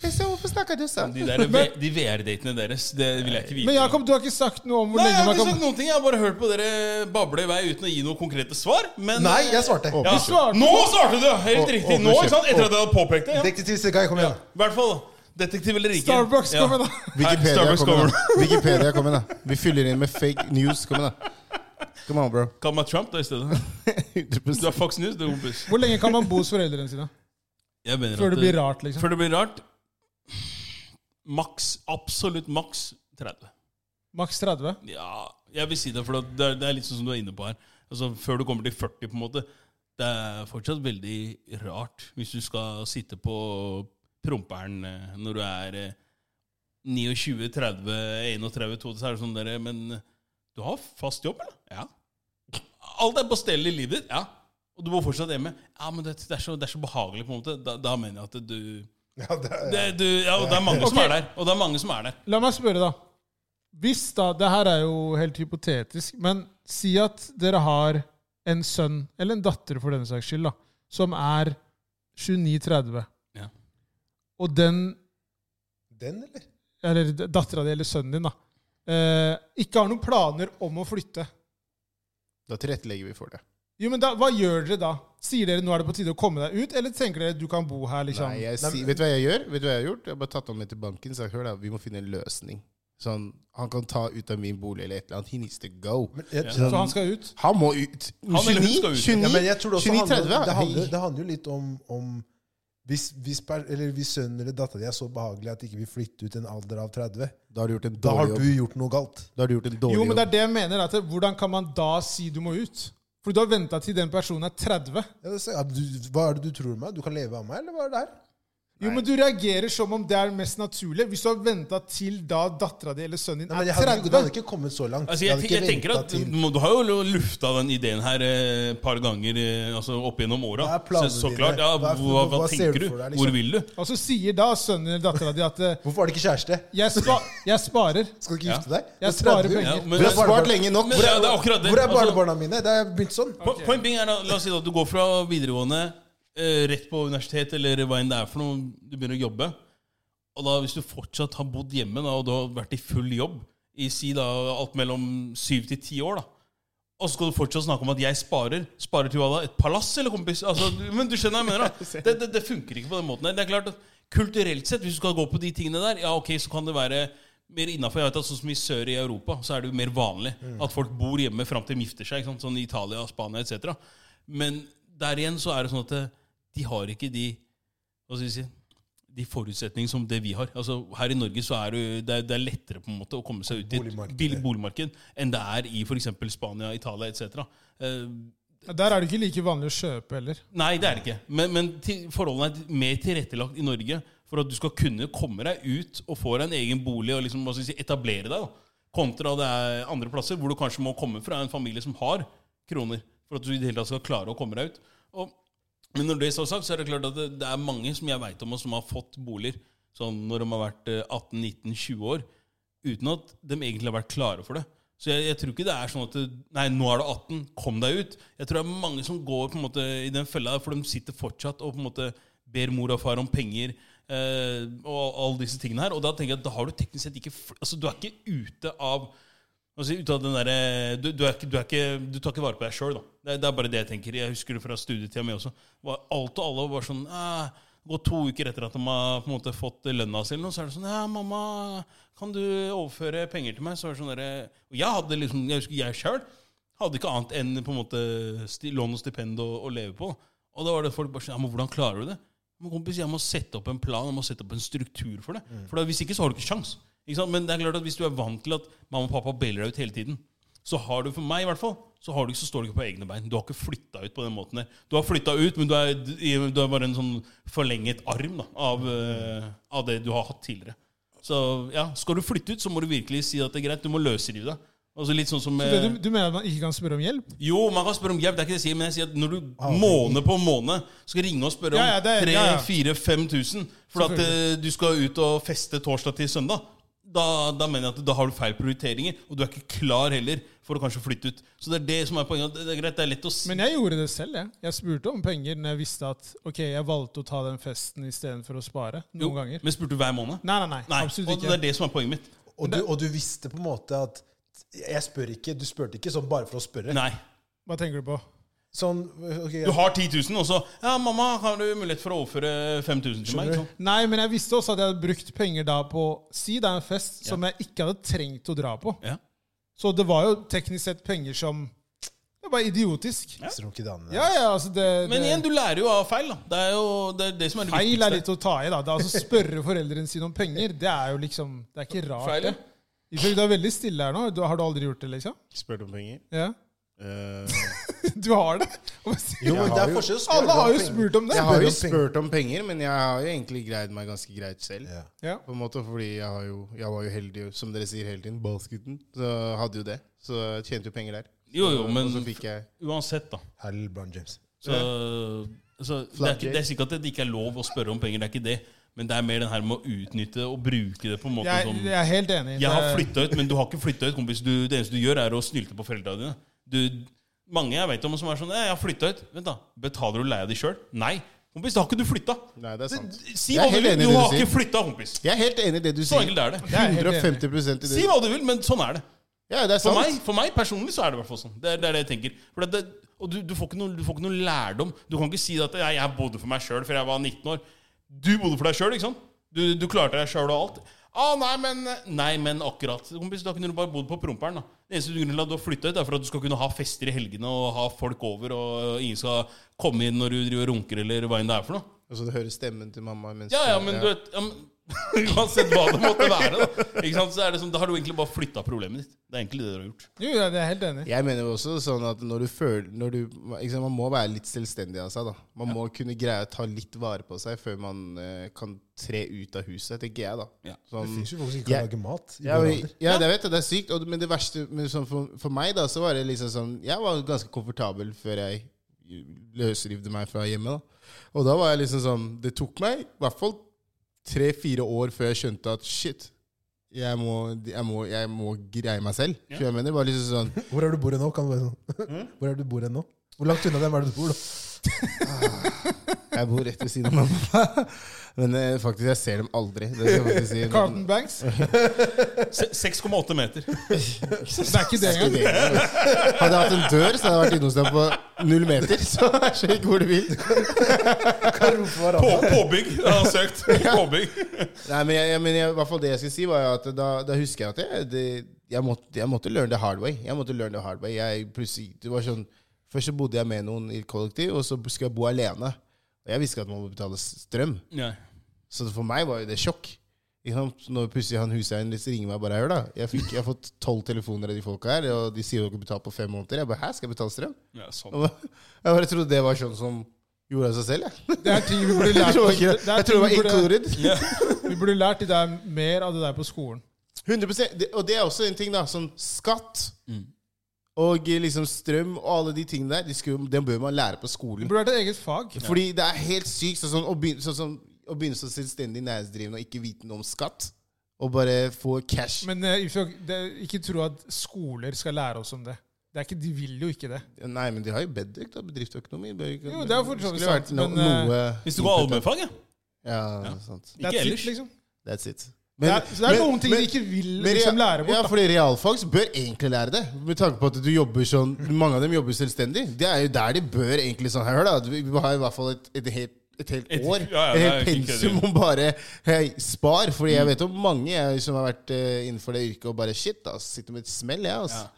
Jeg sa, Hvorfor snakker du sånn?
De, der V- de VR-datene deres, det vil jeg ikke vite.
Men Jakob, du har ikke sagt noe om hvor
Nei, jeg
lenge
har
man
ikke
kan
sagt noen ting. Jeg har bare hørt på dere bable i vei uten å gi noen konkrete svar. Men eh,
Nei, jeg svarte.
Ja.
Du svarte.
Nå svarte du! Helt
Å,
riktig.
å,
Nå, ikke
unnskyld.
sant? Etter at jeg hadde påpekt det. Ja.
Detektiv Sekai, kom
Ja.
igjen.
I hvert fall. Detektiv eller ikke.
Starbucks
Ja.
kommer da. *laughs*
Nei,
Wikipedia
Starbucks
kommer,
kommer.
da. Wikipedia kommer, da. Vi fyller inn med fake news. Kommer, da. Come on, *laughs* bro.
Kall meg Trump da i
*laughs*
stedet. Du
100%.
er Fox News, du, kompis.
Hvor lenge kan man bo hos foreldrene sine?
Jeg mener at
Før det blir rart, liksom?
Før det blir rart Maks, absolutt maks 30.
Maks 30?
Ja, jeg vil si det, for det er, det er litt sånn som du er inne på her. Altså, Før du kommer til 40, på en måte. Det er fortsatt veldig rart hvis du skal sitte på promperen eh, når du er eh, 29, 30, 31, 32, så er det sånn der, Men du har fast jobb, eller? Ja. Alt er på stell i livet ditt? Ja. Og du bor fortsatt hjemme? Ja, men det, det, er, så, det er så behagelig, på en måte. Da, da mener jeg at du
Ja, det,
det, du, ja, og det er mange som
Ok.
er der. Og det er mange som er der.
La meg spørre, da. Hvis da Det her er jo helt hypotetisk, men si at dere har en sønn, eller en datter for denne saks skyld, da, som er 29-30,
Ja.
og den,
Den, eller?
eller dattera di eller sønnen din, da, eh, ikke har noen planer om å flytte.
Da tilrettelegger vi for det.
Jo, men da, Hva gjør dere da? Sier dere nå er det på tide å komme deg ut, eller tenker dere du kan bo her? liksom?
Nei, jeg, sier- vet du hva jeg gjør? Vet du hva Jeg har gjort? Jeg har bare tatt han med til banken og sagt hør da, vi må finne en løsning. Sånn, Han kan ta ut av min bolig eller et eller annet. He needs to go.
Men jeg,
Så han skal ut?
Han må ut!
Han eller hun
29?
skal ut.
29,
Ja, men jeg tror det også
29
handler,
30,
det, handler,
hei.
det handler jo litt om, om hvis, hvis, per- eller hvis sønnen eller datteren din er så behagelig at de ikke vil flytte ut en alder av 30,
Da har du gjort en
da
dårlig
har du
jobb.
gjort noe galt.
Da har du gjort en dårlig
Jo, men det
jobb.
er det jeg mener. At hvordan kan man da si du må ut? For du har venta til den personen er 30.
Ja, det, er- du, hva er det du tror meg? Du kan leve av meg, eller hva er det her?
Jo, men du reagerer som om det er mest naturlig. Hvis du har venta til da dattera di eller sønnen din
Nei, men
er
jeg hadde, ikke- det hadde
30
ikke kommet så langt.
Altså,
Jeg
jeg,
hadde
tenk-
ikke
jeg tenker
ventet
at
til-
du, må- du har jo lufta den ideen her eh, et par ganger eh, altså, opp gjennom åra.
Hva er planene
Så, så
dine?
klart. Ja,
Hva
hva,
er-
hva,
hva ser
tenker
du
du?
for deg, liksom?
Hvor vil du?
Og så sier da sønnen eller dattera di at eh,
Hvorfor har du ikke kjæreste?
jeg, spa jeg sparer.
Skal du ikke
Ja.
gifte deg? Du
Jeg
er 30
sparer
år.
penger.
Ja, men,
Du
Hvor
har
er
spart
barnebarn-
lenge nok.
men, ja, det er akkurat det.
Hvor er
Altså,
barnebarna mine? Det er begynt sånn.
po- point being er, da, la oss si da, at du går fra videregående eh, rett på universitet, eller hva enn det er for noe, du begynner å jobbe. Og da, hvis du fortsatt har bodd hjemme da, og du har vært i full jobb i si da, alt mellom syv til ti år da, og så skal du fortsatt snakke om at jeg sparer. Sparer til hva da? Et palass, eller, kompis? Altså, du- men du skjønner hva jeg mener, da. Det, det, det funker ikke på den måten her. Det er klart at kulturelt sett, hvis du skal gå på de tingene der, ja, ok, så kan det være mer innenfor, jeg vet at sånn som i sør i Europa, så er det jo mer vanlig at folk bor hjemme frem til de gifter seg, ikke sant? sånn i Italia, Spania, et cetera. Men der igjen så er det sånn at eh, de har ikke de, hva skal vi si, de forutsetningene som det vi har. Altså, her i Norge så er det, jo- det, er, det er lettere på en måte å komme seg ut i et
Boligmarkedet.
bil- boligmarked enn det er i f.eks. Spania, Italia etc. Eh,
Der er det ikke like vanlig å kjøpe heller.
nei, det er det ikke. Men, men til, forholdene er mer tilrettelagt i Norge for at du skal kunne komme deg ut og få deg en egen bolig og liksom, hva skal jeg si, etablere deg. Da. Kontra det er andre plasser hvor du kanskje må komme fra en familie som har kroner for at du i det hele tatt skal klare å komme deg ut. Og men når det er sagt, så er det klart at det, det er mange som jeg veit om, og som har fått boliger sånn når de har vært eh, 18-19-20 år, uten at de egentlig har vært klare for det. Så jeg, jeg tror ikke det er sånn at det, Nei, nå er du 18, kom deg ut. Jeg tror det er mange som går på en måte i den fella, der, for de sitter fortsatt og på en måte ber mor og far om penger eh, og alle disse tingene her. Og da tenker jeg at da har du teknisk sett ikke fl- Altså, du er ikke ute av Altså, ut av den derre- du, du, er ikke, du, er ikke, du tar ikke vare på deg sjøl, da. Det, er- det er bare det jeg tenker. Jeg husker det fra studietida mi også. Var, alt og alle var sånn «Ah, det går to uker etter at de har på en måte fått lønna si, eller noe, så er det sånn Ja, mamma, kan du overføre penger til meg? Så er det sånn derre Og jeg hadde liksom Jeg husker jeg sjøl hadde ikke annet enn på en måte sti, lån og stipend å, å leve på. Og da var det folk bare sånn Ja, men hvordan klarer du det? Men kompis, jeg må sette opp en plan, jeg må sette opp en struktur for det.
Mm.
For da, hvis ikke, så har du ikke sjans. Ikke sant? Men det er klart at hvis du er vant til at mamma og pappa beller deg ut hele tiden, så har du, for meg i hvert fall, så har du ikke, så står du ikke på egne bein. Du har ikke flytta ut på den måten der. Du har flytta ut, men du er, du er bare en sånn forlenget arm da, av, eh, av det du har hatt tidligere. Så ja, skal du flytte ut, så må du virkelig si at det er greit. Du må løsrive deg. Altså litt sånn som
Så det,
eh,
du, du mener at man ikke kan spørre om hjelp?
jo, man kan spørre om hjelp, det er ikke det jeg sier, men jeg sier at når du måned på måned skal ringe og spørre om
Ah, Ja, ja, det er-
3
ja, ja.
4 5000 for at eh, du skal ut og feste torsdag til søndag, da, da mener jeg at da har du feil prioriteringer, og du er ikke klar heller for å kanskje flytte ut. Så det er det som er poenget. at Det er greit, det er lett å si.
Men jeg gjorde det selv. Jeg Jeg spurte om penger når jeg visste at ok, jeg valgte å ta den festen istedenfor å spare. Noen
Jo,
ganger.
Men spurte du hver måned?
Nei, nei, nei.
Nei,
Absolutt
og det
ikke.
er det som er poenget mitt.
Og du, og du visste på en måte at jeg spør ikke, Du spurte ikke sånn bare for å spørre.
Nei.
Hva tenker du på?
Sånn, ok,
Du har 10 000, og så Ja, mamma, har du mulighet for å overføre 5000 til meg?
Skjønner du?
Sånn.
Nei, men jeg visste også at jeg hadde brukt penger da på Si det er en fest som jeg ikke hadde trengt å dra på.
Ja.
Så det var jo teknisk sett penger som Det er bare idiotisk.
Hvis dere ikke danner
Ja, ja, altså det,
Men
det
igjen, du lærer jo av feil. da. Det er jo det, er det som er det
Feil
viktigste.
er litt å ta i, da. Det er altså Spørre foreldrene sine om penger, det er jo liksom Det er ikke rart.
Feil, ja.
det. Ifølge du er veldig stille her nå. Du, har du aldri gjort det, liksom?
Spør du om penger?
Ja. *laughs*
Eh,
Du har det? Hva sier du?
Jo, men
Jeg
det
har
er
jo-
forskjell å spørre
Alle har
om
jo
penger.
spurt om det.
*laughs* jeg har jo
om penger.
spurt om penger, men jeg har jo egentlig greid meg ganske greit selv.
Ja.
Ja.
På en måte, fordi jeg, har jo, jeg var jo heldig, som dere sier hele tiden, basketen. Så jeg hadde jo det. Så jeg tjente jo penger der.
Jo, jo, men
Og så fikk jeg
uansett, da.
Her er LeBron James.
Så, så det, er,
Flat
ikke-
J.
det er sikkert at det ikke er lov å spørre om penger, det er ikke det. Men det er mer den her med å utnytte og bruke det på en måte
Jeg,
som
jeg er helt enig.
Jeg har
Det-
flytta ut, men du har ikke flytta ut, kompis. Du, det eneste du gjør, er å snylte på foreldrene dine. Du, mange jeg vet om som er sånn «Eh, 'Jeg har flytta ut.' Vent, da. Betaler du leia di sjøl? Nei. Kompis, da har ikke du flytta.
Nei, det er sant.
Si
Jeg
hva
er
du
helt
vil.
enig
Du
i det du
har ikke
sier.
flytta, kompis.
Jeg er helt enig i det du
Så
sier.
enkelt er det.
Jeg er helt enig.
150 i det.
Si hva du vil, men sånn er det.
Ja, det er sant.
For meg, for meg personlig så er det i hvert fall sånn. Det er det, er det jeg tenker. For det, det, og du, du, får ikke noen, du får ikke noen lærdom. Du kan ikke si at jeg, jeg bodde for meg sjøl før jeg var 19 år. Du bodde for deg sjøl, ikke sant? Du, du klarte deg sjøl og alt. Ah, nei, men Nei, men akkurat. Kompis, da kunne du bare bodd på promperen. da. Den eneste grunnen til at du har flytta ut, er for at du skal kunne ha fester i helgene og ha folk over, og ingen skal komme inn når du driver og runker, eller hva enn det er for noe.
Og så du hører stemmen til mamma mens
Ja, ja, men du vet ja, men, *laughs* Uansett hva det måtte være, da. Ikke sant? Så er det sånn, da har du egentlig bare flytta problemet ditt. Det er egentlig det du har gjort.
Jo, jeg er helt enig.
Jeg mener jo også sånn at når du føler når du, ikke sant, Man må være litt selvstendig av seg. da Man må kunne greie å ta litt vare på seg før man eh, kan tre ut av huset, tenker jeg. da
Ja.
Um,
Det
sånn,
fins jo folk som ikke kan
Jeg-
lage mat. i
ja,
vår
men-
alder.
ja, jeg vet det, det er sykt. Og, men det verste men sånn for, for meg, da, så var det liksom sånn Jeg var ganske komfortabel før jeg løsrivde meg fra hjemmet. da Og da var jeg liksom sånn Det tok meg i hvert fall tre-fire år før jeg skjønte at shit, jeg må, jeg må, jeg må greie meg selv.
Ja.
Så jeg mener, det var liksom sånn
Hvor er du bor hen nå? Kan du være
Hmm?
sånn? *laughs* Hvor er du bor hen nå? Hvor langt unna dem er det du bor? da?
Jeg bor rett ved siden av mamma. *laughs* Men eh, faktisk, jeg ser dem aldri. Det skal jeg faktisk si.
Carlton Banks?
Se- 6,8 meter.
Det er ikke det
Det er
engang.
ikke det. Hadde jeg hatt en dør, så hadde jeg vært inne hos deg på null meter. *laughs* Så skjønner ikke hvor du vil.
Kan rope *laughs*
På,
hverandre.
påbygg. Jeg har *laughs* søkt. Påbygg.
Nei, men, jeg, jeg, men jeg, i hvert fall det jeg skulle si, var jo at da, da husker jeg at jeg, det, jeg, måtte, jeg måtte learn the hard way. Jeg måtte learn the hard way. Jeg plutselig, det var sånn, først så bodde jeg med noen i et kollektiv, og så skulle jeg bo alene. Og jeg visste ikke at man må betale strøm.
Nei.
Så for meg var jo det sjokk. Ikke sant? Når plutselig han huseieren liksom ringer meg bare her, da. Jeg, fikk, jeg har fått tolv telefoner av de folka her, og de sier dere betaler på fem måneder. Jeg bare hæ, skal jeg betale strøm?
Ja, sånn.
Og Jeg bare *laughs* trodde det var sånn som gjorde av seg selv, jeg. *laughs*
Det er ting vi burde
Jeg
lært.
tror
oss.
ikke-
Det er
jeg tror det var
ting vi burde-
included.
Vi burde lært de der mer av det der på skolen.
100%, Det- Og det er også en ting, da. Sånn skatt
Mm.
og liksom strøm og alle de tingene der, de skulle, den bør man lære på
Det
skolen.
burde vært et eget fag.
Fordi det er helt sykt sånn, sånn, å, begynne, sånn, som å begynne som selvstendig næringsdrivende og ikke vite noe om skatt, og bare få cash.
Men eh, vi får ikke- det- ikke tro at skoler skal lære oss om det. det er ikke, de vil jo ikke det.
Nei, men de har jo bedt dere til bedriftsøkonomi. Bør ikke-
Jo, det er for så vidt
Skulle vært
sant,
no,
men, eh,
noe
Hvis du går allmennfag, ja.
Ja,
Ja.
sant.
Ikke
That's it,
ellers.
liksom.
That's it.
det er, så det er
men-
noen ting
men-
de ikke vil
men
liksom,
rea-
lære bort.
Ja,
da.
fordi realfags bør egentlig lære det. Med tanke på at du jobber sånn Mange av dem jobber selvstendig. Det er jo der de bør egentlig sånn Hør, da. Vi vi har i hvert fall et, et helt et helt
Et-
år.
ja, ja,
et
det
helt
er ikke
pensum
kødd. liksom.
om bare hei, spar. Fordi jeg vet om mange jeg, som har vært eh, innenfor det yrket og bare shit, da. Sitter med et smell, jeg, altså.
Ja.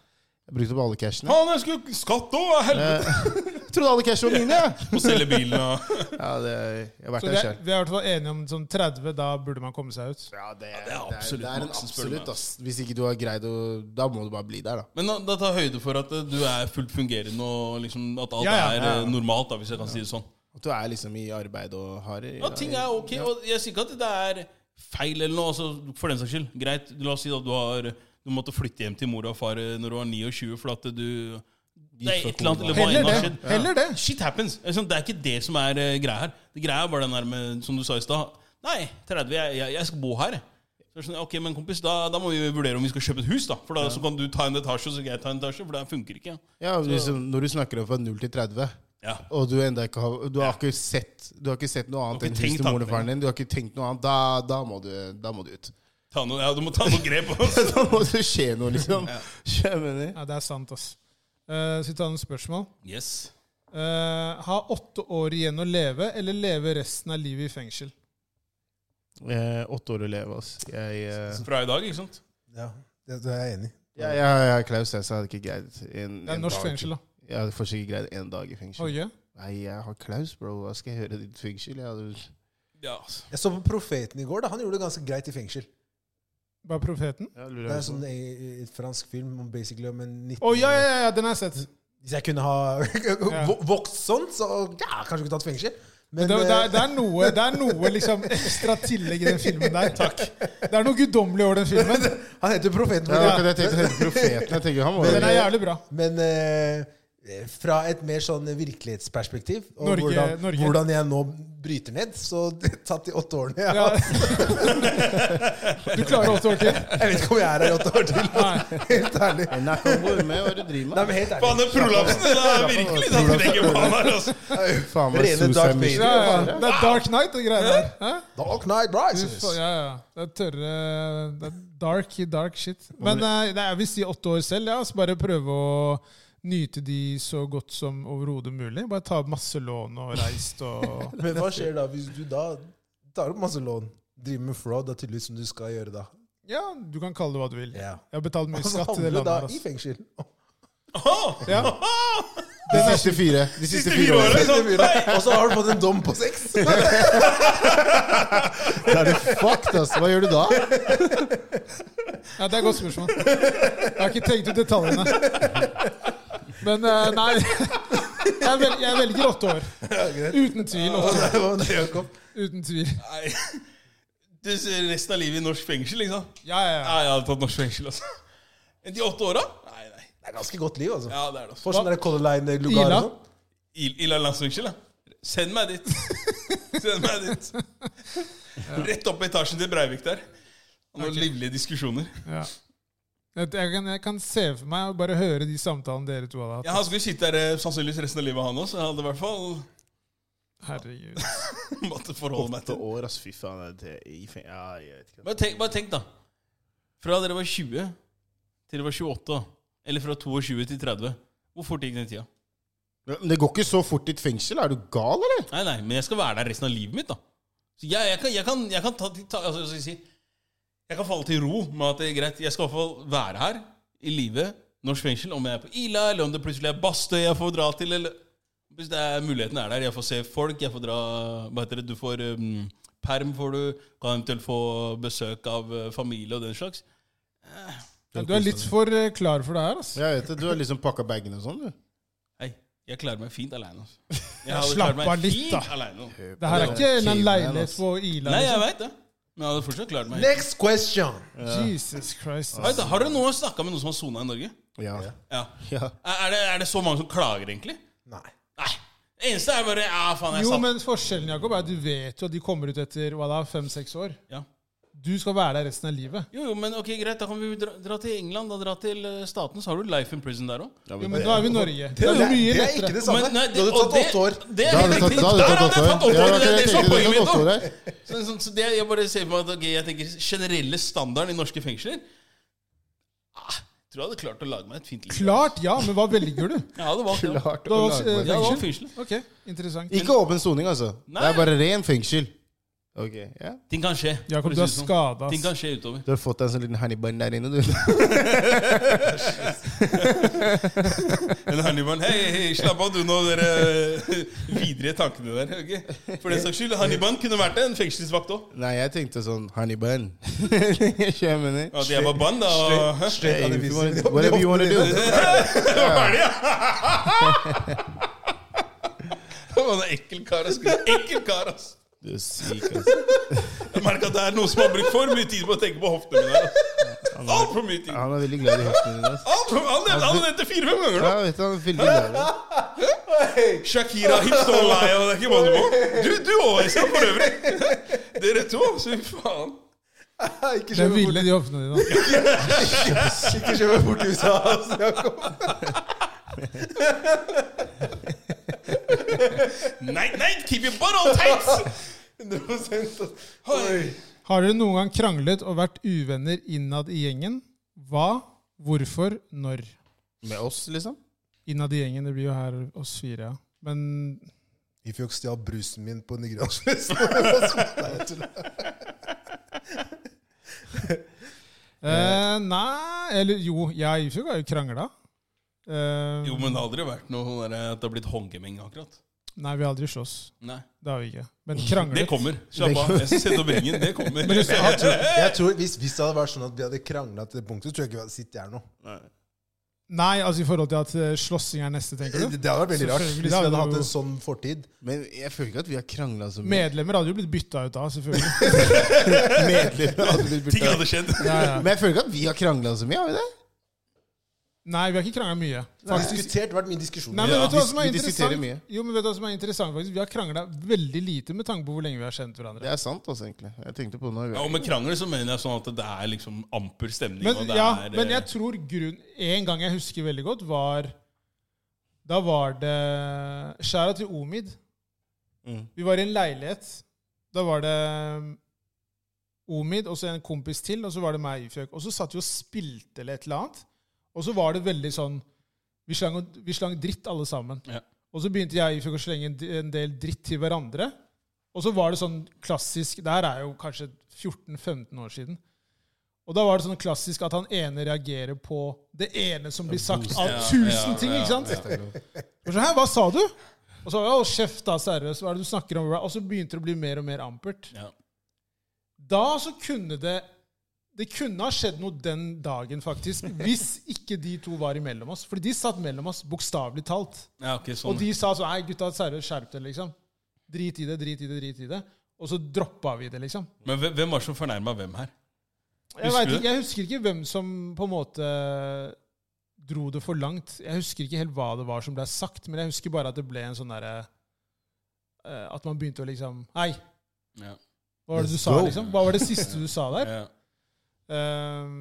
Jeg brukte opp alle cashene.
Faen, jeg skulle skatt òg! Helvete!
*laughs* Jeg trodde alle cashene var mine, jeg.
Må selge bilen og
Ja, det, jeg
Så
har vært
vi
der
er,
sjøl.
vi er i hvert fall enige om sånn 30, da burde man komme seg ut.
Ja, det,
det er absolutt
det er en
maksen, spør du meg.
absolutt, ass. Hvis ikke du har greid å Da må du bare bli der, da.
Men da, da ta høyde for at eh, du er fullt fungerende, og liksom at alt
Ja, ja,
er eh, normalt, da, hvis jeg kan si det sånn.
At du er liksom i arbeid og har
Ja, ting er ok, og jeg sier ikke at det er feil eller noe, altså, for den saks skyld. Greit, la oss si at du har Du måtte flytte hjem til mor og far eh, når du var 29 for at du Det er et eller annet eller hva
Heller
enn har
det.
skjedd.
Heller det.
Shit happens. Altså, Det er ikke det som er eh, greia her. Det greia er bare den der med, som du sa i stad Nei, 30, jeg, jeg, jeg skal bo her. jeg. Så er det sånn, ok, men kompis, da, da må vi vurdere om vi skal kjøpe et hus, da. For da så kan du ta en etasje, og så kan jeg ta en etasje. For det funker ikke.
Ja, liksom, Når du snakker om fra 0 til 30,
Ja.
og du enda ikke har Du har ikke sett, du har ikke sett noe annet
Du har
enn
ikke
hus
tenkt
til moren og faren
tanken.
din, du har ikke tenkt noe annet, da, da, må, du, da må du ut. *laughs*
Ta noe, ja, du må ta noe grep. altså. *laughs*
da må det skje noe, liksom. Skjønner du hva jeg mener?
Ja, det er sant, ass. Eh, skal vi ta noen spørsmål?
Yes.
Eh, ha åtte år igjen å leve, eller leve resten av livet i fengsel?
Eh, åtte år å leve, ass. Jeg, eh,
Fra i dag, ikke sant?
Ja, det, det er jeg enig i.
jeg, jeg, jeg, Klaus, jeg, så hadde ikke greid en,
Det er
en
norsk
dag til.
fengsel, da.
Jeg får sikkert greid én dag i fengsel.
Norge?
Nei, jeg har klaus, bro. Hva skal jeg gjøre i ditt fengsel? Jeg hadde...
Ja, altså.
Jeg så på Profeten i går. da, Han gjorde det ganske greit i fengsel.
Bare Profeten?
jeg
Det er
lurer
en sånn eh, eh, fransk film om basically om en 19
Å ja, ja, ja, den har jeg sett.
Hvis jeg kunne ha *laughs* vo- vokst sånn, så ja, kanskje ikke tatt fengsel. Men
Det, det, er-
eh,
det, er noe, det er noe liksom ekstra tillegg i den filmen der. Takk. Det er noe guddommelig over den filmen.
han heter Profeten.
Ja,
men-
jeg tenkte helt profeten. Jeg tenker, han må
Men den
jo
er jævlig bra.
Men eh, fra et mer sånn virkelighetsperspektiv, og
Norge-
hvordan,
Norge.
hvordan jeg nå bryter ned, så *laughs* tatt de åtte årene jeg
Ja.
har
Du klarer åtte år til.
Jeg vet ikke om jeg er her i åtte år til. *laughs*
Nei.
Helt ærlig.
Nei, kom, hvor med, hva er det du driver
Nei,
med?
men helt
Faen,
ærlig.
den prolapsen! Den er virkelig satt i legget på han her, altså.
Faen meg
Rene Darth
Suicide
Vader.
Mission.
Ja, ja. Det er Dark Knight og greier der. Hæ?
Dark Knight
Du
Rises.
fa- Ja, ja. Det er tørre Det er dark, dark shit. Men eh, nei, jeg vil si åtte år selv, ja. Så bare prøve å nyte de så godt som overhodet mulig. Bare ta masse lån og reist
*laughs*
og
Men hva skjer da hvis du da tar opp masse lån, driver med fraud, det er tydeligvis som du skal gjøre da.
Ja, du kan kalle det hva du vil.
Ja.
Jeg har betalt mye
Og så
skatt i det
havner du
landet.
da
her,
i
altså. *laughs*
fengsel.
Ja.
De siste fire. De
Siste
siste
fire
fire
årene.
*laughs* årene.
Og så har du fått en dom på
*laughs*
seks.
Da er du fucked, ass. Hva gjør du da?
Ja, Det er et godt spørsmål. Jeg har ikke tenkt ut
*laughs*
detaljene. Men eh, nei *laughs* jeg, vel, jeg velger åtte år.
*laughs*
Uten tvil. Åtte. år. Uten tvil.
Nei. Du ser resten av livet i norsk fengsel, liksom.
Ja,
Nei,
ja, ja.
jeg hadde tatt norsk fengsel, altså. Men de åtte åra? Nei, nei.
Det er ganske godt liv, altså.
Ja, det er det. altså.
Får sånn der Color Line-lugar og
Ila?
sånn.
Il- Ila landsfengsel, da. Send meg dit. Send meg dit. Rett opp i etasjen til Breivik der. Og noen livlige diskusjoner.
Ja. Jeg, jeg, kan, jeg kan se for meg og bare høre de samtalene dere to hadde hatt.
Ja, Han skulle sitte der eh, sannsynligvis resten av livet, han også. så Jeg hadde i hvert fall *laughs*
Herregud.
måtte forholde meg
Åtte
til
år, ass. Fy faen. Det er i feng- Ja, jeg vet ikke.
bare tenk, bare tenk, da. Fra dere var 20 til dere var 28, eller fra 22 til 30. Hvor fort gikk den tida?
Men det går ikke så fort i et fengsel. Er du gal, eller?
Nei, nei, men jeg skal være der resten av livet mitt, da. Så jeg, jeg, kan, jeg, kan, jeg kan ta, ta altså, hva skal jeg, si, jeg kan falle til ro med at det er greit. Jeg skal i hvert fall være her i live, norsk fengsel, om jeg er på Ila, eller om det plutselig er Bastøy jeg får dra til, eller Hvis det er, muligheten er der, jeg får se folk, jeg får dra Hva heter det, du får um, perm, får du, kan eventuelt få besøk av eh, familie og den slags.
Ja, Du er litt for eh, klar for det her. Altså.
Jeg vet det. Du har liksom pakka bagene og sånn, du.
Hei, jeg klarer meg fint altså. aleine.
Slapp av litt, da. Det her er ikke en
Caveman,
leilighet
ass.
på Ila.
Nei, jeg
Liksom.
veit det. Men jeg hadde fortsatt klart meg.
Next question!
Jesus Christ.
Vet du, Har dere noen snakka med noen som har sona i Norge?
Ja.
Ja.
ja.
Er er det, er det så mange som klager, egentlig?
Nei.
Nei. Det eneste er bare Ja, faen, jeg
Jo,
satt
men forskjellen Jakob, er at du vet jo at de kommer ut etter hva da, fem-seks år.
ja.
Du skal være der resten av livet.
Jo, jo, men ok, greit, da kan vi jo dra, dra til England. Da dra til eh, staten, så har du Life in Prison der òg.
Jo, Men nå er vi i Norge. Det er
det,
jo mye
det er ikke
lettere.
det samme. Du hadde tatt åtte år.
Det er
Da
helt
hadde du tatt
riktig.
da hadde
Der
du
hadde
tatt
jeg tatt åtte
åtte år. Ja,
år. Det er det som er
jeg tenkte
poenget
du eh? hadde
mitt nå.
tatt åtte år her.
Så, så, så det, jeg bare ser for meg at ok, jeg tenker generelle standarden i norske fengsler ah, jeg Tror jeg hadde klart å lage meg et fint liv.
Klart, ja, men hva velger du?
Jeg hadde valgt det.
*laughs*
Du
Klart å
har
lage
valgt eh,
Jeg hadde valgt
fengsel?
fengsel.
Ok, interessant.
Ikke åpen soning, altså.
Nei.
Det er bare ren fengsel. Ok, ja.
Ting kan skje. for
Jakob,
å
du
si
er
det sånn.
skada.
Ting kan skje utover.
Du har fått deg en sånn liten Hannibal der inne, du.
En Hannibal Hei, hei, slapp av du nå, dere eh, videre tankene der. ok? For den saks skyld, Hannibal kunne vært en fengselsvakt òg.
*laughs* Nei, jeg tenkte sånn Hannibal. *laughs* Jeg mener
At jeg var band, da. og-
Straight out of
Hey, if you wanna-
business.
whatever you wanna do. *laughs*
Hva er det, ja? *laughs* Han er ekkel kar. ass. Ekkel kar, ass.
Du er syk, altså.
Jeg merker at det er noen som har brukt for mye tid på å tenke på hoftene mine. ass. Altfor mye tid.
Han er veldig glad i hoftene dine. Altså.
Alt for- Han nevnte- han nevnte fire-fem ganger nå.
Ja, vet du, han er veldig glad i det.
Shakira, hips don't lie, og det er ikke mange på. Du, du òg, Øystein, for øvrig. *laughs* Dere to, så fy faen.
Ikke
Det er
kjøp meg
ville de hoftene dine.
bort- ikke kjøp meg bort i USA, altså, Jakob.
Nei, nei, keep your butt on tight!
100% ass.
Oi.
Har dere noen gang kranglet og vært uvenner innad i gjengen? Hva, hvorfor, når?
Med oss, liksom?
Innad i gjengen, det blir jo her oss fire, ja. Men
Ifjok stjal brusen min på Nigeriansfest. Nei, jeg tuller.
eh, Nei, eller jo, jeg og Ifjok har jo krangla. Eh,
Jo, men det har aldri vært noe sånn der at det har blitt håndgemeng, akkurat.
Nei, vi har aldri slåss.
Nei.
Det har vi ikke. Men kranglet.
Det kommer. Slapp av. Jeg skal sette opp ringen. Det kommer.
Men hvis du
Jeg tror, jeg tror hvis, hvis det hadde vært sånn at vi hadde krangla til det punktet, så tror jeg ikke vi hadde sittet her nå.
Nei, altså i forhold til at eh, slåssing er neste,
Det,
tenker du?
det hadde vært veldig rart hvis
Selvfølgelig,
vi
det hadde
hadde hatt
jo-
en sånn fortid.
Men jeg føler ikke at vi har krangla så mye.
Medlemmer hadde jo blitt bytta ut av, selvfølgelig.
*laughs* Medlemmer hadde blitt
*laughs* *laughs* Ting
bytta ut.
hadde skjedd.
Ja, ja.
Men jeg føler ikke at vi har krangla så mye. har vi det?
Nei, vi har ikke krangla mye.
Det har diskutert, vært mye diskusjoner.
Nei, men
Ja.
vet du hva som er
Vi diskuterer
interessant?
mye.
Jo, men vet du hva som er interessant faktisk? Vi har krangla veldig lite med tanke på hvor lenge vi har kjent
Det
hverandre.
er sant, altså, egentlig. Jeg tenkte på det nå.
Ja, og med krangel så mener jeg sånn at det er liksom amper stemning.
Men,
og det
ja,
er, eh,
men jeg tror grunn En gang jeg husker veldig godt, var Da var det Skjæra til Omid.
Mm.
Vi var i en leilighet. Da var det Omid og så en kompis til, og så var det meg og Ifjøk. Og så satt vi og spilte eller et eller annet. Og så var det veldig sånn Vi slang, vi slang dritt alle sammen.
eh, Ja.
Og så begynte jeg og Ifjøk å slenge en d- en del dritt til hverandre. Og så var det sånn klassisk Det her er jo kanskje 14-15 år siden. Og da var det sånn klassisk at han ene reagerer på det ene som blir sagt av
Ja,
tusen
ja,
ting.
ja,
ikke sant? Og så, Hæ, hva sa du? Og så, å, kjeft da, seriøst, hva er det du snakker om? Og så begynte det å bli mer og mer ampert.
ja.
Da så kunne det Det kunne ha skjedd noe den dagen, faktisk, hvis ikke de to var imellom oss. Fordi de satt mellom oss, bokstavelig talt.
ja, ok, sånn.
Og de sa sånn Nei, gutta, seriøst, skjerp dere, liksom. Drit i det, drit i det, drit i det. Og så droppa vi det, liksom.
Men hvem hvem var det som fornærma hvem her?
Jeg,
Husker
vet
du
ikke, jeg husker ikke hvem som på en måte dro det for langt. Jeg husker ikke helt hva det var som ble sagt, men jeg husker bare at det ble en sånn derre eh, At man begynte å liksom Hei,
Ja.
hva var det du
Let's
sa?
go.
liksom? Hva var det siste du sa der?
Ja.
Ehm,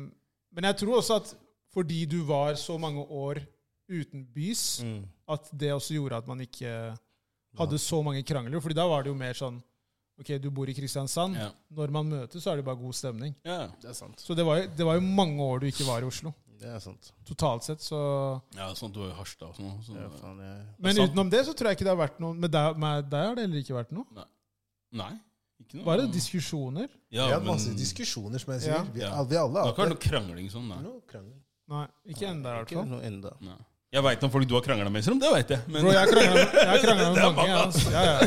men jeg tror også at fordi du var så mange år uten bys,
Mm.
at det også gjorde at man ikke hadde så mange krangler. Fordi da var det jo mer sånn Ok, du bor i Kristiansand.
Ja.
Når man møtes, så er det bare god stemning.
Ja.
Det er sant.
Så det var, jo, det var jo mange år du ikke var i Oslo.
Det er sant.
Totalt sett, så
ja, sånn at du var i Harstad og sånn. Så.
Ja, faen, jeg...
Men
sant.
utenom det så tror jeg ikke det har vært noe Med deg, med deg har det heller ikke vært noe.
Nei. Ikke noe.
Bare diskusjoner.
Vi
Ja,
har
men-
hatt masse diskusjoner, som jeg sier.
Ja.
Vi,
Ja.
alle- vi alle har
Det har ikke vært
hatt det.
noe krangling sånn, nei.
Noe krangel.
Nei, ikke ennå, i hvert
Ikke
fall.
noe enda.
nei. Jeg veit om folk du har krangla med, Serum. Det veit jeg. Men
Bro, jeg krangler med, jeg
*laughs*
krangler
Det
med
er
mange.
mange,
Jeg, altså. ja, ja.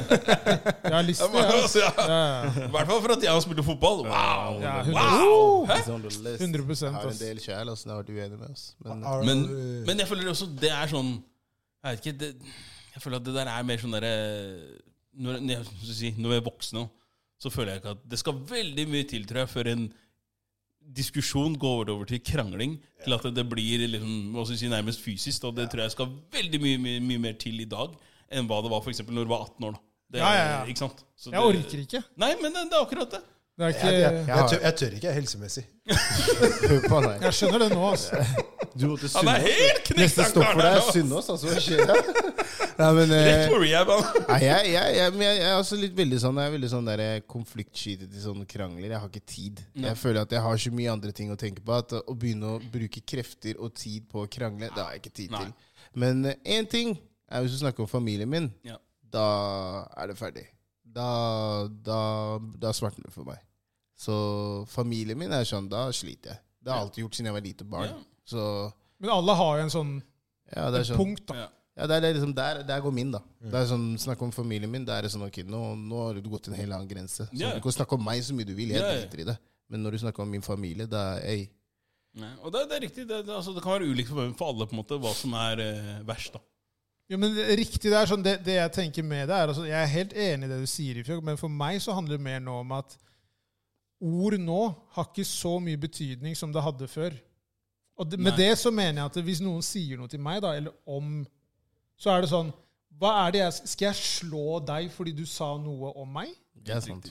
jeg har lyst
Det er
til det.
mange,
jeg,
altså, *laughs*
Altså.
ja.
Ja, ja.
i hvert fall for at jeg har spilt fotball. Wow!
Ja,
wow! Oh, Hæ?
It's on the list.
100
Jeg har en
ass.
del sjæl altså, som har vært uenig med oss. Men
Har-
Men,
eh,
øh,
men jeg føler også det er sånn Jeg vet ikke det, Jeg føler at det der er mer sånn derre når, når, jeg- hva skal jeg si, når vi er voksne, så føler jeg ikke at Det skal veldig mye til, tror jeg, før en diskusjon går over til krangling. Til at det blir liksom, hva skal jeg si, nærmest fysisk. Og det tror jeg skal veldig mye, mye, mye mer til i dag enn hva det var for eksempel når du var 18 år. da. Det,
Ja, ja, ja.
Ikke sant? Så
Jeg
det-
orker ikke.
Nei, men det, det er akkurat det.
Det er
Jeg- jeg-
ikke
jeg, tør, jeg tør ikke helsemessig.
*laughs* hør på han her.
Jeg skjønner det nå, altså.
Du måtte
Han er
Sunnaas.
helt knekt,
Neste
han
stopp
karen
for deg
her
er
nå.
Sunnaas, altså. Hva
*laughs*
skjer her? Nei, men eh,
Rett på rehab, han.
Nei, jeg, jeg, jeg, men jeg, jeg er også litt veldig sånn Jeg er veldig sånn der eh, konfliktsky til sånne krangler. Jeg har ikke tid. Jeg føler at jeg har så mye andre ting å tenke på. At eh, å begynne å bruke krefter og tid på å krangle, det har jeg ikke tid
Nei.
til. Men eh, én ting er hvis du snakker om familien min.
Ja.
Da er det ferdig. Da, da, da svartner det for meg. Så familien min er sånn, da sliter jeg. Det har jeg alltid gjort siden jeg var lite barn.
Ja.
Så
Men alle har jo en sånn
ja, det er sånn
punkt, da.
Ja.
ja, det er det liksom der, der går min, da. Det er sånn, Snakk om familien min. Da er det sånn, ok, nå, nå har du gått til en helt annen grense. Så
Ja.
Du kan snakke om meg så mye du vil, jeg
Ja, ja.
driter i det. Men når du snakker om min familie, da ei,
Nei, og det, det er riktig. Det, det, altså, det kan være ulikt for, for alle på en måte hva som er eh, verst. da.
Jo, men det- riktig, det er sånn, det, det jeg tenker med det, er altså, Jeg er helt enig i det du sier, Ifjok, men for meg så handler det mer nå om at ord nå har ikke så mye betydning som det hadde før. Og det, med
Nei.
det så mener jeg at hvis noen sier noe til meg, da, eller om Så er det sånn hva er det jeg, Skal jeg slå deg fordi du sa noe om meg?
Det er sant.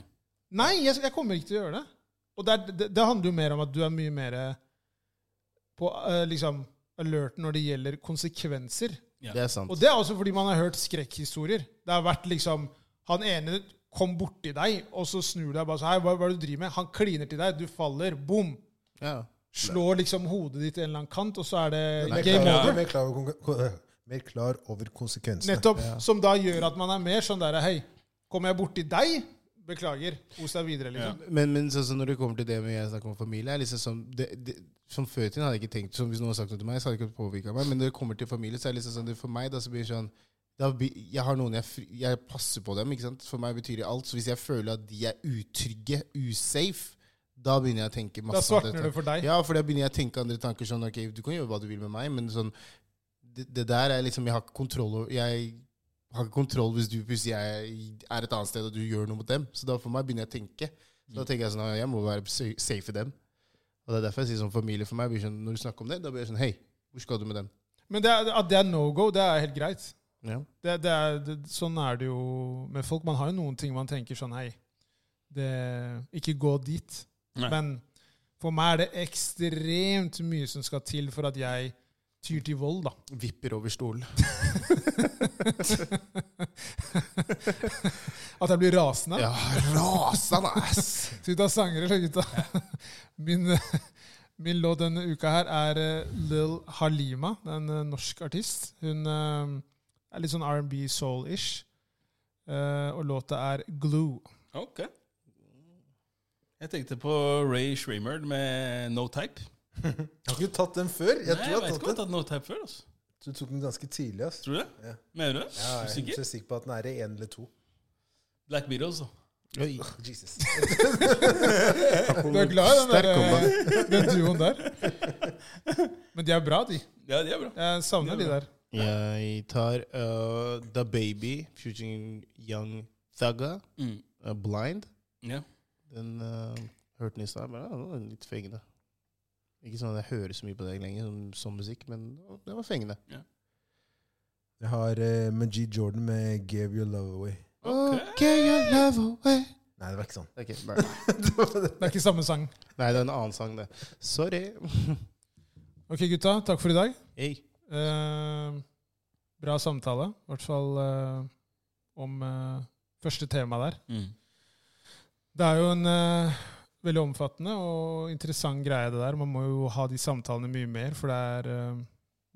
Nei, jeg, jeg kommer ikke til å gjøre det. Og det, er, det, det handler jo mer om at du er mye mer eh, på eh, liksom, alerten når det gjelder konsekvenser.
Ja.
Det er sant.
Og det er også fordi man har hørt skrekkhistorier. Det har vært liksom Han ene kom borti deg, og så snur du deg bare sånn Hei, hva, hva er det du driver med? Han kliner til deg, du faller, bom!
Ja.
Slår liksom hodet ditt i en eller annen kant, og så er det
Mer
game
klar,
over.
mer klar, over, konke- ko- *laughs* mer klar over konsekvensene.
Nettopp. Som da gjør at man er mer sånn derre Hei, kommer jeg borti deg, Beklager. Kos deg videre, liksom.
Men, men sånn som når det kommer til det med jeg snakker om familie er liksom som, det, det, som Før i tiden hadde jeg ikke tenkt som Hvis noen hadde sagt noe til meg, så hadde det ikke påvirka meg. Men når det kommer til familie, så er det liksom sånn det for meg da så blir det sånn da, blir- Jeg har noen jeg, fri- jeg passer på dem. ikke sant? For meg betyr det alt. Så hvis jeg føler at de er utrygge, usafe, da begynner jeg å tenke
Da
masse om
svartner
dette.
det for deg.
Ja, for da begynner jeg å tenke andre tanker sånn Ok, du kan gjøre hva du vil med meg, men sånn Det, det der er liksom Jeg har ikke kontroll over Jeg har ikke kontroll hvis du plutselig er, er et annet sted og du gjør noe mot dem. Så da for meg begynner jeg å tenke. Så
Mm.
da tenker jeg sånn «Ah, Jeg må være sa- safe for dem. Og det er derfor jeg sier sånn familie for meg blir sånn, Når du snakker om det, da blir jeg sånn Hei, hvor skal du med dem?
Men det er, at det er no go, det er helt greit.
Ja.
Det, det er, det, sånn er det jo med folk. Man har jo noen ting man tenker sånn Hei, det, ikke gå dit.
Nei.
Men for meg er det ekstremt mye som skal til for at jeg tyr til vold, da.
Vipper over stolen.
At jeg blir rasende.
Ja, rasende, ass!
*laughs* Ut av sangere, eller gutta. *laughs* Min, min låt denne uka her er eh, Lil Halima. Det er en eh, norsk artist. Hun eh, er litt sånn R&B soul-ish. Eh, og låta er Glue.
Ok. Jeg tenkte på Ray Shremer med No Type.
Jeg har ikke tatt den før. Jeg
Nei,
tror
jeg
jeg
vet
har
ikke om jeg har
tatt den.
tatt No Type før. Altså.
Du tok den ganske tidlig. ass.
Tror du det?
Ja.
Mener du det?
Ja,
Er du
jeg er
sikker?
helt sikker på at den er i én eller to.
Black Beatles, da.
Oi.
Jesus.
Du er glad i den,
Sterk
der, eh, den duoen der? Men de er bra, de.
Ja, de er bra.
Jeg savner
De
de
er
der.
Jeg tar uh, The Baby, featuring Young Thugga,
Mm.
uh, Blind.
Ja.
Den uh, hørte den i stad. men, ja, Den var litt fengende. Ikke sånn at jeg hører så mye på deg lenger som, som musikk, men den var fengende.
Jeg har eh, Majid Jordan med 'Give Your Love Away'.
Ok.
Ok, your love away.
Nei, det var ikke sånn.
Ok,
*laughs*
nei.
Det er ikke samme sang.
nei, det er en annen sang, det. Sorry. *laughs*
Ok, gutta. Takk for i dag.
Hey.
Eh, bra samtale. I hvert fall eh, om eh, første tema der.
Mm.
Det er jo en eh, veldig omfattende og interessant greie, det der. Man må jo ha de samtalene mye mer, for det er, eh,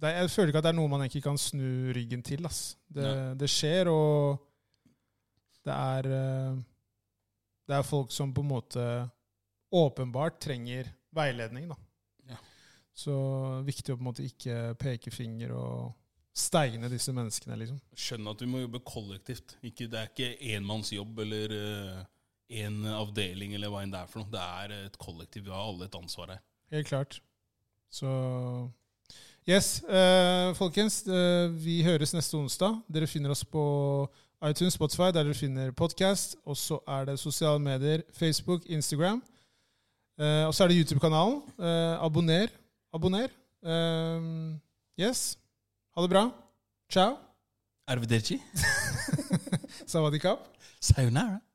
det er Jeg føler ikke at det er noe man egentlig kan snu ryggen til. Ass. Det,
Nei.
det skjer, og det er eh, Det er folk som på en måte åpenbart trenger veiledning, da.
Ja.
Så viktig å på en måte ikke peke finger og steine disse menneskene, liksom.
Skjønner at vi må jobbe kollektivt. Ikke, det er ikke enmannsjobb eller én avdeling eller hva enn det er for noe. Det er et kollektiv. Vi har alle et ansvar her.
Helt klart. Så Yes, eh, folkens. eh, vi høres neste onsdag. Dere finner oss på iTunes, Spotify, der dere finner podkast. Og så er det sosiale medier, Facebook, Instagram. Eh, og så er det YouTube-kanalen. Eh, abonner. Abonner. Eh, yes. Ha det bra. Ciao.
Arviderci.
Sawadikap.
Sayonara.